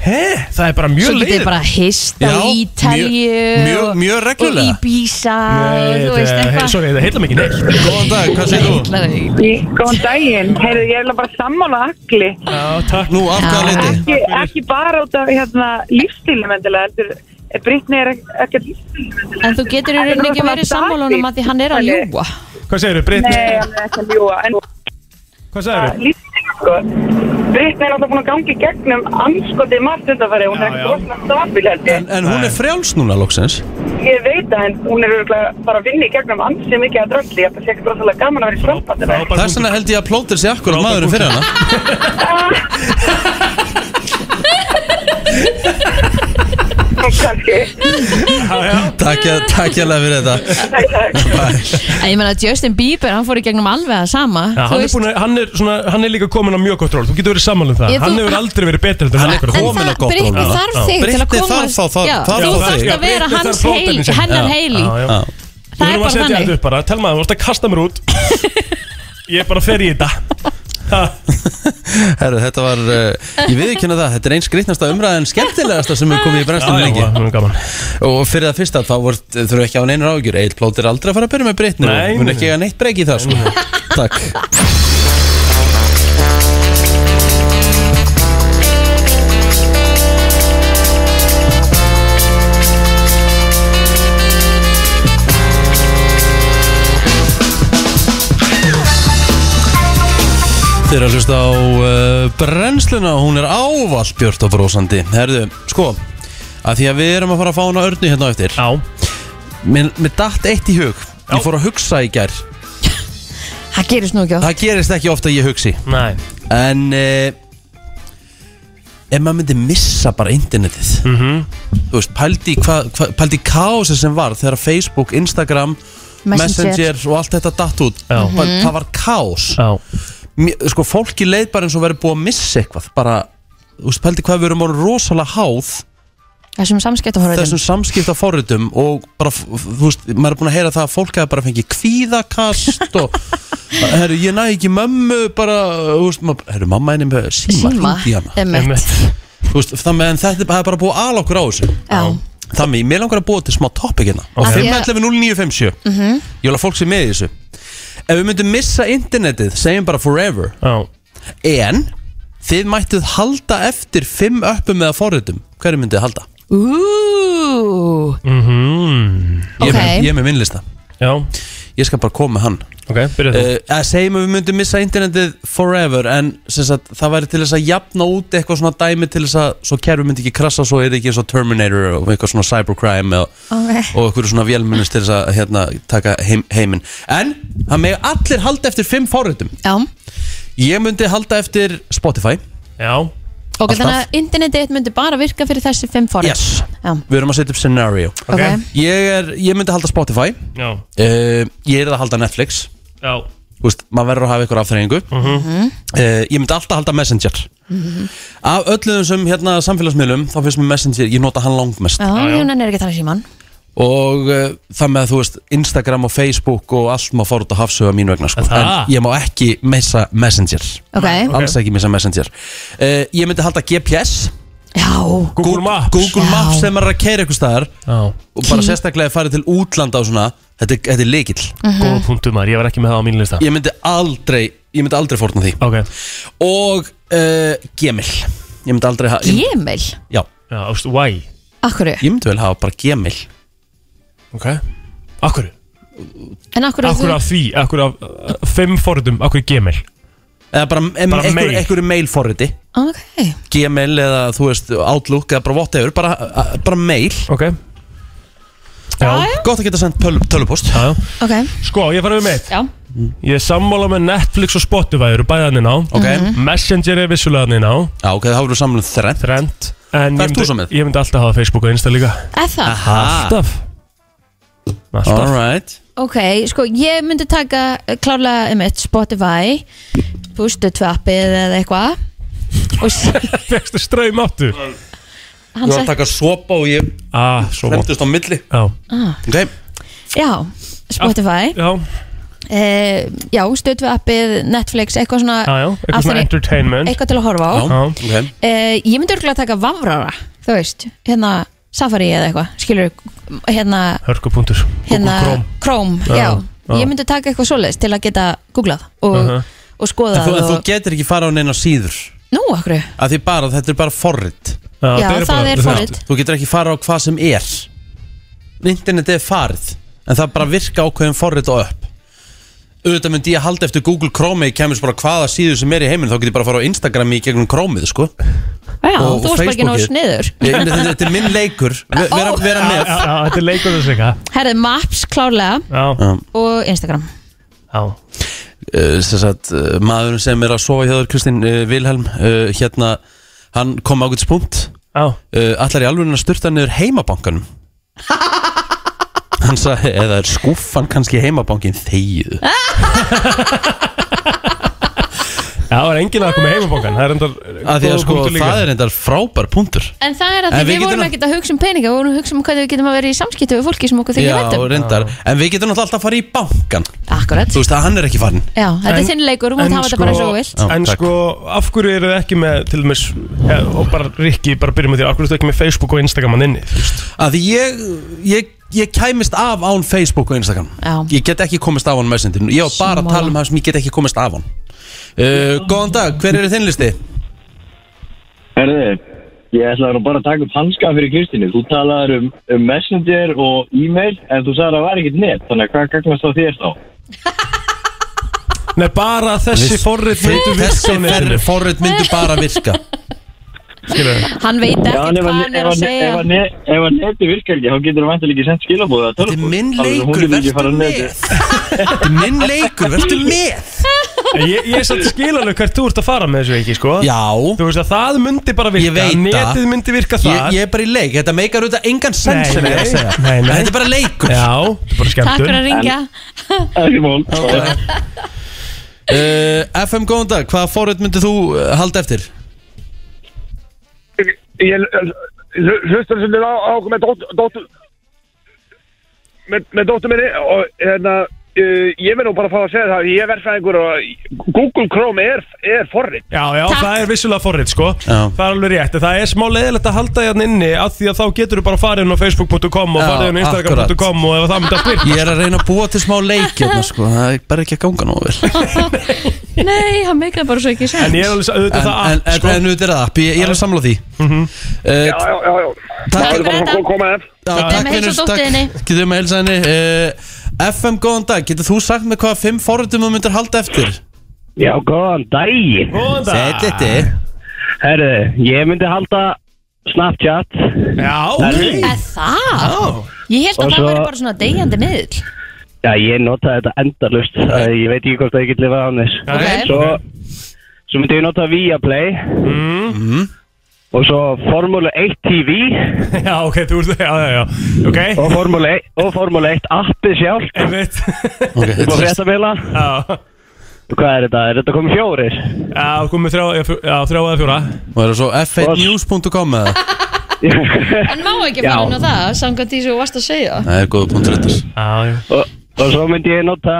Speaker 3: He, það er bara
Speaker 2: Svo
Speaker 3: mjög
Speaker 2: getið þið
Speaker 3: leiðið.
Speaker 2: bara hist á
Speaker 1: Já,
Speaker 2: Ítalju
Speaker 1: mjög- mjög- mjög reglulega.
Speaker 2: Og Íbísa og þú veist eitthvað
Speaker 3: Sorry, það heila mikið neitt.
Speaker 1: Góðan dag, hvað segir þú?
Speaker 2: Nei,
Speaker 8: Góðan daginn, heyrðu, ég vil bara sammála allir,
Speaker 3: Já, takk.
Speaker 1: Nú, af hvaða
Speaker 2: Já.
Speaker 1: leiti?
Speaker 8: ekki, ekki bara út af hérna, lífstílum endilega, heldur Brittany er ekk- ekkert
Speaker 2: En þú getur í rauninni ekki verið sammálunum að því hann er að ljúa
Speaker 3: Hvað segir þau, Britney?
Speaker 8: Nei, hann er ekki að ljúa, en
Speaker 3: Hvað segir þau?
Speaker 8: lífstílum sko. Brittany er alltaf búin að gangi gegnum anskotið margt undanfæri, hún
Speaker 3: Já,
Speaker 8: er
Speaker 3: já.
Speaker 8: ekkert rosalega stabil held
Speaker 1: En,
Speaker 8: ég.
Speaker 1: en hún er frjáls núna loksins
Speaker 8: Ég veit það, en hún er örugglega bara að vinna í gegnum ansið mikið að dröldi, ég held að það sé ekkert rosalega gaman að vera í stroppandi
Speaker 3: Frábær
Speaker 1: Þess
Speaker 3: punktur.
Speaker 1: vegna held ég að plótir sé akkur
Speaker 3: Frábær
Speaker 1: maðurinn fyrir hana
Speaker 8: veginn, kannski.
Speaker 1: Takk ég- takk ég alveg fyrir þetta
Speaker 8: Takk, takk.
Speaker 2: Ég meina Justin Bieber, hann fór í gegnum alveg að sama
Speaker 3: Já,
Speaker 2: þú
Speaker 3: hann, er
Speaker 2: veist.
Speaker 3: búin, að- hann, er svona, hann er líka komin á mjög gott ról Þú getur verið samanlega það
Speaker 2: Ég, þú-
Speaker 3: Hann hefur aldrei verið betur en
Speaker 1: Hann er
Speaker 3: okkur
Speaker 1: komin
Speaker 2: En
Speaker 1: á
Speaker 2: það,
Speaker 1: gott
Speaker 2: Britti
Speaker 1: rúna.
Speaker 2: þarf þig
Speaker 3: Já.
Speaker 2: til að
Speaker 1: Brittany
Speaker 2: koma
Speaker 1: þarf þá- þarf-
Speaker 2: Já,
Speaker 1: þarf
Speaker 2: Þú
Speaker 1: þá
Speaker 2: þarft
Speaker 1: þig.
Speaker 2: að vera
Speaker 3: Brittany
Speaker 2: hans
Speaker 3: þarf plóterinn
Speaker 2: heil,
Speaker 3: sinn.
Speaker 2: hennar
Speaker 1: Já.
Speaker 2: heili
Speaker 3: Já, já.
Speaker 2: Það er
Speaker 3: Við erum að
Speaker 2: bara
Speaker 3: setja
Speaker 2: þannig
Speaker 3: þetta upp bara Telma, þú ert að kasta mér út Ég bara fer í þetta Ha,
Speaker 1: Herru, þetta var, uh, ég viðkynna það, þetta er eins grittnasta umræða en skemmtilegasta sem er komið í
Speaker 3: já,
Speaker 1: brennstum
Speaker 3: já,
Speaker 1: lengi
Speaker 3: það er gaman.
Speaker 1: Og fyrir það fyrsta, þá voru, þurfum við ekki á neynir ágjur Egil plótir aldrei að fara að byrja með Brittany
Speaker 3: Nei,
Speaker 1: Hún
Speaker 3: nei.
Speaker 1: er ekki að neitt breyki það, sko Takk Þið eru að hlusta á uh, brennsluna, hún er ávallt björt og brósandi. Herðu, sko, að því að við erum að fara að fá hana örnu hérna á eftir.
Speaker 3: Já,
Speaker 1: Mér, mér datt eitt í hug,
Speaker 3: Já.
Speaker 1: ég fór að hugsa í gær.
Speaker 2: <laughs> Það gerist nú ekki oft
Speaker 1: Það gerist ekki ofta að ég hugsi.
Speaker 3: næ
Speaker 1: En uh, ef maður myndi missa bara internetið,
Speaker 3: Mhm.
Speaker 1: þú veist, pældi í hva, hva, pældi í kaosi sem var þegar Facebook, Instagram,
Speaker 2: Messenger.
Speaker 1: Messenger, og allt þetta datt út.
Speaker 3: Já. Mhm.
Speaker 1: Bara- Það var kaos.
Speaker 3: Já,
Speaker 1: Mér- sko fólki leið bara eins og verið búið að missa eitthvað bara, þú veist, pældi hvað við erum orðin rosalega háð
Speaker 2: Þessum samskiptaforveitum
Speaker 1: þessum samskipta forritum og bara, f- f- þú veist, maður er búin að heyra það að fólk hefur bara fengið kvíðakast og, herru, ég næ ekki mömmu bara, þú veist, maður, herru, mamma henni með síma,
Speaker 2: Síma,
Speaker 1: hringdi í hana
Speaker 2: emmitt
Speaker 1: þú veist, þannig en þetta er bara búið að ala okkur á þessu
Speaker 2: Já,
Speaker 1: þannig, mér langar að búa til smá topic hérna
Speaker 3: Ok.
Speaker 1: okay.
Speaker 2: Af því að-
Speaker 1: 511-0957
Speaker 2: Mhm.
Speaker 1: ég vil að fólk sé með í þessu ef við myndum missa internetið, segjum bara forever
Speaker 3: já
Speaker 1: En þið mættuð halda eftir fimm öppum eða forritum Hverju myndið þið halda?
Speaker 2: Úúúú
Speaker 3: Mhm.
Speaker 1: Ég, er með-
Speaker 2: Ok.
Speaker 1: ég er með minnlista
Speaker 3: Já,
Speaker 1: Ég skal bara koma með hann
Speaker 3: ok, byrja þú
Speaker 1: uh, að Segjum að við myndum missa internetið forever En sem sagt, það væri til þess að jafna út eitthvað svona dæmi Til þess að svo kerfi myndi ekki krassa Svo er ekki eins og Terminator og eitthvað svona cybercrime Og,
Speaker 2: Ok.
Speaker 1: og eitthvað svona vélmennist til þess að hérna, taka heim, heiminn En það megi allir halda eftir fimm forritum
Speaker 2: Já,
Speaker 1: Ég myndi halda eftir Spotify
Speaker 3: Já,
Speaker 2: ok,
Speaker 1: Alltaf.
Speaker 2: þannig að internetið myndi bara virka fyrir þessi fimm forrit
Speaker 1: Yes.
Speaker 2: Já,
Speaker 1: Við erum að setja upp scenario
Speaker 2: ok
Speaker 1: Ég, er, ég myndi halda Spotify
Speaker 3: já,
Speaker 1: uh, Ég er að halda Netflix
Speaker 3: já Mhm.
Speaker 1: Þú veist, maður verður að hafa ykkur afþreyingu
Speaker 2: Mhm.
Speaker 1: uh, Ég myndi alltaf halda Messenger Af öllum sem hérna samfélagsmiðlum Þá finnst mér Messenger, ég nota hann langmest
Speaker 2: Já, Jónan er ekki um þannig síman
Speaker 1: Og uh, það með að þú veist Instagram og Facebook og allt má fara út að hafsöga mín vegna sko.
Speaker 3: Er það?
Speaker 1: En ég má ekki missa Messenger
Speaker 2: Ok,
Speaker 1: Alls ekki missa Messenger uh, Ég myndi halda GPS
Speaker 2: já,
Speaker 3: Google Maps
Speaker 1: Google
Speaker 2: Já.
Speaker 1: Maps sem er að keira ykkur staðar
Speaker 3: Já,
Speaker 1: Og bara
Speaker 2: Key.
Speaker 1: sérstaklega ef farið til útlanda og svona Þetta, er- þetta er leikill
Speaker 2: Mhm.
Speaker 3: góða punktum maður, ég var ekki með það á mínu lista
Speaker 1: Ég myndi aldrei, ég myndi aldrei fórna því
Speaker 3: Ok,
Speaker 1: Og uh, gemil Ég myndi aldrei hafa ég-
Speaker 2: Gmail
Speaker 1: Já,
Speaker 3: já, ástu, why?
Speaker 2: Akkurru,
Speaker 1: ég myndi vel hafa bara gemil
Speaker 3: Ok Akkur,
Speaker 2: en akkurru
Speaker 3: akkur af því, akkur af uh, Fimm forritum, akkur Gmail
Speaker 1: Eða bara, em,
Speaker 3: Bara
Speaker 1: einhver,
Speaker 3: mail.
Speaker 1: einhverju mail forriti
Speaker 2: Ok,
Speaker 1: Gmail eða þú veist Outlook eða bara whatever Bara, a- bara mail
Speaker 3: Ok Já, já,
Speaker 1: Gott að geta sendt töl, tölupost
Speaker 3: já
Speaker 2: ok,
Speaker 3: Sko, ég farið með eitt
Speaker 2: já
Speaker 1: Mm.
Speaker 3: Ég er sammála með Netflix og Spotify eru bæði hann inn á
Speaker 1: Ok,
Speaker 2: Mhm.
Speaker 3: Messenger er vissulega hann inn á
Speaker 1: já, ok, þá erum við samlum þrenn
Speaker 3: Trend En
Speaker 1: Hvað
Speaker 3: ég
Speaker 1: ert þú svo með?
Speaker 3: myndi, ég myndi alltaf hafa Facebook og Insta líka
Speaker 2: Eða það,
Speaker 3: Alltaf Alltaf
Speaker 1: Alright
Speaker 2: ok, sko ég myndi taka eh, klárlega um eitt Spotify Pustu tvappið eða eitthvað Og
Speaker 3: <laughs>
Speaker 2: s-
Speaker 3: Fekstu straum áttu
Speaker 1: Þú
Speaker 2: hann
Speaker 1: var að
Speaker 2: sett,
Speaker 1: taka sopa og ég
Speaker 3: Ah, svo mótt
Speaker 1: Lemtist á milli
Speaker 3: Já,
Speaker 2: Ah.
Speaker 1: Ok,
Speaker 2: já, Spotify
Speaker 3: já,
Speaker 2: eh, Já, stöðvappið, Netflix, eitthvað svona
Speaker 3: Ah, já, já Eitthvað
Speaker 2: Ah, Af
Speaker 3: svona
Speaker 2: þeirri-
Speaker 3: entertainment
Speaker 2: Eitthvað til að horfa á
Speaker 1: já,
Speaker 3: Já.
Speaker 1: ok
Speaker 2: Eh, ég myndi örgulega taka vafrara þú veist, hérna Safari eða eitthvað, skilur hérna,
Speaker 3: Hörkupunktur
Speaker 2: hérna
Speaker 3: Google
Speaker 2: Chrome, já,
Speaker 3: Já, já.
Speaker 2: ég myndi taka eitthvað svoleiðis til að geta googlað og,
Speaker 3: Uh-huh.
Speaker 2: og
Speaker 1: En
Speaker 2: skoðað
Speaker 1: þú, en þú
Speaker 2: og,
Speaker 1: getur ekki fara á neina síður
Speaker 2: nú, akkur
Speaker 1: Af því bara, þetta er bara forrit
Speaker 3: Chrome
Speaker 2: já,
Speaker 3: þeir eru
Speaker 2: það
Speaker 3: bara-
Speaker 2: er
Speaker 3: þú veist,
Speaker 2: forrið
Speaker 1: Þú getur ekki fara á hvað sem er Internet er farið En það bara virka ákveðin forrit og upp auðvitað myndi ég að halda eftir Google Chrome ég kemur svo bara hvaða síðu sem er í heiminn þá get ég bara að fara á Instagram í gegnum Chromeið sko
Speaker 2: Já, þú
Speaker 1: Og- og
Speaker 2: varst bara ekki nóg
Speaker 1: Facebookið.
Speaker 2: sniður
Speaker 1: ég, ég, þetta, þetta er minn
Speaker 2: <laughs>
Speaker 1: leikur Ve- vera, vera
Speaker 3: Já,
Speaker 1: með
Speaker 3: já, Þetta er leikur þess vegna
Speaker 2: Herði, Maps klárlega
Speaker 3: Já,
Speaker 2: og Instagram
Speaker 3: já
Speaker 1: uh, sem sagt, uh, maðurinn sem er að sofa hjá þér Kristinn uh, Vilhelm uh, hérna, hann kom ágætis punkt
Speaker 3: Já,
Speaker 1: uh, allar í alveg að styrta niður heimabankanum hann sagði, eða er skúffan kannski heimabankin þegið
Speaker 2: Ah,
Speaker 3: Já, það er enginn að koma í heimabókan Það er endar
Speaker 1: að því að sko, það er endar frábær punktur
Speaker 2: En það er að
Speaker 1: En
Speaker 2: því
Speaker 1: við
Speaker 2: við
Speaker 1: getum
Speaker 2: vorum
Speaker 1: að-
Speaker 2: ekkert að hugsa um peninga Við vorum að hugsa um hvað við getum að vera í samskiptu við fólki sem okkur
Speaker 1: Já,
Speaker 2: þykir um. vettum
Speaker 1: reyndar, en við getum náttúrulega alltaf að fara í bankan
Speaker 2: Akkurat,
Speaker 1: Þú veist að hann er ekki farin
Speaker 2: já, þetta
Speaker 3: En-
Speaker 2: er þinn leikur Þú mátt hafa þetta bara eins og þú vilt
Speaker 1: sko- Já,
Speaker 3: En
Speaker 1: takk.
Speaker 3: sko, af hverju eru þið ekki með til dæmis, ja, og bara Rikki, bara byrjum með því, af hverju eru þið ekki með Facebook og Instagram hann inni, þú veist?
Speaker 1: að því ég, ég, ég kæmist af án Facebook og Instagram
Speaker 2: Já.
Speaker 1: ég get ekki komist af án Messenger ég var bara
Speaker 2: Sammála.
Speaker 1: að tala um það sem ég get ekki komist af án uh, góðan dag, hver er þinn listi?
Speaker 9: Herðu, ég ætlaði nú bara að taka upp hanska fyrir Kristínu. Þú talaðir um, um messenger og e-mail en þú sagði að það var ekkert net, þannig að hvað gagnast á þér þá?
Speaker 3: Nei, bara þessi
Speaker 1: Viss-
Speaker 3: forrið myndu
Speaker 1: þessi
Speaker 3: virksomnir
Speaker 1: ferri forrið myndu bara virka
Speaker 2: Hann veit
Speaker 9: Já,
Speaker 2: ekkert
Speaker 9: en ef
Speaker 2: hvað
Speaker 9: að-
Speaker 2: hann
Speaker 9: ef
Speaker 2: er að
Speaker 9: að-
Speaker 2: segja
Speaker 9: ef að ne- ef að neti virkar ekki, þá getur það vantilega ekki sendt skilabóð að
Speaker 1: þetta er
Speaker 9: tölvupóst.
Speaker 1: minn
Speaker 9: Alveg sem hún
Speaker 1: leikur,
Speaker 9: getur ekki
Speaker 1: verður
Speaker 9: farið á
Speaker 1: með
Speaker 9: netið.
Speaker 1: þetta er minn leikur, verður með
Speaker 3: Ég, ég satt skil alveg hvert þú ert að fara með þessu ekki, sko
Speaker 1: já,
Speaker 3: Þú veist að það myndi bara
Speaker 1: Ég
Speaker 3: virka,
Speaker 1: veit það.
Speaker 3: netið myndi virka
Speaker 1: ég,
Speaker 3: þar
Speaker 1: ég er bara í leik þetta meikar auðvitað engan sens
Speaker 3: Nei,
Speaker 1: sem ég er
Speaker 3: nei,
Speaker 1: að segja.
Speaker 3: nei,
Speaker 1: En
Speaker 3: nei.
Speaker 1: þetta er bara leikur
Speaker 3: Já, þetta er
Speaker 2: Takk
Speaker 3: bara skemmtun
Speaker 2: fyrir að ringja
Speaker 9: Ekki mál.
Speaker 1: uh, FM góðan dag, hvaða forrið myndu þú uh, halda eftir?
Speaker 5: Ég hlustar sem þið á á okkur með dóttur dóttu, með, með dóttur minni og hérna uh, ég verð nú bara að fá að segja það ég er verðfræðingur og Google Chrome er, er forrið
Speaker 3: Já, já,
Speaker 2: Takk.
Speaker 3: það er vissulega forrið, sko
Speaker 1: Já.
Speaker 3: Það er alveg rétt, en það er smá leðilegt að halda hérna inni af því að þá getur þú bara farið inn á facebook.com og
Speaker 1: Já,
Speaker 3: farið inn á instagram.com og ef það myndi að virka
Speaker 1: Ég er að reyna að búa til smá leikirna sko. Það er bara ekki að ganga nógu vel
Speaker 2: Nei, hann meikar bara svo ekki
Speaker 3: En
Speaker 2: sens
Speaker 3: ég er alveg, auðvitað
Speaker 1: En,
Speaker 3: það
Speaker 1: en, en,
Speaker 3: app, sko Mhm.
Speaker 1: en auðvitað er það app, ég, ég er að samla því
Speaker 5: Já,
Speaker 1: uh,
Speaker 5: já, já, já
Speaker 1: Takk
Speaker 5: Það
Speaker 2: fyrir
Speaker 5: er bara
Speaker 2: þetta.
Speaker 5: að koma ef
Speaker 1: Já,
Speaker 2: Getum
Speaker 1: takk
Speaker 2: að heilsa
Speaker 1: vinur,
Speaker 2: dótturinni.
Speaker 1: takk. Getum við að heilsa henni uh, FM, góðan dag, getur þú sagt með hvaða fimm forritum þú myndir halda eftir?
Speaker 9: Já, góðan daginn.
Speaker 3: Góðan dag.
Speaker 1: Þetta er
Speaker 9: Herðu, ég myndi halda Snapchat.
Speaker 3: Já,
Speaker 9: Herðu,
Speaker 2: Er það? Ég held
Speaker 9: Og
Speaker 2: að það
Speaker 9: svo-
Speaker 2: væri bara svona degjandi miðl
Speaker 9: Já, ég notaði þetta endalust. Ég veit ekki hvort það ég get lifað án þess.
Speaker 2: Ok.
Speaker 9: Svo, svo myndi ég nota Viaplay
Speaker 3: Mm.
Speaker 9: og svo Formule 1 TV
Speaker 3: já, ok, þú ert, já, já, já Ok,
Speaker 9: og Formule 1, og Formule 1 appið sjálf
Speaker 3: einmitt
Speaker 9: upp á fréttabila.
Speaker 3: Já,
Speaker 9: Hvað er þetta? Er þetta komið fjórir?
Speaker 3: já, komið þrjá, já, fjó- já, þrjá eða fjóra
Speaker 1: Og er það svo f1news.com eða?
Speaker 2: En má ekki fara inn á það, samkvæmt því sem þú varst að segja
Speaker 1: Það er góða punktur þetta
Speaker 3: Já, já,
Speaker 9: og, og svo myndi ég nota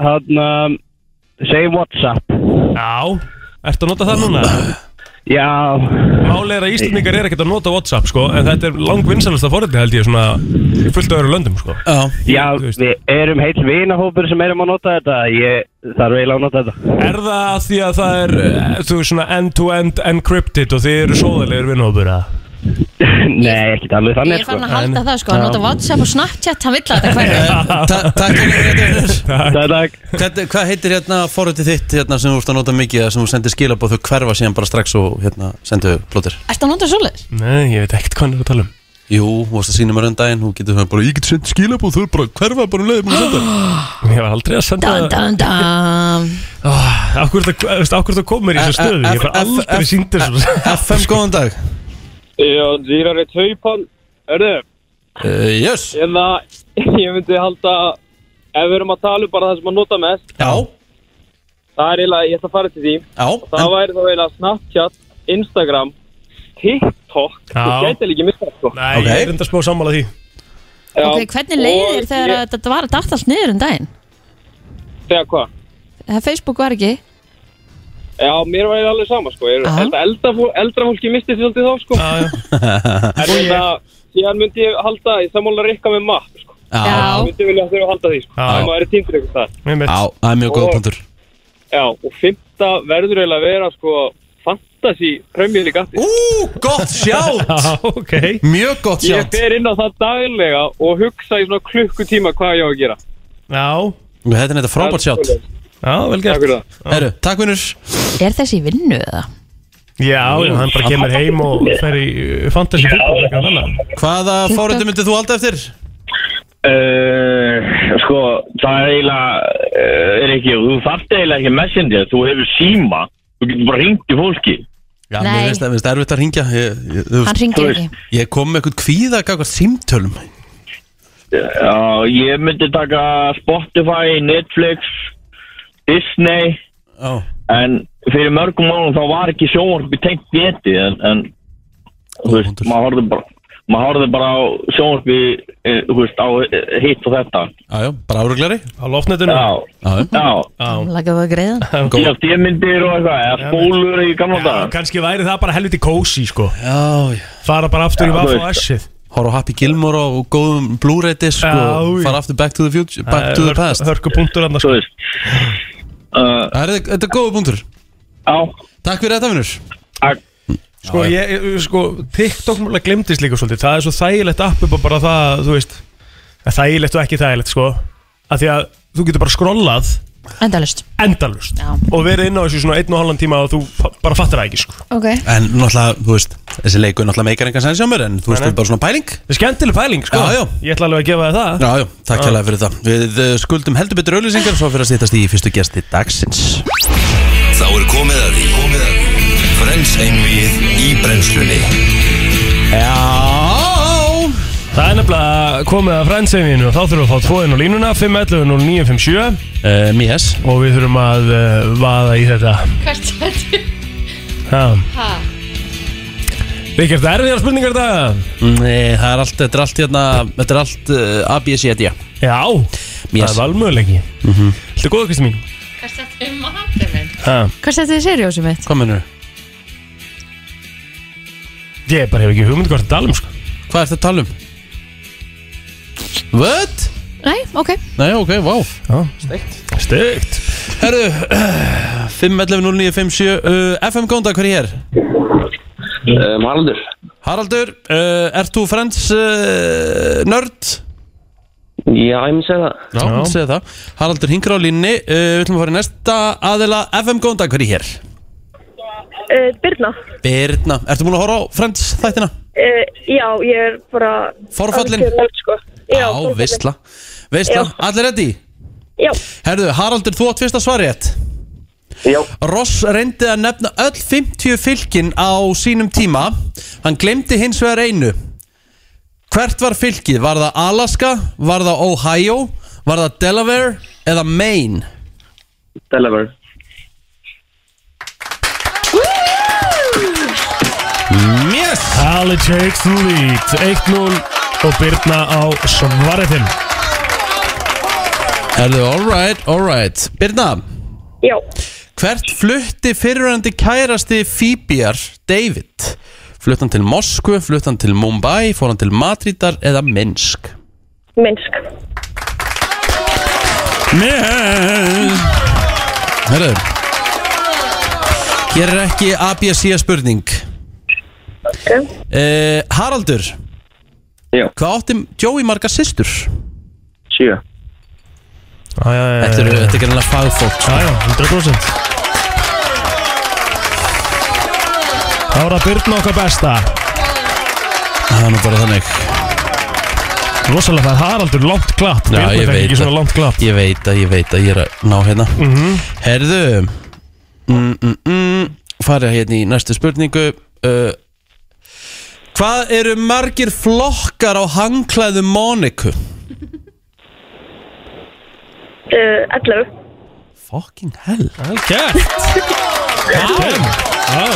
Speaker 9: hann um, Say Whatsapp.
Speaker 3: já Ertu að nota það núna?
Speaker 9: Já,
Speaker 3: Málið er að Íslandingar er ekkert að nota Whatsapp, sko En þetta er lang vinsalasta forritið, held ég, svona í fullt á öðru löndum, sko
Speaker 1: Já,
Speaker 9: já,
Speaker 3: Þú veist.
Speaker 9: við erum heill vinahópur sem erum að nota þetta. Ég þarf eiginlega að nota þetta.
Speaker 3: Er það af því að það er, eh, þú veist, svona end-to-end encrypted og þið eru sóðalegur vinnhópur, að?
Speaker 9: Nei, ekkert alveg
Speaker 2: Ég
Speaker 9: þannig
Speaker 2: er
Speaker 9: sko.
Speaker 2: farin að halda það sko, hann nota WhatsApp og Snapchat, hann vill að þetta hverju
Speaker 1: Ta- takk fyrir þetta vinur.
Speaker 9: Takk, takk.
Speaker 1: Hvernig- Hvað heitir hérna forritið þitt hérna sem þú ert að nota mikið eða sem þú sendir skilabóð þau hverfa síðan bara strax og hérna sendu plótir?
Speaker 2: Ertu að nota svoleiðis?
Speaker 3: Nei, ég veit ekkert hvað hann er að tala um
Speaker 1: Jú, þú varst að sína mér um daginn, hún getur það bara, ég get sendt skilabóð, þau bara hverfa bara um leiðið búin að senda.
Speaker 3: <gasps> Ég var aldrei að senda
Speaker 2: Dun, dun, dun.
Speaker 3: Akkur Ah, það komur í þessu stöðu Ég var aldrei sínd þessu
Speaker 1: FM, góðan dag.
Speaker 7: Já, dýrar er taupan Hörðu,
Speaker 1: Uh, yes.
Speaker 7: en það Hérna, <laughs> Ég myndi halda Ef við erum að tala um bara það sem að nota mest
Speaker 1: Já, <laughs>
Speaker 7: Það er eiginlega, ég ætla að fara til því
Speaker 1: já.
Speaker 7: Það
Speaker 1: en-
Speaker 7: væri þá eiginlega Snapchat, Instagram TikTok
Speaker 3: Já.
Speaker 7: Þú gæti líka mista sko
Speaker 3: Nei,
Speaker 1: Ok.
Speaker 3: ég er enda smá sammála því <laughs>
Speaker 7: Já,
Speaker 2: Ok, hvernig leiðir
Speaker 7: og
Speaker 2: þér þegar
Speaker 7: ég-
Speaker 2: að þetta var að datt allt niður um daginn?
Speaker 7: Þegar hvað?
Speaker 2: Eh, Facebook var ekki
Speaker 7: Já, mér væri alveg sama sko Ég
Speaker 2: Já.
Speaker 7: held að eldra, fó- eldra fólki misti sér aldrei þá sko En þannig að Síðan myndi ég halda, ég sammála rikka með mapp sko.
Speaker 1: Já,
Speaker 2: Já.
Speaker 7: Ég myndi vilja að þurfa að halda því sko.
Speaker 3: Já.
Speaker 7: Það maður er týndur eitthvað þar
Speaker 3: Mér mitt
Speaker 1: já, það er mjög góða punktur.
Speaker 7: Já, og fymta verður eiginlega að vera sko Fantasy Premier League appi
Speaker 1: Ú, gott sjátt.
Speaker 3: Já, <laughs> ok
Speaker 1: Mjög gott
Speaker 7: Ég
Speaker 1: sjátt.
Speaker 7: fer inn á það daglega og hugsa í svona klukkutíma hvað ég á að gera
Speaker 3: Já
Speaker 1: Þetta er þetta frábært sjátt
Speaker 3: Já, vel gert Takk fyrir það
Speaker 1: Herru, takk vinnur
Speaker 2: Er þessi í vinnu eða?
Speaker 3: Já, já, hann bara kemur heim og fer í uh, fantasy fútbol eitthvað annað
Speaker 1: Hvaða fóröldu myndið þú halda eftir?
Speaker 9: Uh, sko, það er eiginlega, uh, er ekki, þú þarft eiginlega ekki messenger, þú hefur síma, þú getur bara hringt í fólki.
Speaker 1: Já,
Speaker 2: Nei.
Speaker 1: mér finnst það mér finnst erfitt að ringja ég, ég, þú
Speaker 2: Hann
Speaker 1: veist,
Speaker 2: ringir ekki
Speaker 1: ég kom með eitthvað kvíða gagvart símtölum
Speaker 9: Já, ég myndi taka Spotify, Netflix, Disney,
Speaker 1: Já,
Speaker 9: en fyrir mörgum mánum þá var ekki sjónvarpi tengt geti, en, en þú veist,
Speaker 1: punktur.
Speaker 9: maður horfði bara maður horfði bara á sjónvarpi eh, þú veist, á eh, hitt og þetta
Speaker 1: já, já, bara áruglari
Speaker 3: Á lofnetinu
Speaker 9: Já,
Speaker 1: Já, já,
Speaker 9: já,
Speaker 3: Já,
Speaker 2: Lakaðu að greiða
Speaker 1: Góð.
Speaker 9: síðast ég myndir og eitthvað eða spólur í gamla
Speaker 3: Já,
Speaker 9: dag
Speaker 3: kannski væri það bara helviti kósi sko
Speaker 1: já, já.
Speaker 3: Fara bara aftur í
Speaker 9: Já,
Speaker 3: vaff
Speaker 9: þú
Speaker 3: og
Speaker 9: veist.
Speaker 3: assið
Speaker 1: Horf á Happy Gilmore og góðum Blu-ray disk
Speaker 3: Já,
Speaker 1: og
Speaker 3: já.
Speaker 1: sko, fara aftur back to the future back to the past
Speaker 3: Hörku sko. punktur annars
Speaker 9: þú veist uh,
Speaker 1: Það er þetta er góða punktur
Speaker 9: á,
Speaker 1: Takk fyrir þetta vinnur
Speaker 3: Sko, ég, ég- sko, TikTok mjög glemtist líka svolítið Það er svo þægilegt app upp og bara það, þú veist eða Þægilegt og ekki þægilegt, sko að Því að þú getur bara skrollað
Speaker 2: Endalust
Speaker 3: endalust
Speaker 2: Já.
Speaker 3: Og verið inn á þessu svona einn og halvan tíma og þú fa- bara fattar það ekki, sko
Speaker 2: Ok
Speaker 1: En náttúrulega, þú veist, þessi leikur náttúrulega meikar engan sens hjá mér En þú veist,
Speaker 3: Nei, nei.
Speaker 1: þetta er bara svona pæling
Speaker 3: Það er skemmtileg pæling, sko
Speaker 1: Já, já.
Speaker 3: Ég ætla alveg að gefa þér það
Speaker 1: Já, já, takk hérlega fyrir það Við eh, skuldum heldur betur auðlýsingar Svo fyrir að stýttast í fyrstu gesti dagsins
Speaker 4: Þá er komið að því Komið að því Frens einvið í brennslunni
Speaker 1: Já
Speaker 3: Það er nefnilega komið að frænseiminu og þá þurfum við að fá tvoðin og línuna 511 0957
Speaker 1: uh, Mies
Speaker 3: og við þurfum að uh, vaða í þetta
Speaker 2: Hvert er þetta?
Speaker 3: Já Ríkjart, erfiðar spurningar þetta?
Speaker 1: Nei, Mm, eh, það er allt, þetta er allt hérna Þetta er allt uh, A, B, C, D
Speaker 3: Já, það
Speaker 1: Mies
Speaker 3: er valmöðuleiki Þetta
Speaker 1: Mhm.
Speaker 3: er góða, Kristi mín
Speaker 2: Hvert er þetta matið minn?
Speaker 3: ha.
Speaker 2: Hvert er þetta í seriósum mitt?
Speaker 1: Hvað mennur?
Speaker 3: Ég bara hef ekki hugmynd hvort þetta alveg sko.
Speaker 1: Hvað ertu að tala um? What?
Speaker 2: Nei, ok
Speaker 1: Nei, ok, vá wow.
Speaker 3: Stögt
Speaker 1: <clears throat> Herru, 511-0957 uh, FM Gónda, hver er hér?
Speaker 9: um, Haraldur
Speaker 1: Haraldur, uh, ert þú frends uh, nörd?
Speaker 9: já, ég myndi segja það
Speaker 1: Já, hann segir það Haraldur hingur á línni uh, Við ætlum að fara í næsta aðila FM góðan dag, hver er hér?
Speaker 6: Uh, Birna,
Speaker 1: Birna, ertu búin að horfa á Friends þættina?
Speaker 10: Eh,
Speaker 6: uh, já, ég er bara...
Speaker 1: Forfallin?
Speaker 6: algjör nörd, Sko. Já,
Speaker 1: Á,
Speaker 6: forfallin.
Speaker 1: veistla Veistla,
Speaker 6: Já.
Speaker 1: allir reddi?
Speaker 6: Já,
Speaker 1: Herðu, Haraldur, þú átt fyrsta svari rétt
Speaker 9: já,
Speaker 1: Ross reyndi að nefna öll 50 fylkin á sínum tíma Hann glemdi hins vegar einu Hvert var fylkið? Var það Alaska? Var það Ohio? Var það Delaware? Eða Maine?
Speaker 9: Delaware
Speaker 1: Yes!
Speaker 3: Ali takes the lead 1-0 og Birna á svariðin
Speaker 1: Herðu, alright, alright Birna,
Speaker 6: já,
Speaker 1: Hvert flutti fyrirrandi kærasti Fíbjar David? Flutt hann til Moskvu, flutt hann til Mumbai, fór hann til Madridar eða Minsk?
Speaker 6: minnsk.
Speaker 1: Minsk! Herru, hér er ekki ABC spurning.
Speaker 6: Ok.
Speaker 1: Uh, Haraldur,
Speaker 9: Já.
Speaker 1: hvað átti Joey marga systur?
Speaker 9: sjö
Speaker 1: Þetta eru- þetta er gæmlega fagfólk. sko.
Speaker 3: Jájá, 100% Þá er það Birna okkar besta
Speaker 1: Það er nú bara þannig.
Speaker 3: Rosalega það er Haraldur langt klapp
Speaker 1: Já,
Speaker 3: Birna
Speaker 1: ég
Speaker 3: fekk
Speaker 1: veit
Speaker 3: ekki
Speaker 1: það.
Speaker 3: svona langt klapp
Speaker 1: Ég veit að, ég veit að ég er að ná hérna Herðu mm, mm, mm, Farið hérna í næstu spurningu uh, Hvað eru margir flokkar á hangklæðu Móniku?
Speaker 10: Eh,
Speaker 6: Uh, 11.
Speaker 1: Fucking hell
Speaker 3: Vel gert Já,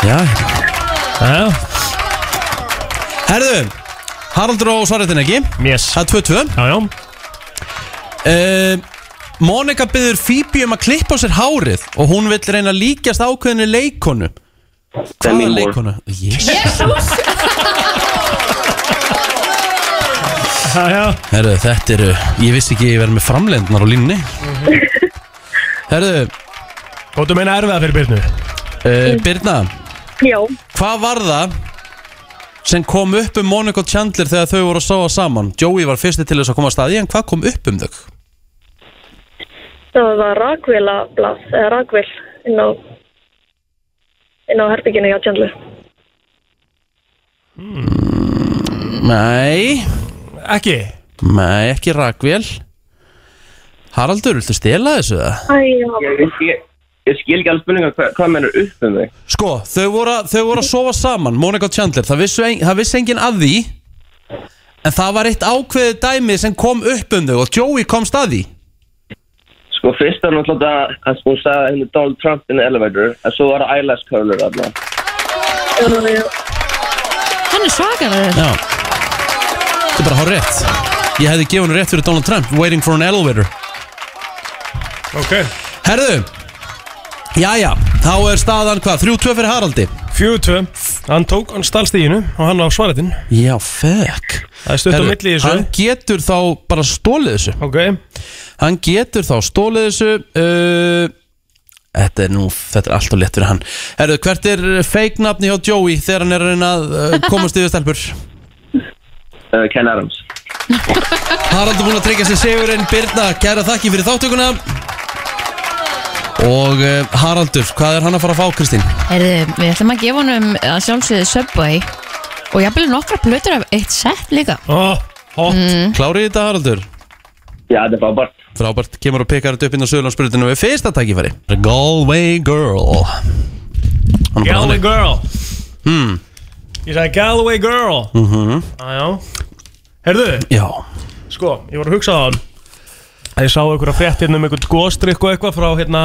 Speaker 1: Já.
Speaker 3: já,
Speaker 1: Herðu Haraldur og svaretin ekki
Speaker 3: yes
Speaker 1: Það er 2-2
Speaker 3: Já, já,
Speaker 1: uh, Mónika byður Phoebe um að klippa á sér hárið og hún vill reyna að líkjast ákveðinni leikonu
Speaker 9: Demi
Speaker 1: Hvaða
Speaker 9: Moore.
Speaker 1: leikonu? Yes.
Speaker 3: já, já
Speaker 1: Herðu, þetta eru, ég vissi ekki að ég verði með framlendnar á línni Herðu,
Speaker 3: Og þú meina erfiða fyrir Birnu
Speaker 1: uh, Birna,
Speaker 6: Já,
Speaker 1: hvað var það sem kom upp um Monika og Chandler þegar þau voru að sáa saman? Joey var fyrsti til þess að koma að staði, en hvað kom upp um þau?
Speaker 10: það var rakvélablað eða rakvél inn á inn á herbygginu hjá Tjandlu
Speaker 1: Nei
Speaker 3: Hmm. Ekki?
Speaker 1: Nei, ekki rakvél Haraldur, viltu stela þessu það?
Speaker 10: Æ,
Speaker 11: Ég, ég, ég skil ekki alveg spurninga hvað, hvað mennur upp um þig
Speaker 1: Sko, þau voru, að- þau voru að sofa saman Monika og Chandler, það vissi, ein, það vissi enginn að því En það var eitt ákveðið dæmi sem kom upp um þau Og Joey komst að því
Speaker 11: Sko fyrst var náttúrulega að sko hún sagði henni Donald Trump in the elevator en svo var það eyelash curler þarna
Speaker 2: Hann er svakalega
Speaker 1: Já Þetta er bara hár rétt Ég hefði gefið henni rétt fyrir Donald Trump Waiting for an elevator
Speaker 3: Ok
Speaker 1: Herðu Jæja, þá er staðan hvað? 3-2 fyrir Haraldi
Speaker 3: 4-2 Hann tók hann stalstíginu og hann á svaretinn
Speaker 1: Já, fekk
Speaker 3: Það er stutt á
Speaker 1: Herru,
Speaker 3: milli í þessu
Speaker 1: Hann getur þá bara stólið þessu
Speaker 3: Ok
Speaker 1: Hann getur þá stólið þessu uh, Þetta er nú, þetta er allt og létt fyrir hann Herðu, hvert er fake nafni hjá Joey þegar hann er að reyna að uh, komast yfir stelpur?
Speaker 11: uh, Ken Adams
Speaker 1: Haraldur búin að tryggja sér sigurinn Birna, kæra þakki fyrir þáttökuna Og uh, Haraldur, hvað er hann að fara að fá, Kristín?
Speaker 2: Herðu, við ætlum að gefa honum að sjálfsögðu Subway og jafnvel nokkra plötur af eitt sett líka
Speaker 3: oh, Hot
Speaker 2: mm.
Speaker 1: Klárið þetta, Haraldur?
Speaker 11: Já, þetta er frábært
Speaker 1: Frábært, kemur og pekar þetta upp inn á Söðurlandsbrutinu við fyrsta tækifæri Galway Girl Hann er bara
Speaker 3: Galway
Speaker 1: þannig.
Speaker 3: Girl
Speaker 1: hmm.
Speaker 3: Ég sagði Galway Girl
Speaker 1: mm
Speaker 3: Æjá Herðu
Speaker 1: Já
Speaker 3: Sko, ég voru að hugsa á hann að ég sá einhverja frétt hérna um einhvern góðstrykk og eitthvað frá hérna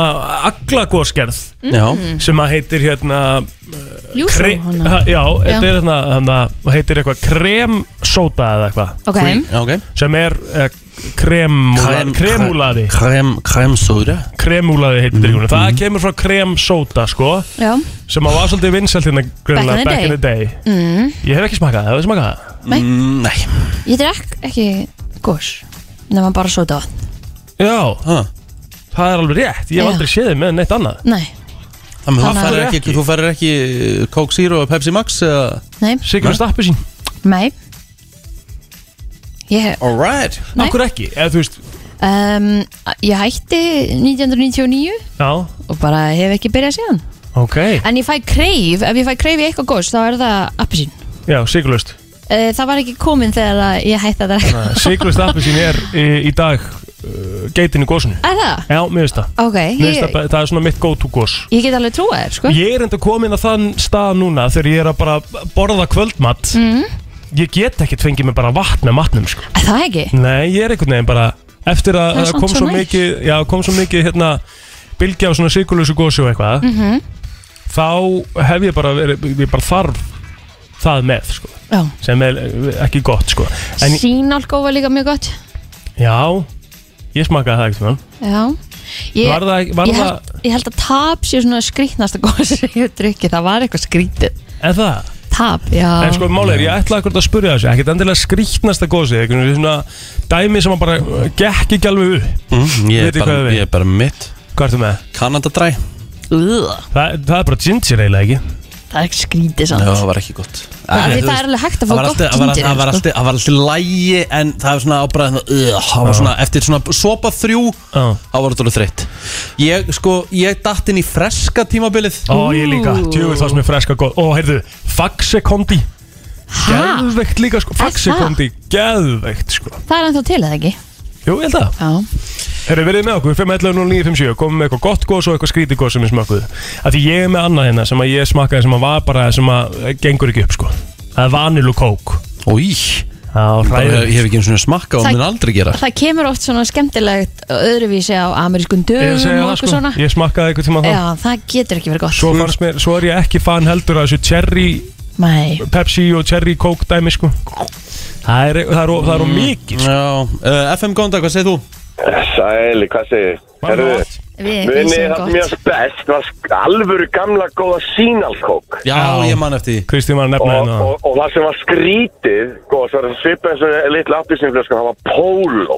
Speaker 3: Agla góðskerð
Speaker 1: Já.
Speaker 3: sem að heitir hérna
Speaker 2: Ljúsó,
Speaker 3: kre-
Speaker 2: hana.
Speaker 3: Ha- Já,
Speaker 2: Já.
Speaker 3: þetta er hérna, hérna heitir eitthvað kremsóta eða eitthvað
Speaker 2: Ok. Krem,
Speaker 1: okay.
Speaker 3: sem er eh, kremúla- kremúlaði
Speaker 1: Krem, Mhm. kremsóra
Speaker 3: kremúlaði heitir mm það kemur frá kremsóta sko
Speaker 2: Já
Speaker 3: sem að var svolítið vinsælt hérna grunlega
Speaker 2: Back
Speaker 3: back in the day
Speaker 2: mm.
Speaker 3: ég hef ekki smakað það, hefur þið smakað það?
Speaker 2: Nei.
Speaker 1: Mm, Nei
Speaker 2: Ég drekk ekki gos nema bara sota vatn
Speaker 3: Já, það er alveg rétt, ég hef
Speaker 2: Já.
Speaker 3: aldrei séð þið með neitt annað
Speaker 2: Nei,
Speaker 1: Þannig að
Speaker 2: Þannig
Speaker 1: þú
Speaker 2: að-
Speaker 1: færir ekki, þú færir ekki uh, Coke Zero og Pepsi Max eða
Speaker 2: nei
Speaker 1: Sigrun
Speaker 3: stappu sín
Speaker 2: Nei Ég,
Speaker 1: Alright
Speaker 2: Nei.
Speaker 3: Akkur ekki, eða þú veist
Speaker 2: um, ég hætti 1999
Speaker 3: Já,
Speaker 2: og bara hef ekki byrjað síðan
Speaker 3: ok
Speaker 2: En ég fæ kreif, ef ég fæ kreif í eitthvað gos þá er það appelsín
Speaker 3: Já, sigurlust
Speaker 2: uh, Það var ekki komin þegar að ég hætti að drekka
Speaker 3: Sigurlust appi sín er í, í dag uh, geitin í gósinu
Speaker 2: Er það?
Speaker 3: Já, mér veist það
Speaker 2: Ok,
Speaker 3: Mér
Speaker 2: ég,
Speaker 3: finnst það, það er svona mitt go to gós
Speaker 2: ég get alveg trúa þér sko
Speaker 3: Ég er enda komin að þann stað núna þegar ég er að bara borða kvöldmatt
Speaker 2: Mm.
Speaker 3: Ég get ekkert fengið mig bara vatn með matnum sko
Speaker 2: Er Það ekki?
Speaker 3: Nei, ég er einhvern veginn bara Eftir að
Speaker 2: Það er
Speaker 3: að
Speaker 2: samt
Speaker 3: kom
Speaker 2: svo
Speaker 3: svo
Speaker 2: næs.
Speaker 3: mikið Já, kom svo mikið hérna Bylgja á svona sigurlösu gósi og eitthvað
Speaker 2: Mm
Speaker 3: Þá hef ég bara verið Ég bara þarf það með sko
Speaker 2: Já.
Speaker 3: Sem er eh, ekki gott sko en,
Speaker 2: Sínálkó var líka mjög gott
Speaker 3: Já, ég smakaði það ekkert mann
Speaker 2: Já Ég,
Speaker 3: Var það ekki- var
Speaker 2: ég,
Speaker 3: það-
Speaker 2: held, ég held að tap sé svona skrítnasta góð sem ég hef drukkið, það var eitthvað skrítið
Speaker 3: En það
Speaker 2: Tap, já
Speaker 3: En sko málið er, ég ætlaði ekkert að spurja þessu Ekkert endilega skrítnasta gósi Ekkert svona dæmi sem að bara eh, Gekk ekki alveg upp
Speaker 1: mm, ég, er
Speaker 3: Vitið
Speaker 1: bara,
Speaker 3: hvað við-
Speaker 1: ég er bara mitt
Speaker 3: Hvað ertu með?
Speaker 1: Kanadadræ
Speaker 2: Úða.
Speaker 3: Það, það er bara ginger eiginlega ekki
Speaker 2: Það er ekki skrítið
Speaker 1: Já,
Speaker 2: samt
Speaker 1: það var ekki gott
Speaker 2: Það
Speaker 1: Æ,
Speaker 2: er- það
Speaker 1: þú veist,
Speaker 2: er alveg hægt að fá
Speaker 1: það var
Speaker 2: gott
Speaker 1: alltaf- það var
Speaker 2: ginger,
Speaker 1: alltaf- Það var
Speaker 2: sko.
Speaker 1: alltaf- það var alltaf lægi En það var svona ábræðin Það var svona Eftir svona sopa þrjú Það var þetta alveg þreytt Ég sko Ég datt inn í freska tímabilið
Speaker 3: Ó, ég líka, djúvill það sem er freska góð Ó, heyrðu, Faxekondi Geðveikt líka, sko, Faxekondi Geðveikt, sko
Speaker 2: Það er ennþá til eða ekki?
Speaker 3: Jú, ég held að
Speaker 2: Já
Speaker 3: Heyrðu, verið með okkur, 5.11.09.57 Komum með eitthvað gott góð og eitthvað skrítið góð sem við smakkuðu Af því ég er með annað hérna sem að ég smakkaði sem að var bara sem að eh, gengur ekki upp, sko Það er vanilu kók
Speaker 1: Í
Speaker 3: Já,
Speaker 1: hræður Ég hef ekki eins og smakka og
Speaker 2: Það-
Speaker 1: mun aldrei gera
Speaker 2: Það kemur oft svona skemmtilegt öðruvísi á amerískun
Speaker 3: Ég
Speaker 2: dögum
Speaker 3: er að
Speaker 2: og
Speaker 3: segja það,
Speaker 2: eitthvað
Speaker 3: sko
Speaker 2: svona
Speaker 3: Ég smakkaði eitthvað tíma það
Speaker 2: Já, það getur ekki verið gott
Speaker 3: Svo fannst mér, svo er ég ekki fan heldur að þessu cherry
Speaker 2: Nei
Speaker 3: Pepsi og cherry kók dæmi, sko Það er, það er, of- það er, of mikið
Speaker 1: Mm.
Speaker 3: sko.
Speaker 1: Já, uh, FM gónda, hvað segir þú?
Speaker 12: Sæli, hvað segir
Speaker 3: Bara
Speaker 12: Herðu,
Speaker 3: gott.
Speaker 2: Við- við
Speaker 12: Muni
Speaker 2: segjum
Speaker 12: það
Speaker 2: gott.
Speaker 12: mjög best var sk- alvöru gamla góða sínalkók
Speaker 1: Já, ég man eftir því
Speaker 3: Kristín var að nefna
Speaker 12: og,
Speaker 3: hérna
Speaker 12: og, og það sem var skrítið góð, það var svipað eins og litla appelsinflöskan, það var póló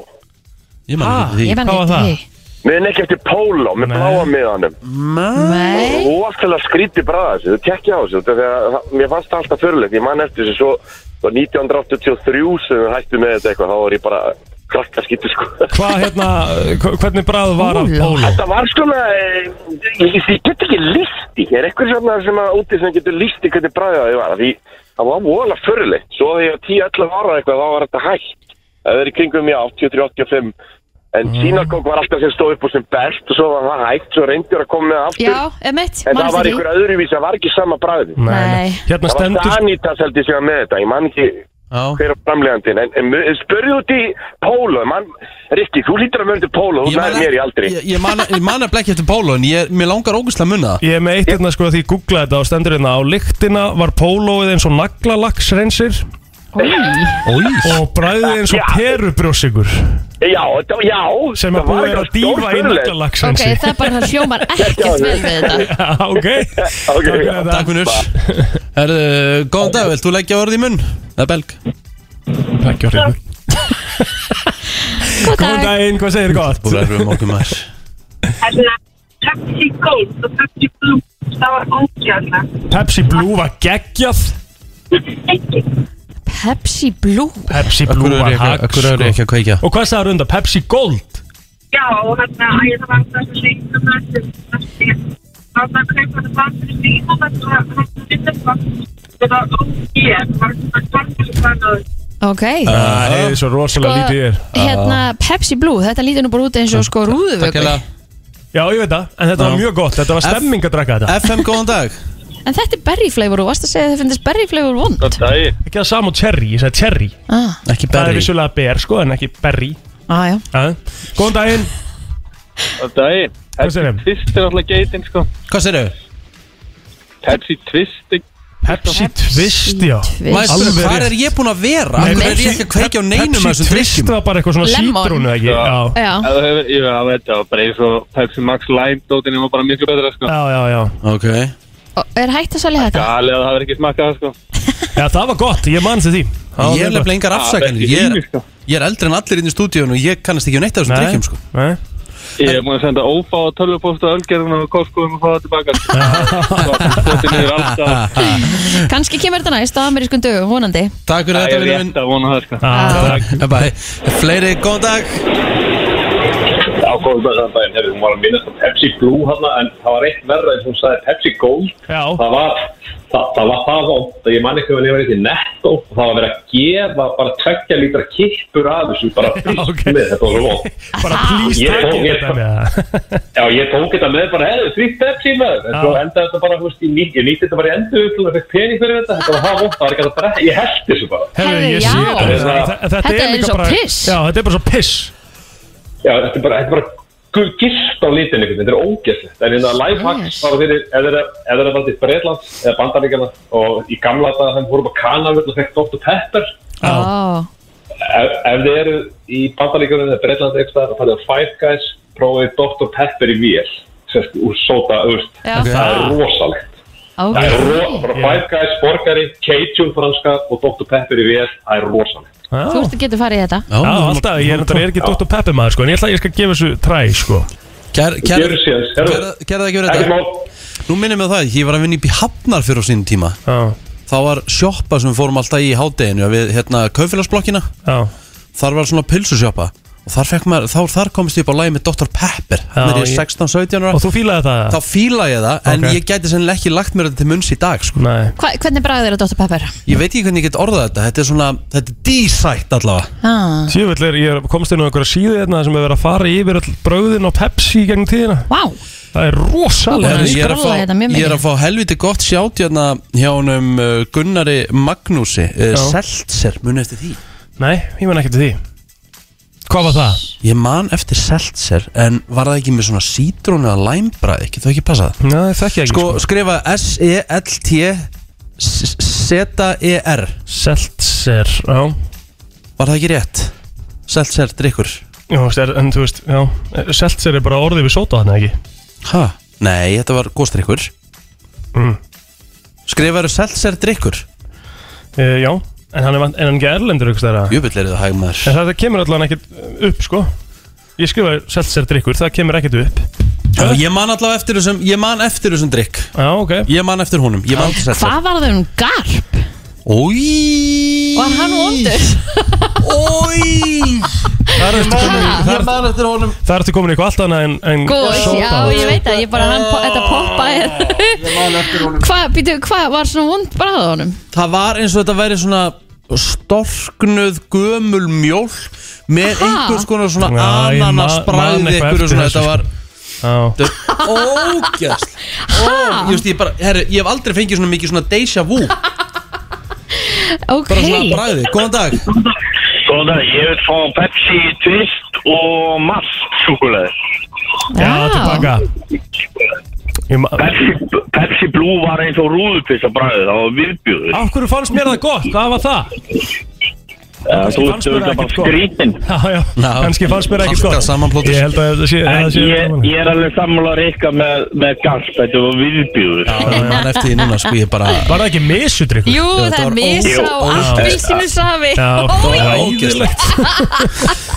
Speaker 1: Ég man
Speaker 12: eftir
Speaker 3: Ég man Hvað var
Speaker 12: það? Mér er ekki eftir póló, með bláa miðanum
Speaker 2: Nei
Speaker 12: Og rosalega skrítið bræða þessu, þú tekkja á þessu út af því að það- Mér fannst það alltaf fyrirlegt, ég man eftir þessu svo, svo 1983 sem við hættum með þetta eitthvað, þá var ég bara kvarta skýtu sko
Speaker 3: Hvað hérna, eh, hva- hvernig brað var af Pólo?
Speaker 12: Þetta var svona, eh, ég, ég ég get ekki líst í, er eitthvað svona sem að úti sem getur líst í hvernig bræðið það var, því það var vola fyrirleitt, svo þegar ég var 10-11 ára eitthvað þá var þetta hægt, það er í kringum ég 83-85, en
Speaker 2: Mhm.
Speaker 12: mm. sínagók var alltaf sem stóð upp og sem best og svo var það hægt, svo reyndur að koma með það aftur,
Speaker 2: Já, emitt,
Speaker 12: en það var ykkur öðruvís, það var ekki sama bræðið.
Speaker 2: Nei.
Speaker 3: Hérna
Speaker 12: það
Speaker 3: stendur-
Speaker 12: var Danitas held ég sem var með þetta, ég man ekki hver er framlegandinn, en, en mu- spurðu út í Pólo, man, Rikki, þú lítur að möndu Pólo, þú nær mér í aldri.
Speaker 1: Ég, ég man, ég man að ekki eftir Pólo En ég,
Speaker 3: <laughs>
Speaker 1: mér langar ógustlega að munna það
Speaker 3: Ég er með eitt hérna sko því ég googlaði þetta og stendur hérna á lyktina var pólóið eins og naglalags reynsir og bræðið eins og perubrjósikur
Speaker 12: Já, þetta, já
Speaker 3: sem að búið er að dýfa í naglalags
Speaker 2: Ok, það er bara það hljómar ekkert vel við þetta
Speaker 12: <laughs>
Speaker 3: Ok,
Speaker 12: okay
Speaker 1: Takk fyrir Herðu, góðan dag, vilt þú leggja orðið í munn? Það er belg
Speaker 3: Leggja orðið í munn Góðan daginn, hvað segir gott?
Speaker 1: Þú verðum okkur maður
Speaker 8: Hérna, Pepsi Gold og Pepsi Blue, það var ógjörna.
Speaker 3: Pepsi Blue var geggjað
Speaker 2: Pepsi Blue
Speaker 3: Pepsi Blue
Speaker 1: Akkur er
Speaker 3: var
Speaker 1: ég ekki-
Speaker 3: hagg
Speaker 1: akkur er ég ekki að kveikja?
Speaker 3: Og hvað sagði runda? Pepsi Gold?
Speaker 8: Já, og hérna, æ, það var það sem lengur þessum, það var það að kaupa það bara fyrir síðan, það var það að finna það, það var ógjörn, það var það að kaupa það bara náður.
Speaker 2: Ok
Speaker 3: Það er Ah, svo rosalega lítið ég er
Speaker 2: Sko,
Speaker 3: Ah.
Speaker 2: Hérna, Pepsi Blue, þetta lítur nú bara út eins og sko rúðuvöku
Speaker 3: Já, ég veit það, en þetta var mjög gott, þetta var stemming að drakka þetta
Speaker 1: FM, góðan dag
Speaker 2: En þetta er berry flavor og varst að segja að það finnst berry flavor vond
Speaker 3: Ekki það sama og cherry, ég sagði cherry
Speaker 2: ah.
Speaker 1: Ekki
Speaker 3: Það er vissulega ber, sko, en ekki berry
Speaker 2: ah,
Speaker 3: Já. Góðan daginn
Speaker 13: Góðan daginn
Speaker 3: Hvað segir þeim?
Speaker 13: Fyrst er alltaf geitin sko
Speaker 1: Hvað segir þau?
Speaker 13: Pepsi Twist
Speaker 3: Pepsi Twist, já
Speaker 1: Mæstur,
Speaker 3: Alveg
Speaker 1: hvað
Speaker 3: rétt.
Speaker 1: er ég búinn að vera? Nei, er ég ekki að kveikja á neinum af þessum
Speaker 3: Pepsi Twist
Speaker 1: drikkjum?
Speaker 3: var bara eitthvað svona
Speaker 1: Lemon.
Speaker 3: sítrúnu ekki Já,
Speaker 2: Já
Speaker 13: Ef þú hefur- Já, það veit það var bara eins og Pepsi Max Lime dótinn var bara miklu betra sko
Speaker 3: já, já, já
Speaker 1: Ok
Speaker 2: Og Er hægt að selja þetta?
Speaker 13: Galið að það verði ekki smakkað það sko
Speaker 3: <laughs> Já, það var gott, ég mann því Það var
Speaker 1: Ég er
Speaker 3: mjög
Speaker 1: nefnilega
Speaker 3: gott.
Speaker 1: engar afsakanir Ég er, ég er eldri en allir inn í stúdíun og ég kannast ekki á neitt af þessum
Speaker 3: Nei,
Speaker 1: drikkjum sko.
Speaker 13: Ég er búin að senda ófá og tölvuposta ölgerðuna og kostkoðum og fá það tilbaka sko. Bóttin er alltaf
Speaker 2: Kanski kemur þetta næst á amerískun dögum, vonandi
Speaker 1: <laughs> Takk
Speaker 13: Það
Speaker 1: fyrir þetta,
Speaker 13: er
Speaker 1: vinur minn
Speaker 13: rétt að vona það sko
Speaker 1: Bye bye. Fleiri, góðan dag
Speaker 14: Já, góðan dag, góðan daginn, herri, hún var að minnast á Pepsi Blue hana, en það var eitt verra eins og hún sagði Pepsi Gold.
Speaker 3: Já.
Speaker 14: Það var það, það, var það vond, ég man ekki að ég var eitthvað netto, og það var verið að gefa bara tveggja lítra kippur af þessu,
Speaker 3: <laughs>
Speaker 14: bara fyrst með þetta var vond.
Speaker 3: Bara please
Speaker 14: Ég
Speaker 3: takk
Speaker 14: tók- ég
Speaker 3: þetta með það
Speaker 14: Já, ég tók þetta með bara, hefðu, því Pepsi með, en
Speaker 3: Já.
Speaker 14: svo endaði þetta bara, þú veist, ég, ný, ég nýtti þetta bara í endur til að fekk pening fyrir þetta, þetta var það vond, það var ekki hægt að bara, ég held þessu bara.
Speaker 3: Herðu, ég
Speaker 14: já.
Speaker 3: sé þetta
Speaker 14: Þetta-
Speaker 3: Þa-
Speaker 14: þetta er
Speaker 3: líka
Speaker 14: eins og
Speaker 3: bara-
Speaker 14: piss.
Speaker 3: Já, þetta er bara svo piss
Speaker 14: Já, þetta er bara, þetta er bara gu- gilt á lítinu einhvern veginn, þetta er ógæslegt. En hérna lifehacks bara fyrir, ef þeir eru að valda í Breitlands eða bandaríkjana og í gamla daga þeim voru bara kanavöld og fekk Dr. Pepper.
Speaker 2: oh.
Speaker 14: Ef, ef þið eru í bandaríkjana eða Breitlandi eitthvað staðar og farið á Five Guys, prófið Dr. Pepper í vél, sérst, úr sóta, öst.
Speaker 2: Já.
Speaker 14: Það er rosalegt.
Speaker 2: Ok.
Speaker 14: Það er ro- bara Five Guys, borgari, Cajun franska og Dr. Pepper í vél, það er rosalegt.
Speaker 2: Þú ert að geta farið í þetta
Speaker 3: Já, alltaf, ég er náttúrulega- ég er ekki Dr. Peppi maður, sko En ég ætla að ég skal gefa þessu træ, sko
Speaker 1: Kæra
Speaker 14: Gjörðu síðan, herru.
Speaker 1: það ekki verið
Speaker 14: Ekkert
Speaker 1: þetta Nú minnum við það, ég var að vinna upp í Hafnar fyrir á sínum tíma
Speaker 3: Já.
Speaker 1: Þá var sjoppa sem við fórum alltaf í hádeginu Við hérna kaufélagsblokkina
Speaker 3: Já.
Speaker 1: Þar var svona pilsusjoppa Og þar, fekk maður, þá, þar komist ég upp á lagi með Dr. Pepper Þannig er ég
Speaker 3: ég-
Speaker 1: 16-17 ára
Speaker 3: Og þú fílaði það?
Speaker 1: Þá fíla ég það, en
Speaker 3: Ok.
Speaker 1: ég gæti sennilega ekki lagt mér þetta til munns í dag sko.
Speaker 3: Nei
Speaker 2: Hva, Hvernig bræðir þér að Dr. Pepper?
Speaker 1: Ég veit ekki hvernig ég get orðað þetta Þetta er svona, þetta er dísætt allavega
Speaker 2: Ah.
Speaker 3: Sjöfull er, ég er- komst inn á einhverja síðu hérna sem hefur verið að fara yfir all bröðin og Pepsi í gegnum tíðina
Speaker 2: Vá
Speaker 3: Það er rosalega
Speaker 1: Ég er, að fá, ég er að fá helviti gott sjátt hérna hjá honum uh, Gunnari Magnúsi uh,
Speaker 3: Já.
Speaker 1: Seltzer, muni eftir því
Speaker 3: Nei, ég man ekki til því Hvað var það?
Speaker 1: Ég man eftir Seltzer en var það ekki með svona sítrónu eða læmbræði, ekki þau ekki passað
Speaker 3: Nei, það ekki
Speaker 1: Sko, skrifa S-E-L-T Z-E-R
Speaker 3: Seltzer, sko. já
Speaker 1: Var það ekki rétt? Seltzer, drikkur
Speaker 3: Já, veist, er- en þú veist, já Seltzer er bara orðið við sóta þarna, ekki?
Speaker 1: Ha? Nei, þetta var góðstrykkur
Speaker 3: mm.
Speaker 1: Skrifaðu Seltzer, drikkur
Speaker 3: uh, Já, en hann er, vant- en hann er ekki erlendur ykkur stærra
Speaker 1: Jöfull er það hægmaður
Speaker 3: En þetta kemur allan ekkert upp, sko Ég skrifa Seltzer drikkur, það kemur ekkert upp
Speaker 1: Já, Ég man allavega eftir þessum, ég man eftir þessum drikk
Speaker 3: Já, ok
Speaker 1: Ég man eftir honum, ég man eftir Seltzer
Speaker 2: Hvað var það um garp?
Speaker 1: Ói
Speaker 2: Var hann vondur? <laughs>
Speaker 1: Ói
Speaker 3: Þar ertu
Speaker 2: Ha?
Speaker 3: komin þar-
Speaker 2: Ég man
Speaker 1: eftir honum
Speaker 3: Þar ertu komin í eitthvað allt annað en, en
Speaker 2: Góð, já,
Speaker 3: sódavatn.
Speaker 2: ég veit að ég bara, hann, po- þetta poppaði Hvað, býtu, hvað var svona vond bræða honum?
Speaker 1: Það var eins og þetta væri svona storknuð gömul mjólk með
Speaker 2: Ha?
Speaker 1: einhvers konar svona
Speaker 3: Já, ég man- man
Speaker 1: ananasbræði
Speaker 3: eitthvað
Speaker 1: einhverju
Speaker 3: eftir
Speaker 1: svona,
Speaker 3: þessu, sko.
Speaker 1: þetta var
Speaker 3: Já.
Speaker 1: ógæst Ó, ég veist, ég bara, herru, ég hef aldrei fengið svona mikið svona deja vu bara
Speaker 2: <laughs> Ok
Speaker 1: svona bræði, góðan dag
Speaker 15: Góðan dag, ég vil fá Pepsi Twist og malt súkuleði
Speaker 3: Já, tilbaka
Speaker 15: Pepsi, Pepsi Blue var eins og rúðupissa bræðið, það var viðbjöður
Speaker 3: Af hverju fannst mér það gott? Hvað var það?
Speaker 15: Þú ert auðvitað bara skrítinn
Speaker 3: Já, já, kannski fannst mér ekkert gott Ég held að það sé,
Speaker 15: En
Speaker 3: að sé
Speaker 15: ég, ég er alveg sammála Rikka með, með garp, þetta var viðbjöður Já,
Speaker 1: ég man eftir því núna, sko, ég bara
Speaker 3: Var það ekki misudrykkur?
Speaker 2: Jú, það er misa á appilsinusafi Ó,
Speaker 1: það var
Speaker 2: ég-
Speaker 1: ógæstlegt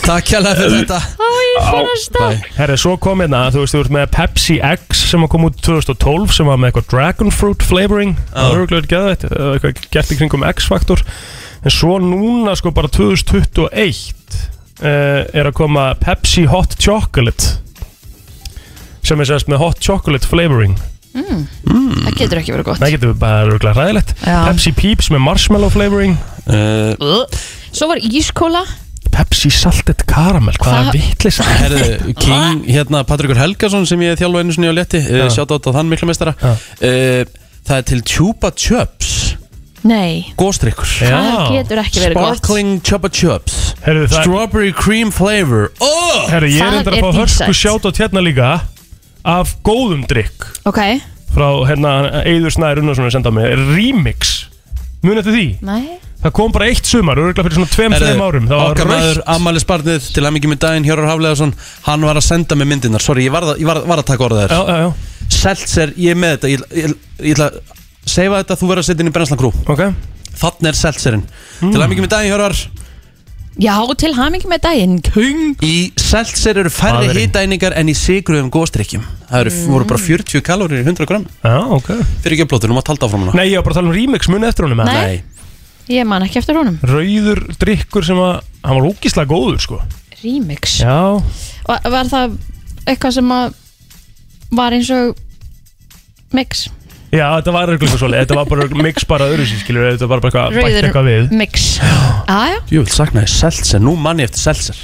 Speaker 1: Takk hérlega fyrir þetta
Speaker 2: Ó, ég fyrir að stað
Speaker 3: Herri, svo kom hérna, þú veist, þú ert með Pepsi X sem að kom út 2012 sem var með eitthvað Dragon Fruit flavoring það er örgulega geðvægt, eða eitthvað gert í kringum X-faktor, en svo núna sko bara 2021 uh, er að koma Pepsi Hot Chocolate sem er sérst með Hot Chocolate flavoring
Speaker 2: Mm,
Speaker 3: mm.
Speaker 2: Það getur ekki verið gott
Speaker 3: Það getur bara örgulega ræðilegt
Speaker 2: Já. Eh.
Speaker 3: Pepsi Peeps með Marshmallow flavoring
Speaker 1: uh,
Speaker 2: Svo var ískóla
Speaker 3: Pepsi Salted Caramel, hvað
Speaker 2: Hva-
Speaker 3: er vitlis
Speaker 1: Herðu,
Speaker 3: Ah.
Speaker 1: King, hérna Patrikur Helgason sem ég þjálfa einu sinni á leti uh, sjátt átt á þann miklu meistara uh, Það er til Chupa Chups
Speaker 2: Nei
Speaker 1: Góstrykkur
Speaker 2: Það getur ekki verið gott
Speaker 1: Sparkling Chupa Chups
Speaker 3: Herðu, það-
Speaker 1: Strawberry Cream Flavor oh!
Speaker 3: Herri, ég er endur að fá hörsku sjátt hérna líka af góðum drikk
Speaker 2: Ok,
Speaker 3: frá hérna Eður Snæður Unnarsson að senda á mig Remix, munið eftir því
Speaker 2: nei
Speaker 3: Það kom bara eitt sumar, örgulega fyrir svona tveim, þreim árum Það var
Speaker 1: Okkar maður,
Speaker 3: rautt
Speaker 1: Amali Sparnið til að mikið með daginn Hjörður Hafleðarsson, hann var að senda mig myndirnar Sorry, ég var, að- ég var, var að taka orða þér
Speaker 3: Já, já, já
Speaker 1: Seltzer, ég er með þetta Ég, ég, ég ætla að seifa þetta, þú verður að setja inn í brennslan grú
Speaker 3: okay. Þannig
Speaker 1: er Seltzerinn Til
Speaker 3: Mm.
Speaker 1: að mikið með daginn, Hjörður
Speaker 2: Já, til hamingi með daginn Kung
Speaker 1: Í Seltzer eru færri
Speaker 2: Maðurinn.
Speaker 1: hitæningar en í sigruðum góstrykkjum Það eru, voru bara 40 kalórir í 100 gram
Speaker 3: Já, ok
Speaker 1: Fyrir ekki að blóta, nú maður talda áfram hana
Speaker 3: Nei, ég var bara að tala um remix, munið eftir honum eða?
Speaker 2: Nei. Ég man ekki eftir honum
Speaker 3: Rauður drikkur sem að, hann var ógíslega góður sko
Speaker 2: Remix
Speaker 3: Já,
Speaker 2: Var, var það eitthvað sem að var eins og mix
Speaker 3: já þetta var örgulega svolítið Þetta var bara mix bara öðru sér skilur Þetta var bara eitthvað, bætt
Speaker 2: Rauður
Speaker 3: eitthvað við
Speaker 2: <gasps> mix Ah, Aja,
Speaker 1: Jú, vil saknaði Seltzer, nú manni eftir Seltzer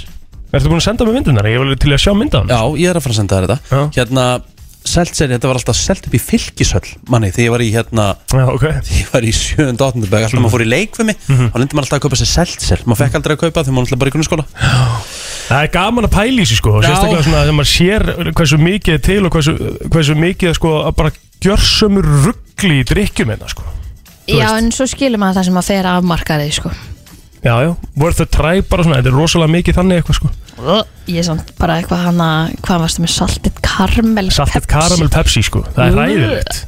Speaker 3: Ertu búin að senda mig myndunar? Ég vil til að sjá myndan
Speaker 1: Já, ég er að fara að senda þér þetta Hérna, Seltzer, þetta var alltaf selt upp í fylkishöll Manni, þegar ég var í hérna
Speaker 3: Já, ok Mhm.
Speaker 1: Þegar ég var í 7. og 8. bæk Alltaf maður fór í leik við mig Þá lindi maður alltaf að kaupa sér Seltzer Maður fekk aldrei að kaupa þegar maður alltaf bara í grunnskóla
Speaker 3: Það er gaman að pæla í sig sko og
Speaker 1: Já.
Speaker 3: Sérstaklega svona þegar maður sér hversu mikið er til og hversu, hversu mikið er sko að bara gjörsumur ruggli í drikkjum hérna sko
Speaker 2: já en svo skilur maður það sem að fer af markaði sko.
Speaker 3: Já, já, worth a try bara svona, þetta er rosalega mikið þannig eitthvað sko
Speaker 2: Ég er samt bara eitthvað hana Hvað varstu með saltið karmel
Speaker 3: Saltið karamel Pepsi sko, það er
Speaker 2: Ú.
Speaker 3: ræðilegt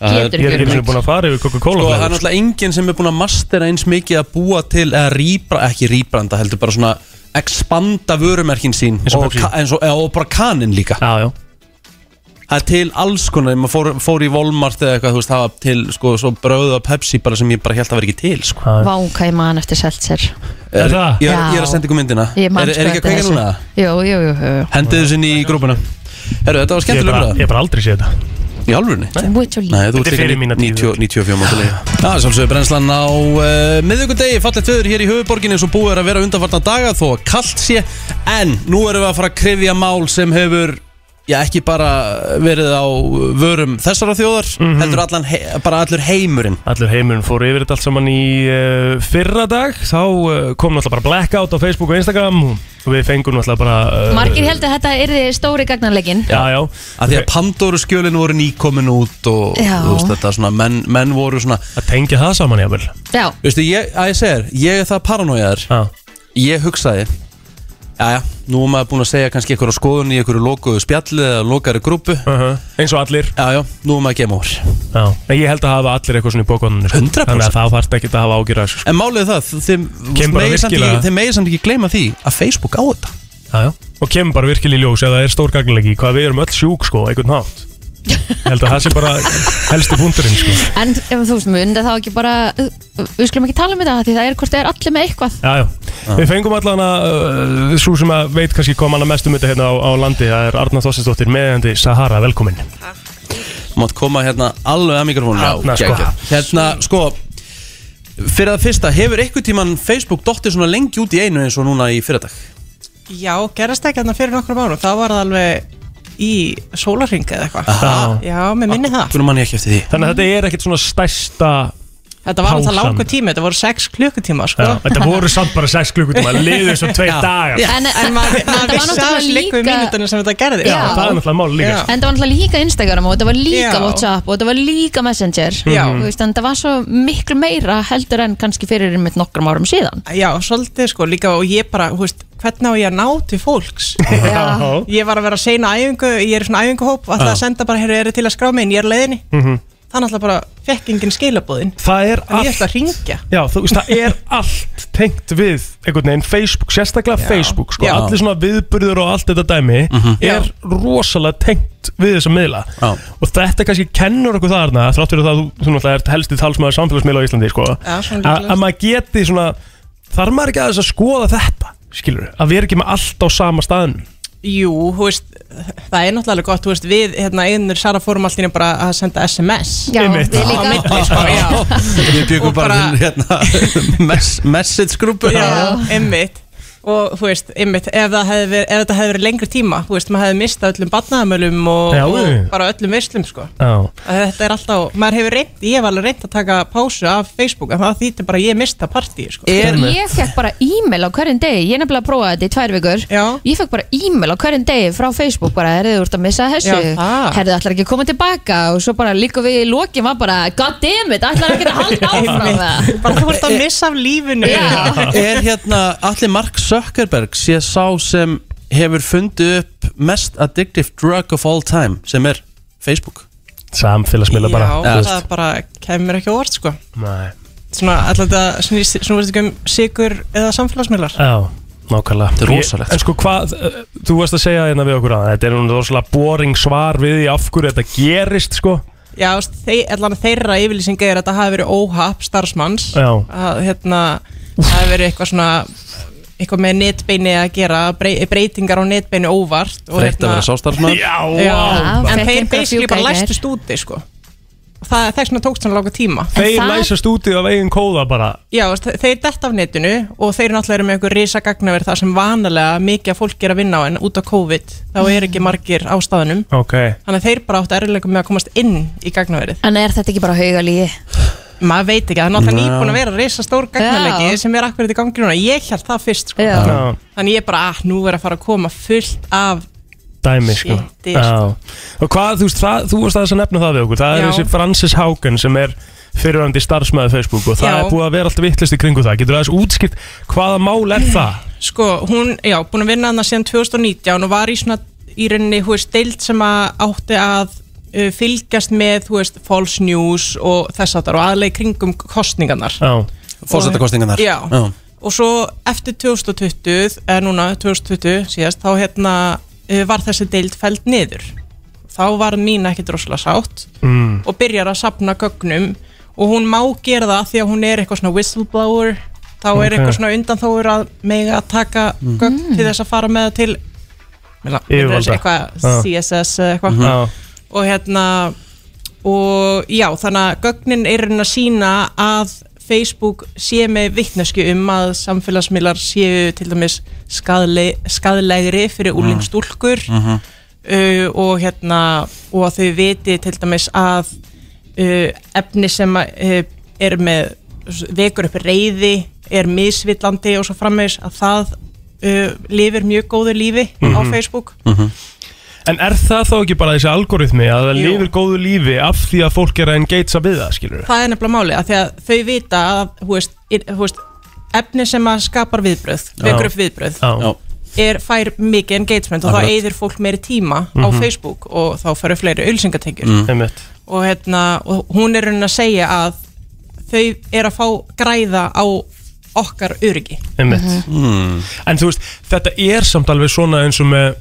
Speaker 2: Getur
Speaker 3: Ég er
Speaker 2: ekki
Speaker 3: ekki einu
Speaker 2: verið
Speaker 3: sinni búin að fara yfir Coca-Cola
Speaker 1: Sko, það er
Speaker 3: flavor,
Speaker 1: náttúrulega enginn sem er búin að mastera eins mikið að búa til eða rýbra, ekki rýbranda heldur bara svona expanda vörumerkin sín
Speaker 3: Eins og
Speaker 1: og,
Speaker 3: Pepsi.
Speaker 1: ka- eins og, eða, og bara kanin líka
Speaker 3: já, já.
Speaker 1: Það er til alls konar, ef maður fór, fór í Walmart eða eitthvað, þú veist, það var til sko, svo bröðu af Pepsi bara sem ég bara held að vera ekki til sko.
Speaker 2: Vá, hvað ég man eftir seltser
Speaker 1: er, ég, er, ég er
Speaker 2: Já.
Speaker 1: að senda ykkur myndina
Speaker 2: Ég man
Speaker 1: Er, er
Speaker 2: sko
Speaker 1: ekki að kveika
Speaker 2: eftir
Speaker 1: núna?
Speaker 2: þessu. Jú, jú, jú, jú, jú.
Speaker 1: Hendið þessu inn í grúpuna Herru, þetta var
Speaker 3: Ég
Speaker 1: skemmtilega
Speaker 3: bara-
Speaker 1: umræða.
Speaker 3: Ég bara aldrei sé þetta
Speaker 1: Í alvörunni?
Speaker 2: Wait till-
Speaker 1: Nei, þú
Speaker 3: Þetta er
Speaker 1: ert
Speaker 3: fyrir
Speaker 1: fyrir
Speaker 3: mína
Speaker 1: mína 94 mótali
Speaker 3: Ah.
Speaker 1: Það er svolsögur brennslan á uh, miðugundegi Fallegt viður hér í höfuborginni eins og búið er að vera undanfartna daga þó að kallt sé En nú erum við að fara að krifja mál sem hefur Já, ekki bara verið á vörum þessara þjóðar
Speaker 3: Mhm.
Speaker 1: Heldur allan, he bara allur heimurinn
Speaker 3: Allur heimurinn fór yfir þetta allt saman í uh, fyrra dag Þá uh, kom náttúrulega bara blackout á Facebook og Instagram og Við fengum náttúrulega bara uh,
Speaker 2: Margir heldur að þetta yrði stóri gagnarleikin
Speaker 3: Já, já
Speaker 1: Af því að Pandoru skjölin voru nýkomin út og
Speaker 2: Já.
Speaker 1: þú veist þetta svona, menn, menn voru svona
Speaker 3: Að tengja það saman jáfnvel
Speaker 2: Já,
Speaker 1: Veistu, ég, að ég segir, ég er það paranoiðar Ég hugsaði Jæja, nú er maður búin að segja kannski einhverja skoðun í einhverju lokuðu spjalli eða lokaðri grúpu
Speaker 3: Uh-huh. Eins og allir
Speaker 1: Jæja, nú er maður að gema úr
Speaker 3: Já, en ég held að hafa allir eitthvað svona í bókonunni sko.
Speaker 1: 100%.
Speaker 3: Þannig að það þarf ekki að hafa ágjur að þessu sko.
Speaker 1: En málið er það, þeim,
Speaker 3: Kemur bara
Speaker 1: megið samt
Speaker 3: virkilega-
Speaker 1: ekki, þeim megið samt ekki gleyma því að Facebook á þetta
Speaker 3: Já, já Og kemur bara virkilega í ljós ef það er stór gagnilegi hvað við erum öll sjúk sko, á einhvern hátt Ég held að það sé bara helsti punkturinn sko.
Speaker 2: En ef þú veist, mun þetta þá ekki bara uh, Við skulum ekki tala um þetta Því það er hvort það er allir með eitthvað
Speaker 3: Já, já. Við fengum allan að uh, svo sem að veit kannski kom hann að mestum þetta hérna á, á landi, það er Arna Þossinsdóttir meðandi Sahara, velkomin
Speaker 1: Mátt koma hérna alveg að mikrofónu
Speaker 3: Þarna, sko.
Speaker 1: Hérna, sko Fyrir það fyrsta, hefur einhvern tíman Facebook dottið svona lengi út í einu eins og núna í fyrirdag?
Speaker 16: Já, gerast ekki hérna fyrir nokkrum árum, þá var það alveg í sólarring eða
Speaker 1: Aha.
Speaker 16: eitthvað Já, mér minni það
Speaker 1: Hvernig mann ég ekki eftir því?
Speaker 3: Þannig að þetta er ekkert svona stærsta
Speaker 16: Þetta var alltaf
Speaker 3: Pásan.
Speaker 16: langur tími, þetta voru 6 klukkutíma sko.
Speaker 3: Já, þetta voru samt bara 6
Speaker 16: <laughs>
Speaker 3: klukkutíma, liðið svo 2
Speaker 16: Já.
Speaker 3: dagar
Speaker 16: Já. En, en maður,
Speaker 2: þetta var
Speaker 16: maður vissi
Speaker 2: náttúrulega
Speaker 16: alveg líka í
Speaker 2: líka-
Speaker 16: mínutinu sem þetta gerði
Speaker 2: Já, það er
Speaker 3: náttúrulega sko. mál
Speaker 2: En það var náttúrulega líka Instagram og þetta var líka
Speaker 16: Já.
Speaker 2: Whatsapp og þetta var líka Messenger
Speaker 16: Já.
Speaker 2: Þú veist, En það var svo miklu meira heldur en kannski fyrir einmitt nokkrum árum síðan
Speaker 16: Já, svolítið sko, líka og ég bara, hú veist, hvernig á ég að ná til fólks? Já. Ég var að vera sein á æfingu, ég er í svona æfinguhóp, alltaf
Speaker 3: Já.
Speaker 16: að senda bara, heyrðu, er til að skrá mig inn, ég er á leiðinni.
Speaker 3: Mhm.
Speaker 16: Þannig alltaf bara, fekk enginn skilabóðin.
Speaker 3: Það er
Speaker 16: allt. Ég ætla að ringja.
Speaker 3: Já, þú veist, það er allt tengt við einhvern veginn Facebook, sérstaklega Facebook sko,
Speaker 16: Já.
Speaker 3: allir svona viðburður og allt þetta dæmi er rosalega tengt við þessa miðla Já. og þetta kannski kennur okkur þarna þrátt fyrir það að þú, þú náttúrulega ert helsti talsmaður samfélagsmiðla á Íslandi, sko
Speaker 16: Já, svona
Speaker 3: að-
Speaker 16: líklegast.
Speaker 3: að maður geti svona þarf maður ekki aðeins að skoða þetta skilur, að við erum ekki með allt á sama staðin
Speaker 16: Jú, hú veist, það er náttúrulega alveg gott, hú veist, við, hérna, einur Sara fórum allt í einu bara að senda SMS.
Speaker 2: Já,
Speaker 1: Einmitt. við líka.
Speaker 16: Á milli, sko, já.
Speaker 1: <laughs> Við byggum bara, bara hérna, <laughs> mess, message grúpu
Speaker 16: Já, einmitt og þú veist, einmitt, ef, það hefði verið, ef þetta hefði verið lengri tíma, þú veist, maður hefði mistað öllum barnaðamölum og,
Speaker 3: Já,
Speaker 16: og
Speaker 3: jú.
Speaker 16: bara öllum veislum, sko
Speaker 3: Já.
Speaker 16: Að þetta er alltaf, maður hefur reynd, ég hef alveg reynd að taka pásu af Facebook, en það þýttir bara að ég mista partí, sko
Speaker 2: Er, ég fekk bara e-mail á hverjum degi Ég er nefnilega að prófa þetta í tvær vikur Já. Ég fekk bara e-mail á hverjum degi frá Facebook bara, herðu, þú ert að missa þessu
Speaker 16: Já, það.
Speaker 2: Herðu, ætlar ekki að koma tilbaka og svo bara líka við í lokin var bara God damn it, ætlar ekki að halda áfram það
Speaker 16: bara þú ert að missa af lífinu
Speaker 1: <laughs>
Speaker 16: <laughs>
Speaker 1: Er hérna allir Mark Zuckerberg sé sá sem hefur fundið upp mest addictive drug of all time sem er Facebook
Speaker 3: Samfélagsmiðla
Speaker 16: Já,
Speaker 1: bara
Speaker 16: það bara kemur ekki á orð, sko
Speaker 3: Nei.
Speaker 16: Svona, alltaf þetta snýst snúist ekki um sigur eða samfélagsmiðlar
Speaker 3: Já, nákvæmlega
Speaker 1: Þetta er rosalegt,
Speaker 3: En sko hvað, uh, þú varst að segja hérna við okkur að þetta er nú rosalega boring svar við því af hverju þetta gerist sko
Speaker 16: Já, þú veist, þeir, allan þeirra yfirlýsinga er að þetta hafi verið óhapp starfsmanns
Speaker 3: Já.
Speaker 16: að hérna, það hafi verið eitthvað svona eitthvað með netbeini að gera brey, breytingar á netbeini óvart og
Speaker 1: Þreytt að vera sástarfsmaður
Speaker 16: Já, en
Speaker 2: Fekk
Speaker 16: þeir
Speaker 2: einhver að
Speaker 16: basically
Speaker 2: fjúka í
Speaker 16: bara
Speaker 2: gær.
Speaker 16: læstust úti sko. það, þess vegna tókst hann langa tíma
Speaker 3: Þeir læsast úti af eigin kóða bara
Speaker 16: Já, þú veist, þeir detta af netinu og þeir náttúrulega eru með einhver risa gagnaver það sem vanalega mikið af fólk er að vinna á en út af COVID þá
Speaker 2: Mm.
Speaker 16: er ekki margir á staðunum
Speaker 3: Ok
Speaker 16: þannig að þeir bara áttu erfileikum með að komast inn í gagnaverið
Speaker 2: En er þetta ekki bara haugalíi?
Speaker 16: maður veit ekki, það er náttúrulega
Speaker 2: Já.
Speaker 16: nýbúin að vera reysa stór gagnalegi
Speaker 2: Já.
Speaker 16: sem er akkurat í gangi núna ég held það fyrst sko.
Speaker 3: Já. Já.
Speaker 16: þannig ég bara, að nú er að fara að koma fullt af
Speaker 3: dæmi sko
Speaker 16: Shit, ég-
Speaker 3: Já. Og hvað, þú veist, það, þú varst aðeins að nefna það við okkur Það er
Speaker 16: Já.
Speaker 3: þessi Francis Haugen sem er fyrirvændi starfsmæði Facebook og það
Speaker 16: Já.
Speaker 3: er búið að vera allt vittlist í kringu það Getur aðeins útskipt hvaða
Speaker 16: <clears throat>
Speaker 3: mál er það?
Speaker 16: sko, hún, já, búin að vinna hana síðan 2019 og var í svona í rauninni, hú veist, deild sem að átti að uh, fylgjast með, hú veist, false news og þess að það og aðlega í kringum kostningarnar
Speaker 3: Já,
Speaker 1: Forsetakosningarnar.
Speaker 16: Já.
Speaker 1: Já.
Speaker 16: og svo eftir 2020 eða núna 2020 síðast þá hérna uh, var þessi deild fæld niður þá var mín ekkit rosalega sátt
Speaker 3: Mm.
Speaker 16: og byrjar að sapna gögnum og hún má gera það því að hún er eitthvað svona whistleblower þá
Speaker 3: Ok.
Speaker 16: er eitthvað svona undanþóður að mega að taka
Speaker 3: Mm.
Speaker 16: gögn til þess að fara með það til Mér la-
Speaker 3: Yfirvalda. Ah.
Speaker 16: þess eitthvað
Speaker 3: Já.
Speaker 16: CSS eða eitthvað
Speaker 3: Mhm. Já.
Speaker 16: og hérna og já þannig að gögnin er að sína að Facebook sé með vittnesku um að samfélagsmiðlar séu til dæmis skadle, skadlegri fyrir úlingstúlkur
Speaker 8: Mhm.
Speaker 16: uh, og hérna og að þau viti til dæmis að uh, efni sem að, uh, er með vekur upp reyði er misvillandi og svo frammeðis að það uh, lifir mjög góðu lífi á
Speaker 3: Mhm.
Speaker 16: Facebook
Speaker 3: En er það þá ekki bara þessi algoritmi að það
Speaker 16: Jú.
Speaker 3: lifir góðu lífi af því að fólk er að engagea við það, skilur
Speaker 16: það er nefnilega máli að því að þau vita að þú veist, er, þú veist, efni sem að skapar viðbröð, vekur upp viðbröð
Speaker 3: Já,
Speaker 16: er, fær mikið engagement og þá
Speaker 3: Akkurat.
Speaker 16: eyðir fólk meiri tíma á
Speaker 3: Mhm.
Speaker 16: Facebook og þá færur fleiri ölsingatengjur
Speaker 3: Mm. Einmitt.
Speaker 16: og, hérna, og hún er raunin að segja að þau er að fá græða á okkar öryggi Mhm.
Speaker 1: Hmm.
Speaker 3: Einmitt. En þú veist, þetta er samt alveg svona eins og með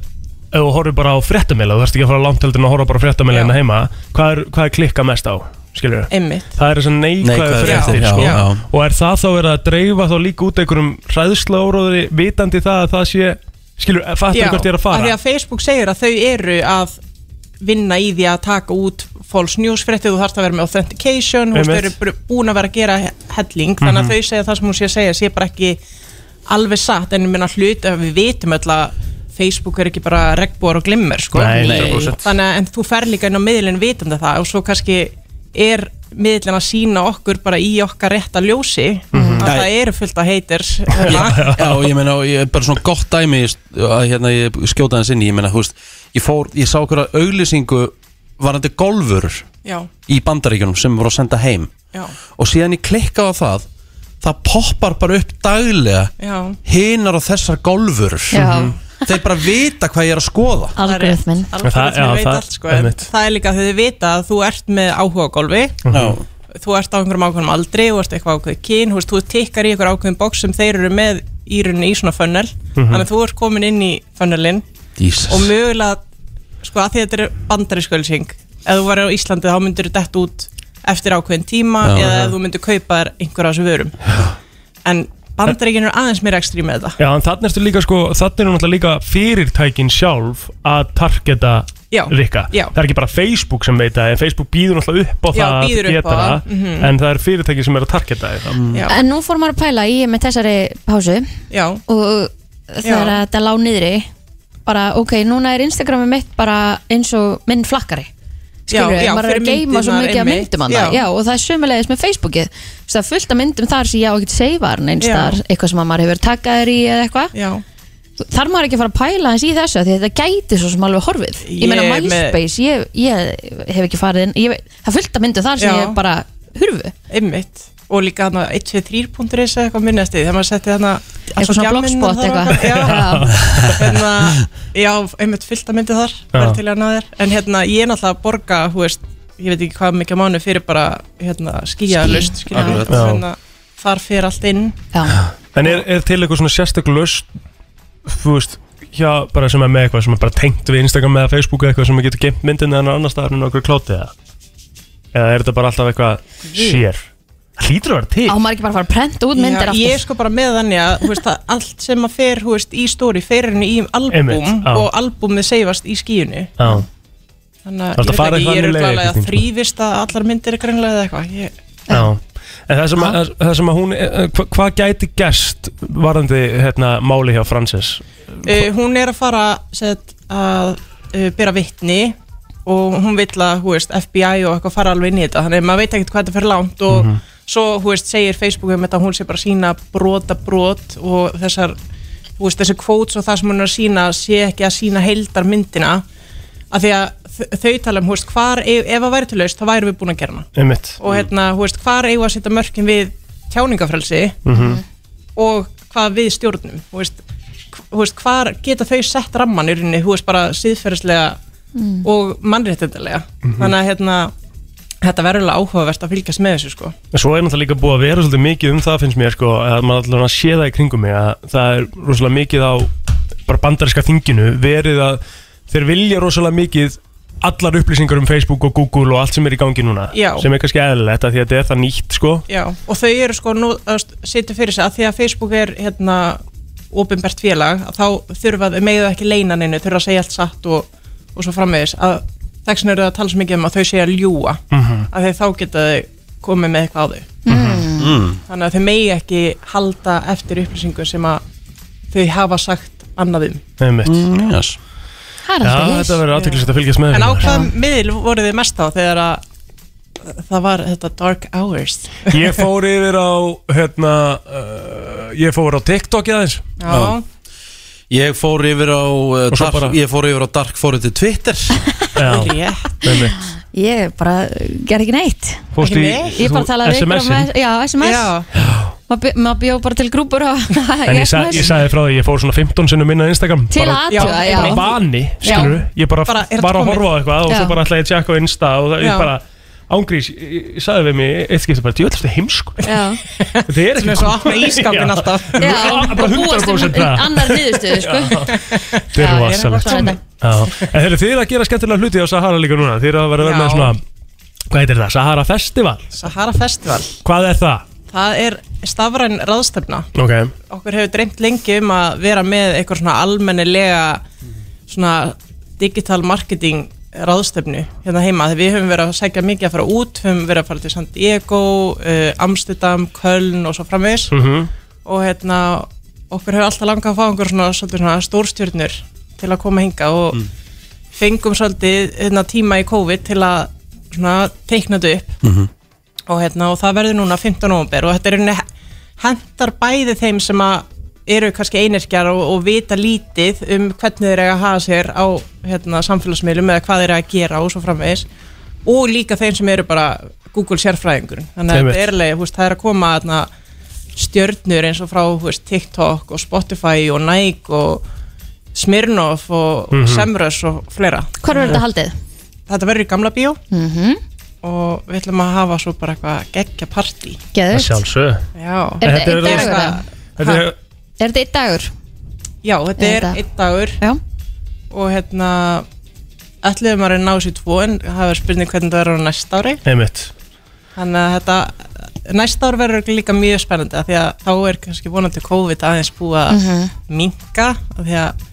Speaker 3: ef þú horfir bara á fréttamila þú þarfst ekki að fara langt heldur en að horfa bara á fréttamila hérna heima hvað er, hvað er klikka mest á, skilur
Speaker 16: Einmitt.
Speaker 3: það er þess að neikvæðu
Speaker 1: Neikvæðar fréttir,
Speaker 3: fréttir sko.
Speaker 1: já, já.
Speaker 3: og er það þá verið að dreifa þá líka út einhverjum hræðslaóróðri vitandi það að það sé skilur, fattur hvert ég er að
Speaker 16: af því
Speaker 3: fara
Speaker 16: að Facebook segir að þau eru að vinna í því að taka út false news fréttið, þú þarfst að vera með authentication, þú veist, þau
Speaker 3: Einmitt.
Speaker 16: eru br- búin að vera að gera helling, þannig
Speaker 3: Mhm.
Speaker 16: að þau segja það sem hún sé að segja, sé bara ekki alveg satt, en ég minna hlut að við vitum öll að Facebook er ekki bara regnbúar og glimmer, sko
Speaker 3: Nei, Nei. 100%.
Speaker 16: þannig að en þú fer líka inn á miðlinn vitandi það og svo kannski er miðlinn að sína okkur bara í okkar rétta ljósi
Speaker 3: Mhm.
Speaker 16: að
Speaker 1: Nei.
Speaker 16: það eru fullt af
Speaker 3: <laughs>
Speaker 16: haters
Speaker 1: Já, já, ég meina, og ég er bara svona gott dæmi ég st- að hérna ég skjóta hans inn í, ég meina, hú veist, ég fór, ég sá okkur að auglýsingu varandi golfur
Speaker 16: Já.
Speaker 1: í bandaríkjunum sem voru að senda heim
Speaker 16: Já.
Speaker 1: og síðan ég klikka á það það poppar bara upp daglega
Speaker 16: Já.
Speaker 1: hinar og þessar golfur
Speaker 16: Já.
Speaker 1: Mhm. þeir bara vita hvað ég er að skoða
Speaker 2: Algoritminn
Speaker 1: Það- já,
Speaker 16: Algoritminn veit
Speaker 1: það-
Speaker 16: allt sko en
Speaker 1: einmitt.
Speaker 16: Það er líka þegar þau vita að þú ert með áhuga á golfi
Speaker 1: Mhm.
Speaker 16: Þú ert á einhverjum ákveðum aldri Þú ert eitthvað ákveðið kyn Þú, veist, þú tikkar í einhver ákveðum box sem þeir eru með í rauninni í svona funnel
Speaker 1: Mhm.
Speaker 16: Þannig að þú ert komin inn í funnelin
Speaker 1: Jesus.
Speaker 16: Og mögulega sko að því þetta er bandarinskölsing Ef þú varir á Íslandi þá myndir þú dett út eftir ákveðin tíma
Speaker 3: Já,
Speaker 16: eða
Speaker 3: já.
Speaker 16: ef þú myndir kaupa þér einhverja af þessu vörum En bandaríkinn eru aðeins meira ekstrím með þetta
Speaker 3: Já, en þannig ertu líka sko, þannig er náttúrulega líka fyrirtækin sjálf að targeta
Speaker 16: Já,
Speaker 3: Rikka.
Speaker 16: já.
Speaker 3: Það er ekki bara Facebook sem veit það, en Facebook býður náttúrulega upp á
Speaker 16: Já,
Speaker 3: það
Speaker 16: býður
Speaker 3: að
Speaker 16: upp á
Speaker 3: geta
Speaker 16: það,
Speaker 3: það,
Speaker 16: mhm.
Speaker 3: en það er fyrirtækin sem er að targeta það.
Speaker 2: En nú fór maður að pæla í með þessari pásu
Speaker 16: Já.
Speaker 2: og þegar
Speaker 16: Já.
Speaker 2: að þetta lá niðri bara ok, núna er Instagrami mitt bara eins og minn flakkari skilur
Speaker 16: Já, já,
Speaker 2: maður er að
Speaker 16: fyrir
Speaker 2: geima svo
Speaker 16: myndirnar
Speaker 2: mikið af
Speaker 16: einmitt,
Speaker 2: myndum hann
Speaker 16: já.
Speaker 2: já, og það er sömulegis með Facebookið Þú veist, það er fullt af myndum þar sem ég á ekkert seifarn eins
Speaker 16: Já.
Speaker 2: þar, eitthvað sem að maður hefur takkað þér í eða eitthvað þar maður ekki að fara að pæla eins í þessu af því að þetta gæti svo sem alveg horfið ég,
Speaker 16: Ég
Speaker 2: meina
Speaker 16: er með-
Speaker 2: MySpace, ég, ég hef ekki farið inn, ég, veit- það er fullt af myndum þar sem
Speaker 16: Já.
Speaker 2: ég bara hurfu
Speaker 16: Einmitt Og líka hann að 123.is eða eitthvað minnast í Þegar maður setti hann að
Speaker 2: Eitthvað svona blogspot eitthvað.
Speaker 16: Já, <laughs> hérna, já einmitt fullt að myndi þar
Speaker 2: Já.
Speaker 16: Verð til að ná þér En hérna, ég er náttúrulega að borga Hú veist, ég veit ekki hvað mikið mánu fyrir bara hérna, Skíalust
Speaker 3: Ský,
Speaker 16: skilur við.
Speaker 3: akkurat. Já.
Speaker 16: Hérna, Þar fyrir allt inn
Speaker 2: Já
Speaker 3: En er, er til eitthvað svona sérstök löst, þú veist, hjá, bara sem er með eitthvað sem er bara tengt við Instagram eða Facebook eða eitthvað sem getur geimt myndin eða annar staðar en okkur klótið eða? Eða er þetta bara alltaf eitthvað
Speaker 2: Guð.
Speaker 3: sér? Hlýtur að vera til?
Speaker 2: á maður ekki bara að fara að prenta út myndir
Speaker 16: Já,
Speaker 2: aftur
Speaker 16: ég er sko bara með þannig að þú veist, það, allt sem að fer þú veist, í stóri fer henni í albúm
Speaker 3: Einmitt, já.
Speaker 16: og albúmið seifast í skíinu
Speaker 3: Já.
Speaker 16: þannig að ég
Speaker 3: Þarftu að
Speaker 16: veit
Speaker 3: fara
Speaker 16: ekki,
Speaker 3: eitthvað
Speaker 16: ég er
Speaker 3: annað leið
Speaker 16: örugglega
Speaker 3: einhvern
Speaker 16: að
Speaker 3: tímann.
Speaker 16: þrýfist að allar myndir er greinlega eða eitthvað ég,
Speaker 3: Já, en það sem, að, það sem að hún, eh, hva, hvað gæti gerst varðandi hérna, máli hjá Frances?
Speaker 16: uh, hún er að fara set, að uh, byrja vittni og hún vill að hú veist, FBI og eitthvað fara alveg inn í þetta þannig að maður veit ekkert hvað þetta fer langt og
Speaker 3: Mhm.
Speaker 16: svo hú veist, segir Facebook um þetta að hún sé bara að sína brota brot og þessar hú veist, þessi kvóts og það sem hún er að sína sé ekki að sína heildar myndina af því að þ- þau tala um hú veist, hvar, ef, ef að væri til laust þá væri við búin að gera hana
Speaker 3: Einmitt.
Speaker 16: og hérna, hú veist, hvar eigum við að setja mörkin við tjáningafrelsi
Speaker 3: Mhm.
Speaker 16: og hvað við stjórnum hú veist, hv- hú veist, hvar geta þau sett ramman í rauninni, hú veist, bara síðferðislega
Speaker 2: Mm.
Speaker 16: og mannréttindalega
Speaker 3: Mhm.
Speaker 16: þannig að hérna þetta verður alveg áhugavert að fylgjast með þessu sko
Speaker 3: En svo er náttúrulega líka búið að vera svolítið mikið um það finnst mér sko, að maður allavega sé það í kringum mig að það er rosalega mikið á bara bandariska þinginu verið að þeir vilja rosalega mikið allar upplýsingar um Facebook og Google og allt sem er í gangi núna
Speaker 16: Já.
Speaker 3: sem er kannski eðlilegt að því að þetta er það nýtt sko
Speaker 16: Já, og þau eru sko nú að setja fyrir sig að því að Facebook er hérna ofinbært félag, að þá þurfa þau megðu ekki leina neinu, þurfa að segja allt satt og, og svo framvegis að þess vegna eru það að tala svo mikið um að þau segja ljúa
Speaker 3: Mhm.
Speaker 16: að þau þá geta þau komið með eitthvað á þau
Speaker 1: Mhm.
Speaker 3: Mm.
Speaker 16: þannig að þau megi ekki halda eftir upplýsingu sem að þau hafa sagt um. annaðum
Speaker 3: Einmitt.
Speaker 1: Mm, yes.
Speaker 16: Það er
Speaker 3: Já,
Speaker 16: alltaf yes.
Speaker 3: þetta verður aðteklisvægt að fylgjast með
Speaker 16: En á
Speaker 3: hérna.
Speaker 16: hvað miðl voru þið mest á þegar að það var þetta dark hours
Speaker 3: Ég fór yfir á hérna, uh, ég fór á TikTok í aðeins
Speaker 16: Já.
Speaker 1: ég fór yfir á uh,
Speaker 3: Og svo
Speaker 1: dark,
Speaker 3: bara-
Speaker 1: ég fór yfir á dark fórið til Twitter
Speaker 16: já,
Speaker 3: einmitt
Speaker 2: Ég bara gerði ekki neitt
Speaker 1: Fórstu Ekki í- neitt?
Speaker 2: Ég bara
Speaker 1: þú-
Speaker 2: talaði við ykkur
Speaker 3: SMS-in?
Speaker 2: um- Já, SMS
Speaker 16: Já.
Speaker 2: Maður bjó- Maður bjó bara til grúpur og <laughs>
Speaker 3: En ég, sa, ég sagði frá því, ég fór svona 15 sinnum inn á Instagram
Speaker 2: Til
Speaker 3: bara,
Speaker 2: að athuga, já.
Speaker 3: Bara vani,
Speaker 2: Já.
Speaker 3: skilur Ég bara,
Speaker 2: Bara, er þetta
Speaker 3: var að
Speaker 2: komið?
Speaker 3: horfa á eitthvað og
Speaker 2: Já.
Speaker 3: svo bara ætlaði ég að tjekka á Insta og það,
Speaker 2: Já.
Speaker 3: ég bara á ángrís, ég, ég sagði við mig eitt skipta bara, djöðlast það
Speaker 6: <laughs>
Speaker 3: heimsko
Speaker 2: Já,
Speaker 3: Þetta er ekki
Speaker 16: Sem er svo að opna ísskápinn
Speaker 3: Já.
Speaker 16: alltaf.
Speaker 3: Nú-
Speaker 2: já
Speaker 3: bara
Speaker 2: og búast um
Speaker 3: 100% það.
Speaker 2: annar niðurstöðu
Speaker 3: <laughs>
Speaker 2: sko.
Speaker 3: Þetta er
Speaker 2: Já, ég er að
Speaker 3: rosalegt
Speaker 2: klára þetta.
Speaker 3: Já. En þeir eru þið að gera skemmtilega hluti á Sahara líka núna Þeir eru að vera að vera
Speaker 16: Já.
Speaker 3: með svona Hvað heitir það? Sahara Festival?
Speaker 16: Sahara Festival
Speaker 3: Hvað er það?
Speaker 16: Það er stafræn ráðstefna
Speaker 3: Ok
Speaker 16: okkur hefur dreymt lengi um að vera með eitthvað svona almennilega svona digital marketing ráðstefnu hérna heima þegar við höfum verið að sækja mikið að fara út við höfum verið að fara til San Diego uh, Amsterdam, Köln og svo framvegis
Speaker 3: Mhm.
Speaker 16: og hérna okkur hefur alltaf langað að fá einhver svona, svolítið svona stórstjörnur til að koma hinga og fengum svolítið hérna, tíma í COVID til að svona, teikna þetta upp
Speaker 1: Mhm.
Speaker 16: og, hérna, og það verður núna 15. november og þetta er henni hendar bæði þeim sem að eru kannski einirkjar og, og vita lítið um hvernig þeir eiga að hafa sér á hérna, samfélagsmiðlum eða hvað þeir eiga að gera og svo framvegis og líka þeim sem eru bara Google sérfræðingur þannig að
Speaker 3: Einmitt.
Speaker 16: þetta er alveg, þú veist, það er að koma hérna, stjörnur eins og frá þú veist, TikTok og Spotify og Nike og Smirnoff og mm
Speaker 3: Mhm.
Speaker 16: og fleira
Speaker 2: Hvar verður þetta haldið?
Speaker 16: Eh, Þetta verður í gamla bíó
Speaker 2: Mhm.
Speaker 16: og við ætlum að hafa svo bara eitthvað geggja partí
Speaker 2: Geðveikt. Að
Speaker 3: sjálfsögðu.
Speaker 16: Já
Speaker 2: Er þetta einn dagur eða?
Speaker 3: Þetta er-
Speaker 2: Er þetta einn dagur?
Speaker 16: Já, þetta
Speaker 2: Er
Speaker 16: er
Speaker 2: þetta-
Speaker 16: einn dagur
Speaker 2: Já.
Speaker 16: og hérna ætluðum að reyna á sér tvo en það er spurning hvernig það verður á næsta ári
Speaker 3: Einmitt
Speaker 16: þannig að þetta næsta ár verður líka mjög spennandi af því að þá er kannski vonandi COVID aðeins búið að mm
Speaker 2: Mhm.
Speaker 16: minka af því að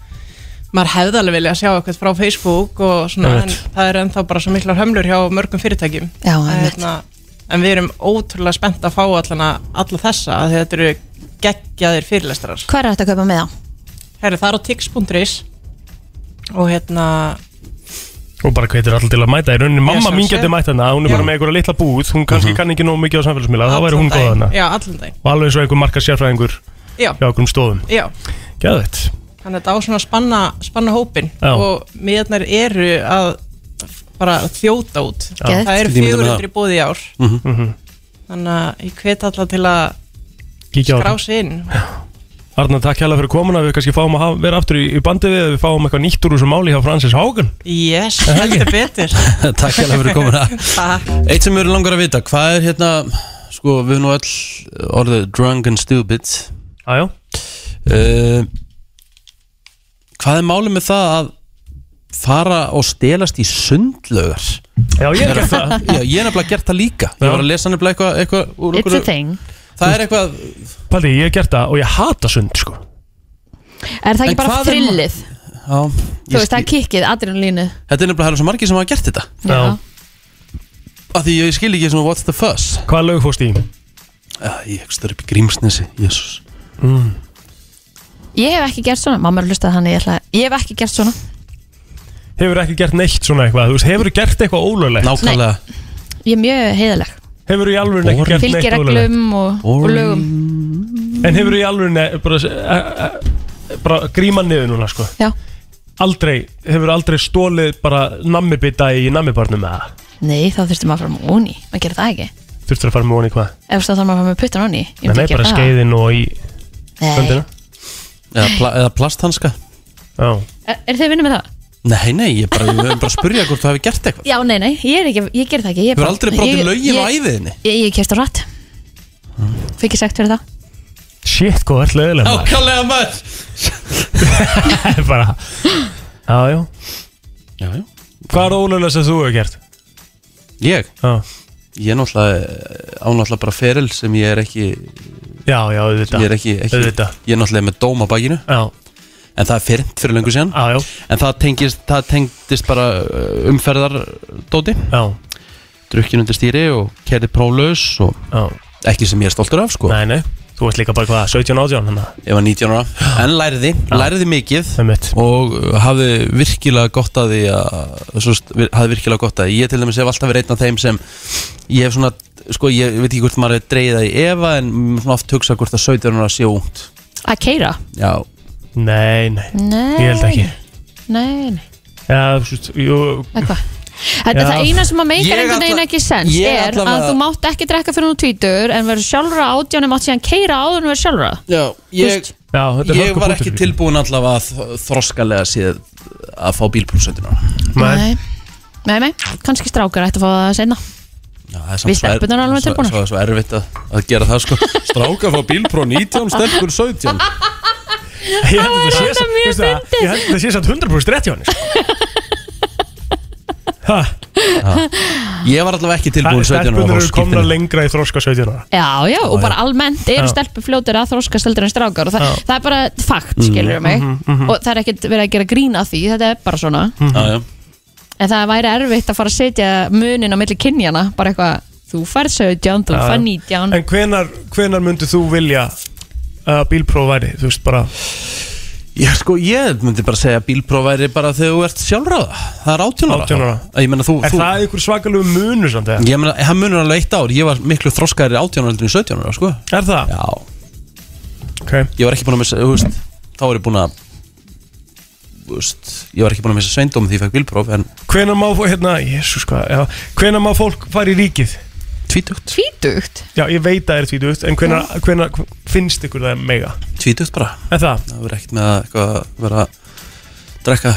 Speaker 16: maður hefði alveg vilja að sjá eitthvað frá Facebook og svona, en
Speaker 2: Einmitt.
Speaker 16: það er ennþá bara svo miklar hömlur hjá mörgum fyrirtækjum
Speaker 2: Já,
Speaker 16: Að,
Speaker 2: einmitt.
Speaker 16: en við erum ótrúlega spennt að fá allana, alla þessa af því að þetta eru geggjaðir fyrirlestrar
Speaker 2: Hvað er þetta að kaupa með það?
Speaker 16: Herri, það er á tix.is og hérna
Speaker 3: Og bara hvetur allir til að mæta Í rauninni mamma
Speaker 16: sjálfsögðu.
Speaker 3: mín getur mætt hana Hún er bara
Speaker 16: Já.
Speaker 3: með einhverja litla búð Hún kannski kann ekki nóg mikið á samfélagsmiðla Það væri hún góð
Speaker 16: daginn.
Speaker 3: hana
Speaker 16: Já, allan daginn
Speaker 3: Og alveg eins og einhver marka sérfræðingur
Speaker 16: Já.
Speaker 3: Hjá okkur um stofum
Speaker 16: Já,
Speaker 3: Gæðvett
Speaker 16: þannig að þetta á svona að spanna, spanna hópin
Speaker 3: Já.
Speaker 16: og miðarnar eru að bara þjóta út
Speaker 3: Geðveikt.
Speaker 16: það eru
Speaker 3: Ég myndi með það.
Speaker 16: 400 í bóði í ár
Speaker 3: Mhm.
Speaker 16: þannig að ég hvet alla til að
Speaker 3: Kíkja á
Speaker 16: skrá
Speaker 3: þetta.
Speaker 16: sig inn
Speaker 3: Arna, takk hérlega fyrir komuna Við kannski fáum að hafa- vera aftur í, í bandi við ef Við fáum eitthvað nýtt úr þessu máli hjá Francis Hágan
Speaker 16: yes, heldur
Speaker 3: <laughs>
Speaker 16: betur
Speaker 1: <laughs> Takk hérlega fyrir komuna.
Speaker 16: Takk.
Speaker 1: Eitt sem við erum langar að vita, hvað er hérna Sko, við erum nú öll orðið drunk and stupid
Speaker 3: Jájá
Speaker 1: uh, Hvað er málið með það að fara og stelast í sundlaugar
Speaker 3: Já, ég hef gert það.
Speaker 1: Já, ég er nefnilega gert það líka Ég var að lesa nefnilega eitthvað eitthva,
Speaker 2: It's a thing.
Speaker 1: Það er eitthvað
Speaker 3: Paldi, ég hef gert það og ég hata sund sko.
Speaker 2: Er það
Speaker 1: En
Speaker 2: ekki bara
Speaker 1: hvað er ma-
Speaker 2: thrillið?
Speaker 1: Já,
Speaker 2: Þú
Speaker 1: ég,
Speaker 2: veist, það er kikkið, adrenalínu
Speaker 1: Þetta er nefnilega það eru svo margir sem hafa gert þetta
Speaker 2: Já.
Speaker 1: Af því ég skil ekki svona what's the fuss
Speaker 3: Hvaða lög fórst í?
Speaker 1: Ég ekki stöður upp í Grímsnesi, jésús
Speaker 3: mm.
Speaker 2: Ég hef ekki gert svona, mamma er að hlusta þannig ég, ætla, ég hef ekki gert svona
Speaker 3: Hefur ekki gert neitt svona eitthvað Þú veist, hefur gert eitthvað ólöglegt
Speaker 2: Nákvæmlega. Ég er mjög heiðaleg
Speaker 3: Hefur í alvöru ekki gert
Speaker 2: Fylgir
Speaker 3: neitt ólöglegt
Speaker 2: reglum og, og
Speaker 3: Boring.
Speaker 2: lögum
Speaker 3: En hefur í alvöru ne- bara, eh, eh, bara gríma niður núna sko.
Speaker 2: Já.
Speaker 3: Aldrei, hefur aldrei stólið bara nammibita í nammibarnum með það
Speaker 2: Nei, þá þurftum að fara með óni Maður gerir það ekki
Speaker 3: Þurftur að fara með honi hvað
Speaker 2: Ef þá þarf maður að fara með puttan óni Ég
Speaker 3: Nei,
Speaker 2: myndi
Speaker 3: nei,
Speaker 2: ekki
Speaker 3: bara
Speaker 2: gera það.
Speaker 3: skeiðin og í
Speaker 2: Nei.
Speaker 3: sundina
Speaker 1: Eða, pla eða plasthanska
Speaker 3: Já
Speaker 2: Er, er þið vinnum með það?
Speaker 1: Nei, nei, ég bara, við höfum bara að spurja hvort þú hefur gert eitthvað
Speaker 2: Já, nei, nei, ég, er ekki, ég ger það ekki Ég er
Speaker 1: Hefur
Speaker 2: bara-
Speaker 1: aldrei brotið
Speaker 2: ég-
Speaker 1: lögin á
Speaker 2: ég-
Speaker 1: æviðinni?
Speaker 2: Ég, ég kæft á rætt Fikk ég sagt fyrir það
Speaker 3: Shit, sko, hvað er leðilega
Speaker 1: Nákvæmlega maður
Speaker 3: Það er <laughs> bara Já, já
Speaker 1: Já, já
Speaker 3: Hvað er ólöglegt sem þú hefur gert?
Speaker 1: Ég?
Speaker 3: Já
Speaker 1: Ég er náttúrulega ánáttúrulega bara feril sem ég er ekki
Speaker 3: Já, já, auðvitað
Speaker 1: Ég er ekki, ekki
Speaker 3: Auðvitað.
Speaker 1: Ég er náttúrulega með dóm á bakinu
Speaker 3: Já
Speaker 1: En það er fyrnt fyrir löngu síðan
Speaker 3: Já, já
Speaker 1: En það tengist, það tengdist bara uh, umferðardóti
Speaker 3: Já
Speaker 1: Drukkin undir stýri og kerði prólaus og
Speaker 3: já.
Speaker 1: Ekki sem ég er stoltur af, sko
Speaker 3: Nei, nei Þú ert líka bara hvað, 17, 18 hana.
Speaker 1: Ég var 19 ára En læriði, læriði mikið
Speaker 3: Einmitt.
Speaker 1: Og uh, hafði virkilega gott að því að svo, st- vir- Hafði virkilega gott að því Ég til dæmis hef alltaf verið einn af þeim sem Ég hef svona, sko, ég veit ekki hvort maður er dreigið það í Eva En svona oft hugsa hvort að 17 ára sé ungt
Speaker 2: Að keira?
Speaker 1: Já
Speaker 3: Nei, nei,
Speaker 2: Nei.
Speaker 3: Ég held ekki
Speaker 2: Nei, nei,
Speaker 3: Já, þú veist, jú
Speaker 2: eitthvað Þetta er
Speaker 3: Já.
Speaker 2: það eina sem að
Speaker 3: Ég
Speaker 2: meikar einhvern veginn
Speaker 3: alla-
Speaker 2: ekki sens
Speaker 3: ég
Speaker 2: er
Speaker 3: allavega-
Speaker 2: að þú mátt ekki drekka fyrir nú tvítur en verður sjálfra átján en mátt síðan keira áður en verður sjálfra
Speaker 1: Já, ég,
Speaker 3: Já, þetta er
Speaker 1: ég
Speaker 3: hörku
Speaker 1: var
Speaker 3: punktur.
Speaker 1: ekki tilbúin allavega að þ- þroskalega séð að fá bílprósentina
Speaker 3: Nei,
Speaker 2: Nei, nei, kannski strákar ætti að fá það senna
Speaker 1: það er
Speaker 2: Við
Speaker 1: samt svo er-
Speaker 2: stelpurnar erum alveg
Speaker 1: svo-
Speaker 2: tilbúnar.
Speaker 1: Svo svo erfitt að, að gera það sko Stráka fá bílpró 19, stelpur
Speaker 2: <laughs>
Speaker 1: 17
Speaker 3: Ég held
Speaker 1: Það
Speaker 3: að það
Speaker 1: var
Speaker 3: sé
Speaker 1: þetta
Speaker 3: samt-
Speaker 1: mjög
Speaker 3: veistu það,
Speaker 1: fyndið.
Speaker 3: Ég held að það sé samt 100% rétt hjá henni sko. Ha,
Speaker 1: Ég var allavega ekki tilbúin 17 ára
Speaker 3: Stelpunar
Speaker 1: fá
Speaker 3: eru komna lengra í þroska 17 ára
Speaker 2: Já, já, og
Speaker 3: Já,
Speaker 2: bara
Speaker 3: já.
Speaker 2: almennt eru
Speaker 3: Já.
Speaker 2: stelpur fljótur að þróskast heldur en strákar og það,
Speaker 3: Já.
Speaker 2: það er bara fakt,
Speaker 1: Mhm,
Speaker 2: skilur mig
Speaker 1: mhm, mhm.
Speaker 2: og það er ekkert verið að gera grín að því, þetta er bara svona
Speaker 3: Mhm.
Speaker 1: Já, já
Speaker 2: en það væri erfitt að fara að setja munin á milli kynjana, bara eitthvað þú færð 17, þú
Speaker 3: Já, já.
Speaker 2: færð 19
Speaker 3: En hvenar, hvenar myndir þú vilja að bílpróf væri, þú veist bara
Speaker 1: Já sko, ég myndi bara segja að bílpró væri bara þegar þú ert sjálfráða Það er 18 ára
Speaker 3: 18 ára.
Speaker 1: Ég meina þú,
Speaker 3: Er
Speaker 1: þú
Speaker 3: það einhver svakalegu munur samt eða?
Speaker 1: Ég meina, það munur alveg eitt ár Ég var miklu þroskaðri 18 ára heldur en 17 ára sko
Speaker 3: Er það?
Speaker 1: Já
Speaker 3: okay.
Speaker 1: Ég var ekki búin að missa, þú veist Þá var ég búin að þú veist, Ég var ekki búin að missa sveindóm því ég fekk bílpróf En
Speaker 3: Hvenar má, fó- hérna, jésus hvað já, Hvenar má fólk fara í ríkið?
Speaker 1: Tvítugt
Speaker 2: Tvítugt?
Speaker 3: Já, ég veit að það er tvítugt En hvenar, hvenar finnst ykkur það mega?
Speaker 1: tvítugt bara
Speaker 3: Er það?
Speaker 1: Það verður ekkert með að eitthvað vera að drekka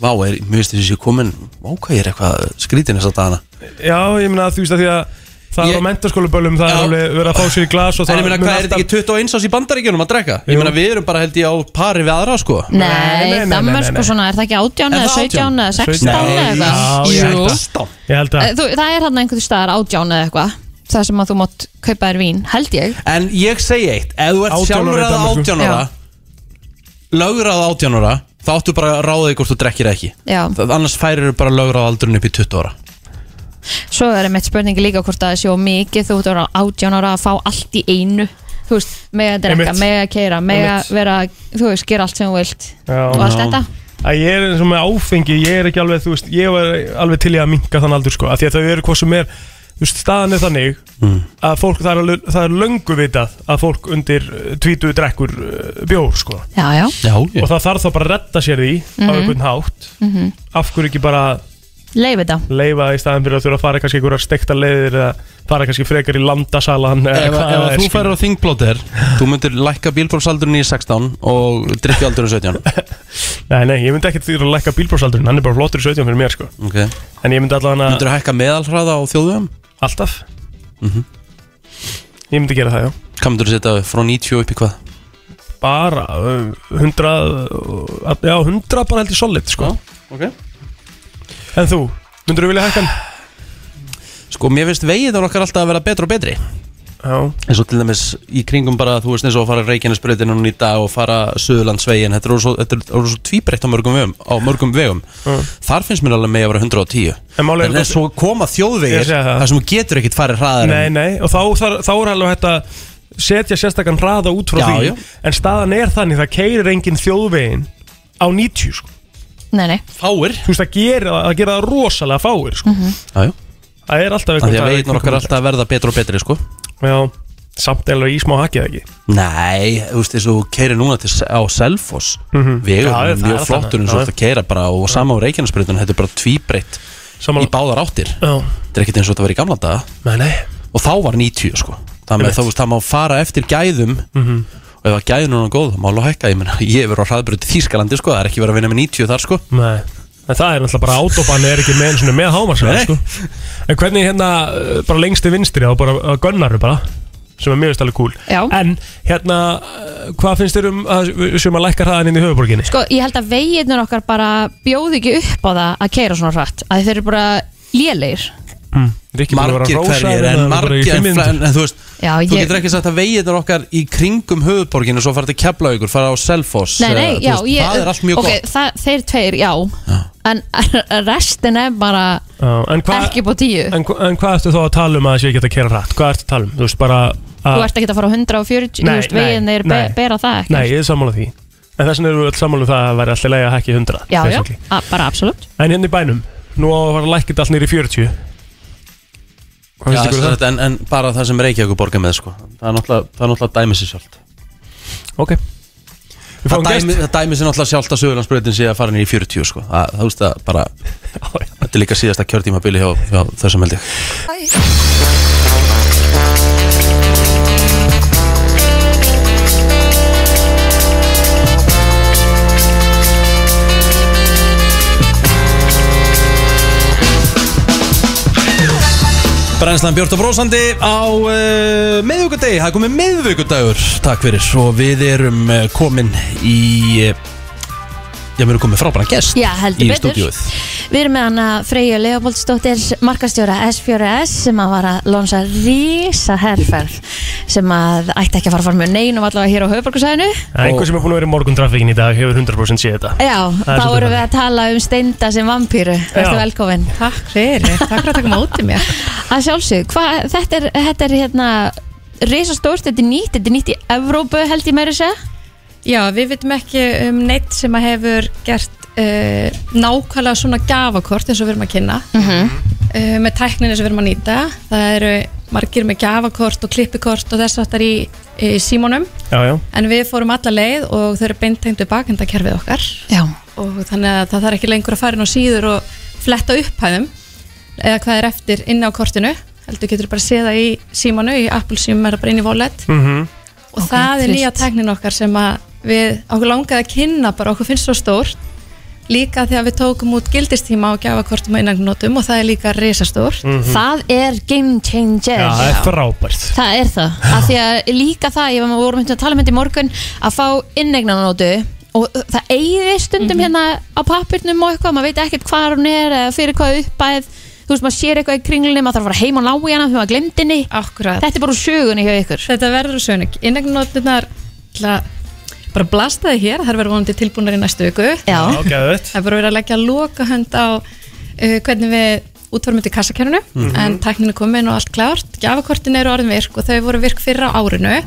Speaker 1: Vá, er, mér finnst þessi komin Vá, hvað ég er eitthvað skrítin þess að dana
Speaker 3: Já, ég meina að þú veist að því að Það er á mentaskóluböllum, það er alveg verið að fá sér í glas og
Speaker 1: En
Speaker 3: það
Speaker 1: ég meina,
Speaker 3: mun
Speaker 1: hvað er þetta
Speaker 3: alltaf-
Speaker 1: ekki 21 ás í bandaríkjunum að drekka? Ég
Speaker 3: Jú.
Speaker 1: meina, við erum bara held ég á pari við aðra, sko
Speaker 2: Nei,
Speaker 1: nei, nei, nei,
Speaker 2: Danmörk
Speaker 1: nei.
Speaker 2: og svona, er það ekki 18
Speaker 1: Er
Speaker 2: eða
Speaker 1: það
Speaker 2: 17 eða 16 eða
Speaker 1: Nei,
Speaker 2: eitthvað?
Speaker 1: já, ég held
Speaker 2: Jú.
Speaker 1: að-
Speaker 3: Ég held
Speaker 2: Eh, þú- Það er hann einhvern staðar 18 eða eitthvað það sem að þú mátt kaupa þér vín, held ég
Speaker 1: En ég segi eitt, ef þú ert
Speaker 3: 18 ára
Speaker 1: sjálfur
Speaker 3: í
Speaker 1: að
Speaker 3: Danmörku.
Speaker 1: 18 ára Lögrað 18 ára Þá áttu bara að ráða þig hvort þú drekkir eða ekki
Speaker 2: Já.
Speaker 1: Það, Annars færir þú bara lögrað aldurinn upp í 20 ára
Speaker 2: Svo er mitt spurningi líka hvort að það sé of mikið þú ert að vera 18 ára að fá allt í einu þú veist, með að drekka,
Speaker 3: Einmitt.
Speaker 2: með að keira með að
Speaker 3: Einmitt.
Speaker 2: vera, þú veist, gera allt sem þú vilt
Speaker 3: Já.
Speaker 2: og allt þetta
Speaker 3: að ég er eins og með áfengi ég er ekki alveg, þú veist, ég var alveg til í að minka þann aldur sko, af því að þau eru hvað sem er þú veist, staðan er þannig
Speaker 1: Mm.
Speaker 3: að fólk, það er, alveg- það er löngu vitað að fólk undir eh, tvítugu drekkur eh, bjór sko,
Speaker 2: Já, já,
Speaker 1: Já,
Speaker 3: og það þarf þá bara að retta sér því á
Speaker 2: Mhm.
Speaker 3: einhvern hátt
Speaker 2: mm -hmm.
Speaker 3: af hverju ekki bara
Speaker 2: leif þetta
Speaker 3: leifa í staðan fyrir að þurfa að fara kannski einhverjar stekta leiðir eða fara kannski frekar í landasalan eða
Speaker 1: Eh, Ef,
Speaker 3: hvað
Speaker 1: ef
Speaker 3: það er,
Speaker 1: þú
Speaker 3: skilur.
Speaker 1: færir á þingplóter Þú myndir lækka bílbrófsaldurinn í 16 Og drikki aldurinn 17
Speaker 3: Nei, nei, ég myndi ekkert því að lækka bílbrófsaldurinn, hann er bara flottur í 17 fyrir mér sko
Speaker 1: okay.
Speaker 3: En ég myndi allavega
Speaker 1: Myndir þú hækka meðalhraða á Mhm. þjóðum?
Speaker 3: Alltaf Ég myndi gera það, já
Speaker 1: Hvað myndir þú setja frá 90 upp í hvað?
Speaker 3: Bara, uh, 100, uh, já, 100 bara held ég solid sko
Speaker 1: ok.
Speaker 3: En þú, myndur þú vilja hækka hann?
Speaker 1: Sko, mér finnst vegið á okkar alltaf að vera betra og betri
Speaker 3: Já
Speaker 1: eins og til dæmis í kringum bara þú veist eins og að fara Reykjanesbreytinu núna í dag og fara Suðurlandsvegin, þetta eru svo, þetta er, er svo tvíbreytt á mörgum vegum, á mörgum vegum.
Speaker 3: Mm.
Speaker 1: þar finnst mér alveg með að vera 110
Speaker 3: En málið er
Speaker 1: en
Speaker 3: að-
Speaker 1: svo koma
Speaker 3: Ég
Speaker 1: þjóðvegir
Speaker 3: segi það.
Speaker 1: þar sem þú getur ekkit farið hraðar
Speaker 3: Nei,
Speaker 1: en-
Speaker 3: nei, og þá, þá, þá er alveg hægt að setja sérstakann hraða út frá
Speaker 1: Já,
Speaker 3: því
Speaker 1: já.
Speaker 3: En staðan er þannig, það keirir engin þjóðvegin á 90 sko
Speaker 2: Nei, nei,
Speaker 1: Fáir
Speaker 3: Þú veist, það gera, það gera það rosalega fáir sko
Speaker 2: Mhm.
Speaker 1: Já, já.
Speaker 3: Það er alltaf
Speaker 1: Af því að veginn okkar alltaf að verða betra og betri sko
Speaker 3: Já, samt eða í smá hakið ekki
Speaker 1: Nei, þú veist eins og keirir núna til, á Selfoss
Speaker 3: Mhm.
Speaker 1: vegum,
Speaker 3: Já, það er
Speaker 1: mjög
Speaker 3: alltaf
Speaker 1: flottur eins
Speaker 3: þannig,
Speaker 1: og
Speaker 3: já,
Speaker 1: þetta keira bara og sama á Reykjanesbreytinu, þetta er bara tvíbreytt í báðar áttir
Speaker 3: Já.
Speaker 1: þetta er ekkit eins og þetta var í gamla daga
Speaker 3: Nei, nei
Speaker 1: og þá var 90 sko það með
Speaker 3: Einmitt.
Speaker 1: þá veist það má fara eftir gæðum
Speaker 3: Mhm.
Speaker 1: og ef að gæðun er góð þá má alveg hækka ég meina <laughs> ég hefur á hraðbröð í Þýskalandi sko það er ekki verið að vinna með 90 þar sko
Speaker 3: Nei, en það er náttúrulega bara autobahn er ekki með, einu sinni með hámarsræða
Speaker 1: Nei.
Speaker 3: sko. En hvernig hérna, uh, bara lengsti vinstri þá bara uh, gönnar við bara sem er mjög stæðlega cool
Speaker 2: Já.
Speaker 3: En hérna, uh, hvað finnst þér um að, sem að lækka hraðan inn í höfuborginni?
Speaker 2: sko, ég held að veginnur okkar bara bjóði ekki upp á það að keira svona hratt að þeir eru bara lélegir
Speaker 3: Rikki búin að vera
Speaker 1: margir
Speaker 3: að rósa
Speaker 1: hverjir en
Speaker 3: þeim, það er bara í
Speaker 1: margir
Speaker 3: fimm
Speaker 1: en,
Speaker 3: mínútur.
Speaker 1: en, en þú veist
Speaker 2: Já,
Speaker 1: þú
Speaker 2: ég-
Speaker 1: getur ekki sagt að veginnur okkar í kringum höfuborginu svo fara til Keflaugur fara á Selfoss
Speaker 2: Nei,
Speaker 1: eh,
Speaker 2: nei,
Speaker 1: þú
Speaker 2: já,
Speaker 1: veist,
Speaker 2: ég,
Speaker 1: það er allt mjög
Speaker 2: ok,
Speaker 1: gott
Speaker 2: það, þeir tveir, já, en <laughs> restin er bara
Speaker 3: Já, en, hva,
Speaker 2: ekki upp á tíu
Speaker 3: en, hva- en hvað ertu þá að tala um að þessi ekki að kera hratt? Hvað ertu að tala um? Þú veist bara
Speaker 2: Þú
Speaker 3: að
Speaker 2: ert ekki að fara á 140,
Speaker 3: Nei,
Speaker 2: þú veist,
Speaker 3: nei,
Speaker 2: veginn er be,
Speaker 3: nei.
Speaker 2: bera það ekki
Speaker 3: Nei, ég er sammála því En þess vegna eru við öll sammála um það að vera alltaf leið að hækki 100
Speaker 2: Já, já,
Speaker 3: basically.
Speaker 2: a- bara absolutt
Speaker 3: En hérna í bænum, nú á að fara að lækka þetta allt nýri 40 Hvað
Speaker 1: Já,
Speaker 3: finnst ykkur
Speaker 1: sem
Speaker 3: um það?
Speaker 1: sagt, en, en bara það sem Reykjavík borga með sko það er náttúrulega, það er náttúrulega dæmi sér sjálft
Speaker 3: Ok
Speaker 1: Það
Speaker 3: fáum
Speaker 1: dæmi, það dæmi sér náttúrulega sjálft að Suðurlandsbreytin sé að fara niður í 40 sko það, það, það, það <laughs> bara, þetta er líka síðasta kjörtímabili hjá, hjá þessum held ég Brænslan Björn og Brósandi á uh, miðvíkudegi, það er komið miðvíkudagur Takk fyrir, og við erum uh, komin í uh, Já, við erum komin frábæran gest
Speaker 2: Já, heldur
Speaker 1: í
Speaker 2: betur.
Speaker 1: stúdíóið
Speaker 2: Við erum með hana Freyja Leopoldsdóttir, markastjóra S4S sem að var að lonsa rísa herrferð sem að ætti ekki að fara fram með neinum allavega hér á höfuborgarsæðinu.
Speaker 3: Það er einhver sem er búin að vera í morgun í dag hefur 100% séð þetta
Speaker 2: Já,
Speaker 3: Það er
Speaker 2: þá
Speaker 3: svolítið
Speaker 2: erum við að tala um steinda sem vampýru. Verður velkomin. Takk fyrir, takk fyrir að taka mótið mér. Að sjálfsög, hvað, þetta er, þetta er hérna risastórt, þetta er nýtt, þetta er nýtt í Evrópu held ég meira að segja.
Speaker 17: Já, við veitum ekki um neitt sem að hefur gert uh, nákvæmlega svona gafakort eins og við erum að kynna
Speaker 2: Mhm.
Speaker 17: uh, með tækninni sem við erum að nýta það eru margir með gafakort og klippikort og þess aftar í, í símónum
Speaker 3: Já, já
Speaker 17: en við fórum alla leið og þau eru beintengt við bakendakerfið okkar
Speaker 2: Já.
Speaker 17: og þannig að það þarf ekki lengur að fara inn á síður og fletta upphæðum eða hvað er eftir inn á kortinu heldur getur bara séð það í símanu í Apple símum er það bara inn í wallet
Speaker 3: Mhm.
Speaker 17: og það er
Speaker 2: trist.
Speaker 17: nýja tæknin okkar sem að við okkur langaði að kynna bara okkur finnst svo stórt líka þegar við tókum út gildistíma og gjafakortum og innangnotum og það er líka risastórt
Speaker 3: Mhm.
Speaker 2: Það er game changer.
Speaker 3: Já, það er frábært
Speaker 2: Það er það, af því að líka það ég var við vorum myndið að tala með þetta í morgun að fá innegnanótu og það eigði stundum
Speaker 17: Mhm.
Speaker 2: hérna á pappirnum og eitthvað, maður veit ekkert hvað hún er eða fyrir hvað uppæð, þú veist maður sér eitthvað í kringlunni, maður þarf að fara heim og ná í hana þegar maður glemd henni,
Speaker 17: Akkurat.
Speaker 2: þetta er bara úr sögunni hjá ykkur
Speaker 17: Þetta verður úr sögunni, innegnotunar bara blastaði hér þar verður vonandi tilbúnar í næstu viku
Speaker 2: Já,
Speaker 3: geðveikt.
Speaker 17: Það er bara verið að leggja loka hönd á uh, hvernig við útvarum þetta í kassakerninu
Speaker 3: Mhm.
Speaker 17: en tæknin er komin og allt klárt Gjafakortin eru orðin virk og þau voru virk fyrir á árinu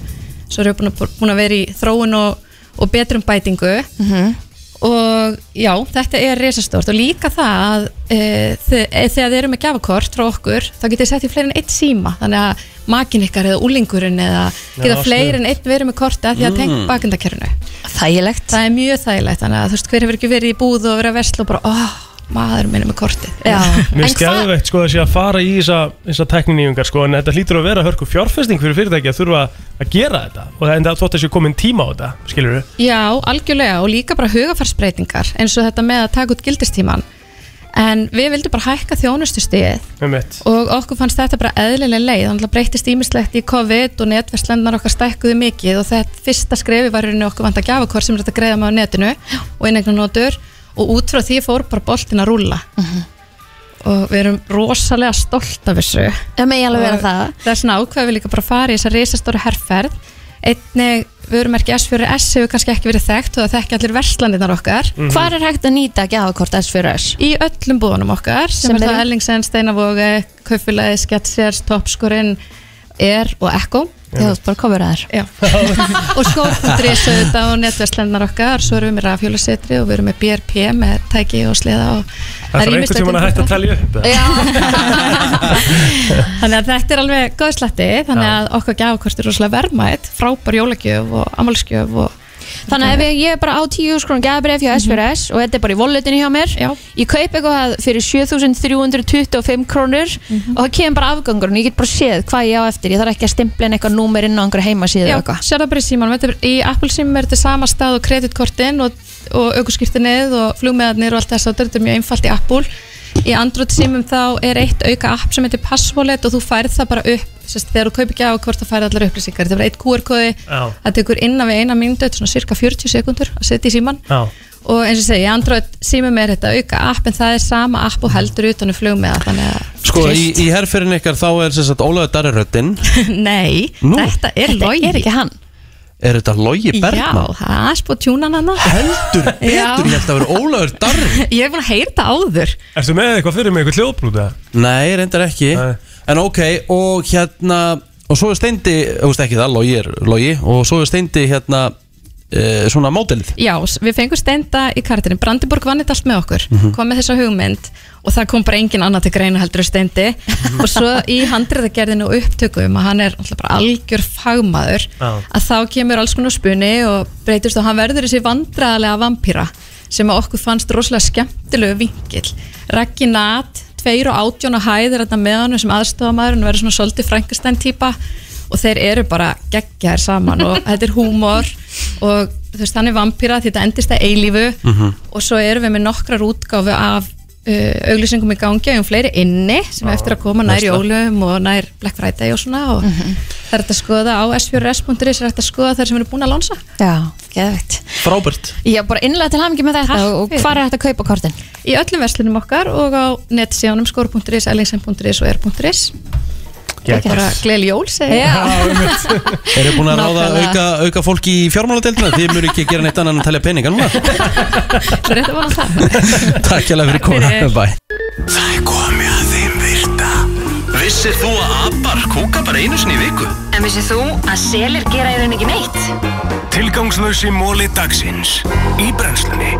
Speaker 17: svo eru búin að, búin að vera í þróun og, og betrum bætingu
Speaker 2: Mhm.
Speaker 17: og já, þetta er risastórt og líka það að e, þe- e, þegar þið eru með gjafakort frá okkur þá getið þið sett í fleiri en eitt síma þannig að makin ykkar eða úlingurinn eða geta
Speaker 2: Já,
Speaker 17: fleiri en
Speaker 2: sniðugt.
Speaker 17: einn verið með korti að því að
Speaker 2: Mm.
Speaker 17: tengt bakendakerfinu
Speaker 2: Þægilegt
Speaker 17: Það er mjög þægilegt, þannig að þú veist hver hefur ekki verið í búð og verið að vesla og bara, óh, maður minni með kortið Já,
Speaker 3: Mér skæðveikt sko þessi að fara í þessa, þessa tekninýjungar sko en þetta hlýtur að vera hörku fjárfesting fyrir fyrirtæki að þurfa að gera þetta og það enda þótt að sé komin tíma á þetta, skilur við?
Speaker 17: Já, algjörlega og líka bara hugafarsbreytingar eins og þetta með að taka út gildistíman en við vildum bara hækka þjónustustíð
Speaker 3: Um mitt.
Speaker 17: og okkur fannst þetta bara eðlilega leið þannig að breytist ímislegt í COVID og netverslendnar okkar stækkuðu mikið og þetta fyrsta skrefi var í rauninni okkur vant að gjafa hvort sem er þetta greiða með á netinu og innegna notur og út frá því fór bara boltin að rúlla og við erum rosalega stolt af þessu
Speaker 2: Það megi alveg vera það.
Speaker 17: Það er svona ákveð við líka bara að fara í þessa risastóru herrferð einnig vörumerki S4S hefur kannski ekki verið þekkt og það þekki allir verslanirnar okkar
Speaker 2: Mhm. Hvar er hægt að nýta gjafakort S4S?
Speaker 17: Í öllum búðunum okkar sem,
Speaker 2: Sem
Speaker 17: er
Speaker 2: eru?
Speaker 17: það Ellingsen, Steinavogi, Kaufélagi, Sketsers, Topskorinn, Er og Ekko
Speaker 2: Þú ert bara komur að <laughs> þér
Speaker 17: og skór.ris auðvitað og netverslendnar okkar svo erum við með rafhjólusetri og við erum með BRP með tæki og sleða og
Speaker 3: Það þarf einhvern tíma að hætta að telja upp eða?
Speaker 17: þannig að þetta er alveg góð slatti þannig að okkar gjafakort er rosalega verðmætt frábær jólagjöf og amalskjöf og
Speaker 2: Þannig að ef ég- ég er bara á 10 skrón gæðabref
Speaker 17: Mhm.
Speaker 2: hjá S4S og þetta er bara í volletinu hjá mér Já. Ég kaup eitthvað fyrir 7.325 krónur
Speaker 17: Mhm.
Speaker 2: og það kemur bara afgangur og ég get bara séð hvað ég á eftir Ég þarf ekki að stimpla inn eitthvað númer inn á einhverja
Speaker 17: Já,
Speaker 2: heimasíðu eða eitthvað
Speaker 17: sér það bara í símanum Þetta er- Í Apple símanum er þetta sama stað og kreditkortin og, og aukurskýrtinnið og flugmeðarnir og allt þess að þetta er mjög einfalt í Apple Í Android símum þá er eitt auka app sem heitir Passwallet og þú færð það bara upp sérst, þegar þú kaupir gjafakort þá færð allar upplýsingar þetta er bara eitt QR-kóði
Speaker 3: Já.
Speaker 17: það tekur innan við eina myndu svona cirka 40 sekundur að setja í síman
Speaker 3: Já.
Speaker 17: og eins og ég segi, í Android símum er þetta auka app en það er sama app og heldur utan um flugmeðar þannig að
Speaker 1: Sko, í, í herrferðin ykkar þá er sem sagt Ólaður Darri Röddinn
Speaker 17: <laughs> Nei,
Speaker 1: Nú?
Speaker 17: þetta er logi Þetta er ekki hann
Speaker 1: Er þetta Logi Bergman?
Speaker 17: Já, það er spóð tjúnan hann
Speaker 1: Heldur Betur, ég held að vera Ólaður Darri
Speaker 17: <laughs> Ég hef búin að heyra þetta áður
Speaker 3: Ertu með eitthvað fyrir mig, eitthvað hljóðbrúta?
Speaker 1: Nei, reyndar ekki En ok, og hérna Og svo er steindi, þú veist ekki það, logi er logi Og svo er steindi hérna e, Svona mótelið
Speaker 17: Já, s- við fengum stenda í kartinni Brandiborg vann þetta allt með okkur
Speaker 1: Mhm.
Speaker 17: kom með þessa hugmynd og það kom bara engin annað til greina heldur en stendi
Speaker 1: <laughs>
Speaker 17: og svo í handriðagerðinu og upptökum að hann er alltaf bara algjör fagmaður að þá kemur alls konar spunni og breytist og hann verður þessi vandræðalega vampýra sem að okkur fannst rosalega skemmtilegu vingil Raggi Nat, tveir og átjón og hæðir þetta með hann sem aðstofamæður og verður svona svolítið Frankenstein típa og þeir eru bara geggjar saman og <laughs> þetta er húmor og þú veist, hann er vampýra því þetta endist að eilífu
Speaker 8: Mhm.
Speaker 17: og svo erum við með nokkrar útgáfu af uh, auglýsingum í gangi um fleiri inni sem er eftir að koma nær
Speaker 2: veistla.
Speaker 17: jólum og nær Black Friday og svona og
Speaker 2: Mhm.
Speaker 17: það er þetta að skoða á s4s.is er þetta að skoða þær sem eru búin að lansa
Speaker 2: Já, geðvægt
Speaker 1: Frábært
Speaker 2: Já, bara innlega til hamingi með þetta og hvað er þetta að kaupa kortin?
Speaker 17: í öllum verslunum okkar og á netsíðanum skor.is, lsm.is og r.is
Speaker 1: Geggjað.
Speaker 17: bara gleyli jól segi ég.
Speaker 1: Eru búin að ráða
Speaker 17: Nákvæmlega.
Speaker 1: auka, auka fólk í fjármáladeildina? Þið mjög ekki gera neitt annan en telja peninga
Speaker 17: <laughs>
Speaker 1: núna
Speaker 17: Svo rétt að vona það
Speaker 1: Takk hjá fyrir komuna
Speaker 17: Fyrir.
Speaker 1: Bæ
Speaker 4: Það er komið að þeim virta Vissir þú að abar kúka bara einu sinni í viku?
Speaker 18: En vissið þú að selir gera í raun ekki neitt?
Speaker 4: Tilgangslösi móli dagsins Í brennslunni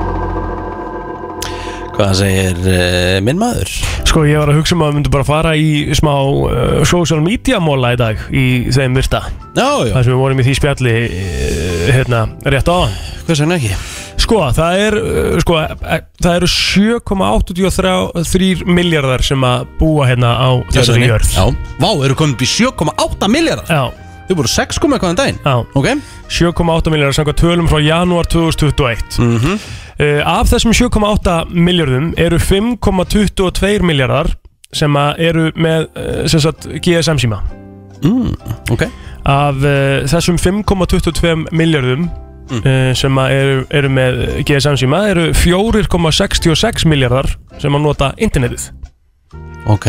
Speaker 1: Hvað segir uh, minn maður?
Speaker 3: Sko ég var að hugsa um að við myndum bara fara í smá uh, social media móla í dag í þeim virta
Speaker 1: Já, já
Speaker 3: Það sem við vorum í því spjalli uh, hérna, rétt á hann
Speaker 1: Hvað segir ekki?
Speaker 3: Sko, það, er, uh, sko, eh, það eru 7,83 miljardar sem að búa hérna á þessari
Speaker 1: Jörðinni.
Speaker 3: jörð
Speaker 1: Já. Vá, eru komin upp í 7,8 miljardar
Speaker 3: Já
Speaker 1: Þau voru 6 koma eitthvað en daginn
Speaker 3: Já
Speaker 1: okay.
Speaker 3: 7,8 miljardar samkvæmt tölum frá janúar 2021
Speaker 1: Mhm.
Speaker 3: uh, Af þessum 7,8 miljardum eru 5,22 miljardar sem að eru með uh, sem sagt, GSM síma
Speaker 1: mm, okay.
Speaker 3: Af uh, þessum 5,22 miljardum
Speaker 1: Mm.
Speaker 3: uh, sem að eru, eru með GSM síma eru 4,66 miljardar sem að nota internetið
Speaker 1: Ok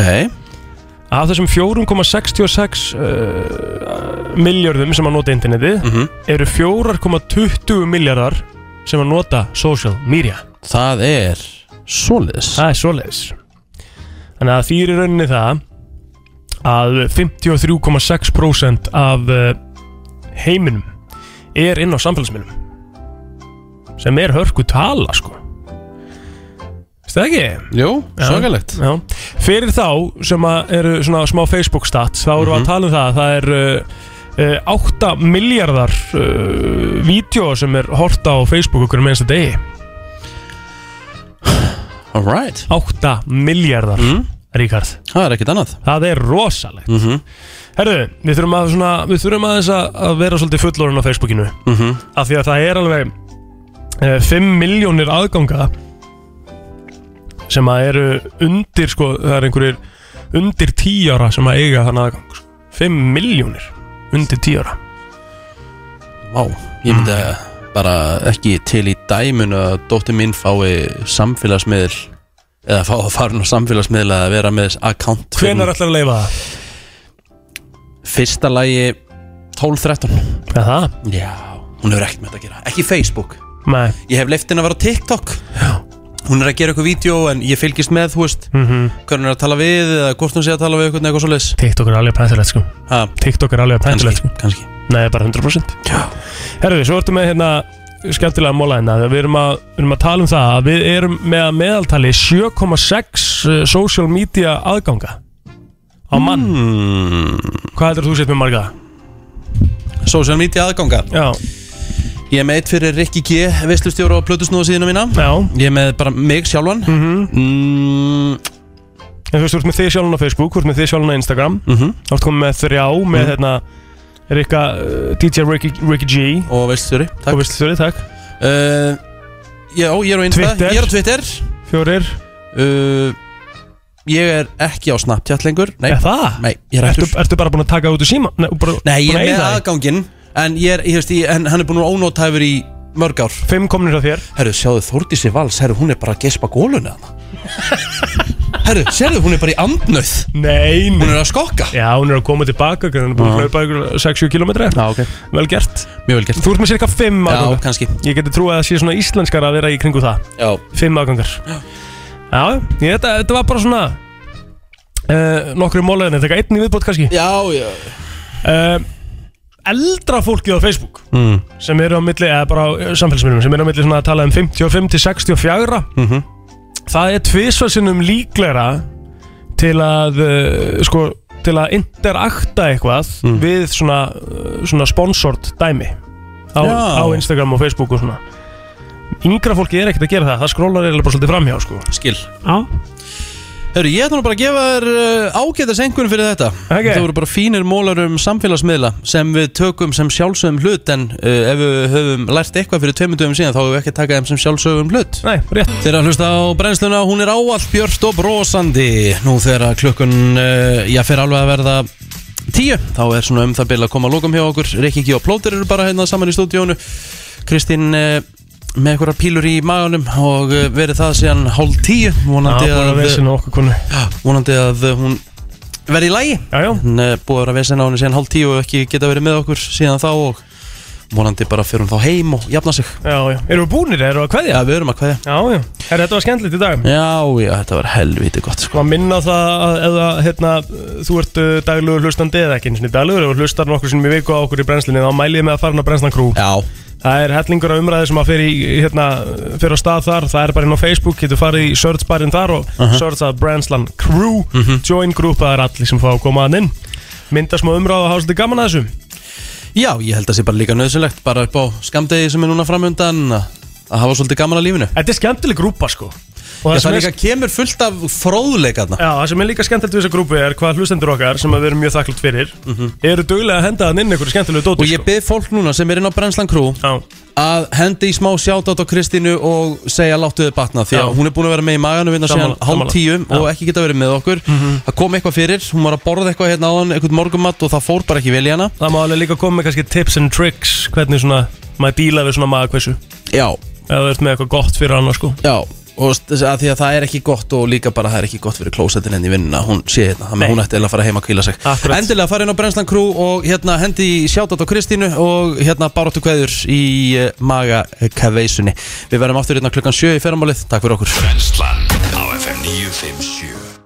Speaker 3: Af þessum 4,66 uh, miljardum sem að nota internetið
Speaker 1: Mhm.
Speaker 3: eru 4,20 miljardar sem að nota social media
Speaker 1: Það er svoleiðis
Speaker 3: Það er svoleiðis Þannig að því er í rauninni það að 53,6% af uh, heiminum er inn á samfélagsmiðlum sem er hörku tala sko Veist það ekki?
Speaker 1: Jú,
Speaker 3: Já,
Speaker 1: svakalegt.
Speaker 3: já. Fyrir þá sem að eru svona smá Facebook stats þá erum við
Speaker 1: Mhm.
Speaker 3: að tala um það að það er uh, uh, 8 miljardar uh, vídeo sem er horta á Facebook okkur um einsta degi
Speaker 1: Alright
Speaker 3: 8 miljardar mm. Ríkard
Speaker 1: Það er ekkit annað
Speaker 3: Það er rosalegt
Speaker 1: mm -hmm.
Speaker 3: Herðu, við þurfum að, svona, við þurfum aðeins að að vera svolítið fullorinn á Facebookinu
Speaker 1: Mhm.
Speaker 3: af því að það er alveg eh, 5 miljónir aðganga sem að eru undir sko, það er einhverjir undir 10 ára sem að eiga þann aðgang sko. 5 miljónir undir 10 ára
Speaker 1: Vá, ég myndi
Speaker 3: Mm.
Speaker 1: bara ekki til í dæmun að dóttir mín fái samfélagsmiðl eða fá að fara á samfélagsmiðl að vera með account
Speaker 3: Hvenær ætlar að leifa það?
Speaker 1: Fyrsta lagi 12-13
Speaker 3: Aha.
Speaker 1: Já, hún hefur ekkert með þetta að gera Ekki Facebook
Speaker 3: Nei.
Speaker 1: Ég hef leift henni að vera á TikTok Já. Hún er að gera eitthvað vídeo en ég fylgist með, þú veist
Speaker 3: mm -hmm.
Speaker 1: Hvað hún er að tala við eða hvort hún sé að tala við eitthvað eitthvað svo leis
Speaker 3: TikTok er alveg pæntilegt sko
Speaker 1: Ha.
Speaker 3: TikTok er alveg pæntilegt sko
Speaker 1: kannski
Speaker 3: Nei, bara 100% Já Herðu, svo ertu með hérna skemmtilega móla hérna Við erum að, við erum að tala um það að Við erum með að meðaltali 7,6 eh, social media aðganga Á mann Hvað heldur þú sett með marga?
Speaker 1: Hmm. Social media aðganga
Speaker 3: Já
Speaker 1: Ég er með eitt fyrir Rikki G, veistlustjóra og plötusnúðu síðuna mína
Speaker 3: Já
Speaker 1: Ég er með bara mig sjálfan
Speaker 3: Mhm.
Speaker 1: mm,
Speaker 3: En þú veist, þú ert með þig sjálfan á Facebook Þú ert með þig sjálfan á Instagram
Speaker 1: mm -hmm.
Speaker 3: Þú ert komið með þrjá með
Speaker 1: Mhm.
Speaker 3: hérna Rikka, eh, DJ Ricky, Ricky G
Speaker 1: Og veistlustjóri, takk
Speaker 3: Og veistlustjóri, takk
Speaker 1: uh, Já, ég er á Insta
Speaker 3: Twitter.
Speaker 1: Ég er á Twitter
Speaker 3: Fjórir
Speaker 1: uh, Ég er ekki á Snapchat lengur Nei,
Speaker 3: Er það?
Speaker 1: Nei, ég er
Speaker 3: ertu,
Speaker 1: hættur
Speaker 3: ertu bara búin að taka út úr síma? Nei, bara,
Speaker 1: Nei, ég
Speaker 3: búin að
Speaker 1: er
Speaker 3: eyða
Speaker 1: með
Speaker 3: því?
Speaker 1: aðgangin En, ég er, ég veist, ég, en hann er búin að ónóta yfir í mörg ár
Speaker 3: Fimm komnir á þér
Speaker 1: Herru, sjáðu Þórdísi Vals, herru, hún er bara að gespa góluna hana Herru, sérðu, hún er bara í andnöð
Speaker 3: Nei, nei
Speaker 1: Hún er að skokka
Speaker 3: Já, hún er að koma tilbaka Hún er búin að hlaupa ykkur 6-7 km Já,
Speaker 1: ok
Speaker 3: Vel gert
Speaker 1: Mjög vel gert
Speaker 3: Þú ert með cirka 5
Speaker 1: Já,
Speaker 3: aðgangar
Speaker 1: kannski
Speaker 3: Ég geti trúið að það sé svona íslenskar að vera í kringu það
Speaker 1: Já
Speaker 3: 5 aðgangar Já, ég, þetta, þetta var bara svona uh, Nokkru mólaðinni Þetta er einn í viðbót kannski
Speaker 1: Já, já
Speaker 3: uh, Eldra fólkið á Facebook
Speaker 1: mm.
Speaker 3: Sem eru á milli, eða bara á samfélagsmyndum Sem eru á milli svona að tala um 55 til 64
Speaker 1: Mm -hmm.
Speaker 3: Það er tvisvarsinnum líklegra til að uh, sko, til að interakta eitthvað
Speaker 1: Mm.
Speaker 3: við svona, uh, svona sponsored dæmi á,
Speaker 1: Já.
Speaker 3: á Instagram og Facebook og svona Yngra fólki er ekkert að gera það, það skrólar eða bara svolítið framhjá sko
Speaker 1: Skil
Speaker 3: Já
Speaker 1: Hörru, ég ætla nú bara að gefa þér uh, ágæta sengun fyrir þetta okay. Það voru bara fínir mólar um samfélagsmiðla sem við tökum sem sjálfsögum hlut en uh, ef við höfum lært eitthvað fyrir tveimur dögum síðan þá höfum við ekki takað þeim sem sjálfsögum hlut
Speaker 3: Nei, rétt
Speaker 1: Þeir að hlusta á brennsluna, hún er áall björt og brosandi Nú þegar að klukkun, uh, já, fer alveg að verða tíu Þá er svona um það byrja að koma að lókum hjá okkur Rikki G og Plóter eru bara hérna saman í stúdíónu Kristín uh, með einhverja pílur í maganum og uh, verið það síðan hálf tíu Vonandi
Speaker 3: Já, bara
Speaker 1: að,
Speaker 3: vesen á okkur konu.
Speaker 1: Já, vonandi að uh, hún verði í lagi
Speaker 3: Já, já
Speaker 1: Hún uh, búið að vera vesen á henni síðan hálf tíu og ekki geta verið með okkur síðan þá og vonandi bara fyrir hún þá heim og jafna sig
Speaker 3: Já, já, erum við búnir, erum við að kveðja?
Speaker 1: Já, við erum að kveðja
Speaker 3: Já, já, Herra, þetta var skemmtilegt í dag
Speaker 1: Já, já, þetta var helviti gott sko.
Speaker 3: Að minna á það að eða, hérna, þú ert uh, daglegur hlustandi eða ekki einu sinni daglegur og hlustar nokkur sinni í viku á okkur í brennslinni þá mælið þið með að fara hann á brennslan krú
Speaker 1: Já
Speaker 3: Það er hellingur af umræði sem að fyrir, í, hérna, fyrir á stað þar, það er bara inn á Facebook, getur farið í search barinn þar og uh
Speaker 1: Aha. Mhm.
Speaker 3: search að Brenslan Crew, join group, það er allir sem fá að koma að inn, mynda smá umræði og hafa svolítið gaman að þessu.
Speaker 1: Já, ég held að það sé bara líka nöðsynlegt bara upp á skamdegi sem er núna framöndan að að hafa svolítið gaman að lífinu
Speaker 3: Þetta er skemmtileg grúpa sko
Speaker 1: Já,
Speaker 3: það
Speaker 1: það,
Speaker 3: sem er-
Speaker 1: líka kemur fullt af fróðleikarna
Speaker 3: Já, það sem er líka skemmtilegt við þessa grúpu er hvað hlustendur okkar sem að við erum mjög þakklátt fyrir,
Speaker 1: Mhm.
Speaker 3: eru duglega að henda að inn einhverju skemmtilegu dóti sko.
Speaker 1: Og ég bið fólk núna sem er inn á Brenslan Crew að hendi í smá sjátátt á Kristínu og segja láttu þið batna því að
Speaker 3: Já.
Speaker 1: hún er búin að vera með í maganu vinna síðan
Speaker 3: Sammála, sammála.
Speaker 1: hálf tíu og
Speaker 3: Já. Mhm.
Speaker 1: ekki geta verið með okkur það kom eitthvað fyrir, hún var að borða eitthvað hérna áðan eitthvað morgumatt og það fór bara ekki vel í hana
Speaker 3: Það má alveg líka koma með kannski tips and tricks hvernig svona maður díla við svona magakvessu
Speaker 1: Já
Speaker 3: Eða þú ert með eitthvað gott fyrir annars sko
Speaker 1: Já og þess að því að það er ekki gott og líka bara það er ekki gott fyrir klósetin henni í vinnuna hún sé hérna, þannig að hún ætti eiginlega að fara heima að kvíla sig Akkurat. endilega fara inn á Brenslan Crew og hérna hendi sjátat á Kristínu og hérna baróttu kveður í eh, maga kaveisunni við verðum aftur hérna klukkan sjö í ferramálið, takk fyrir okkur
Speaker 4: Brennslan á FM 957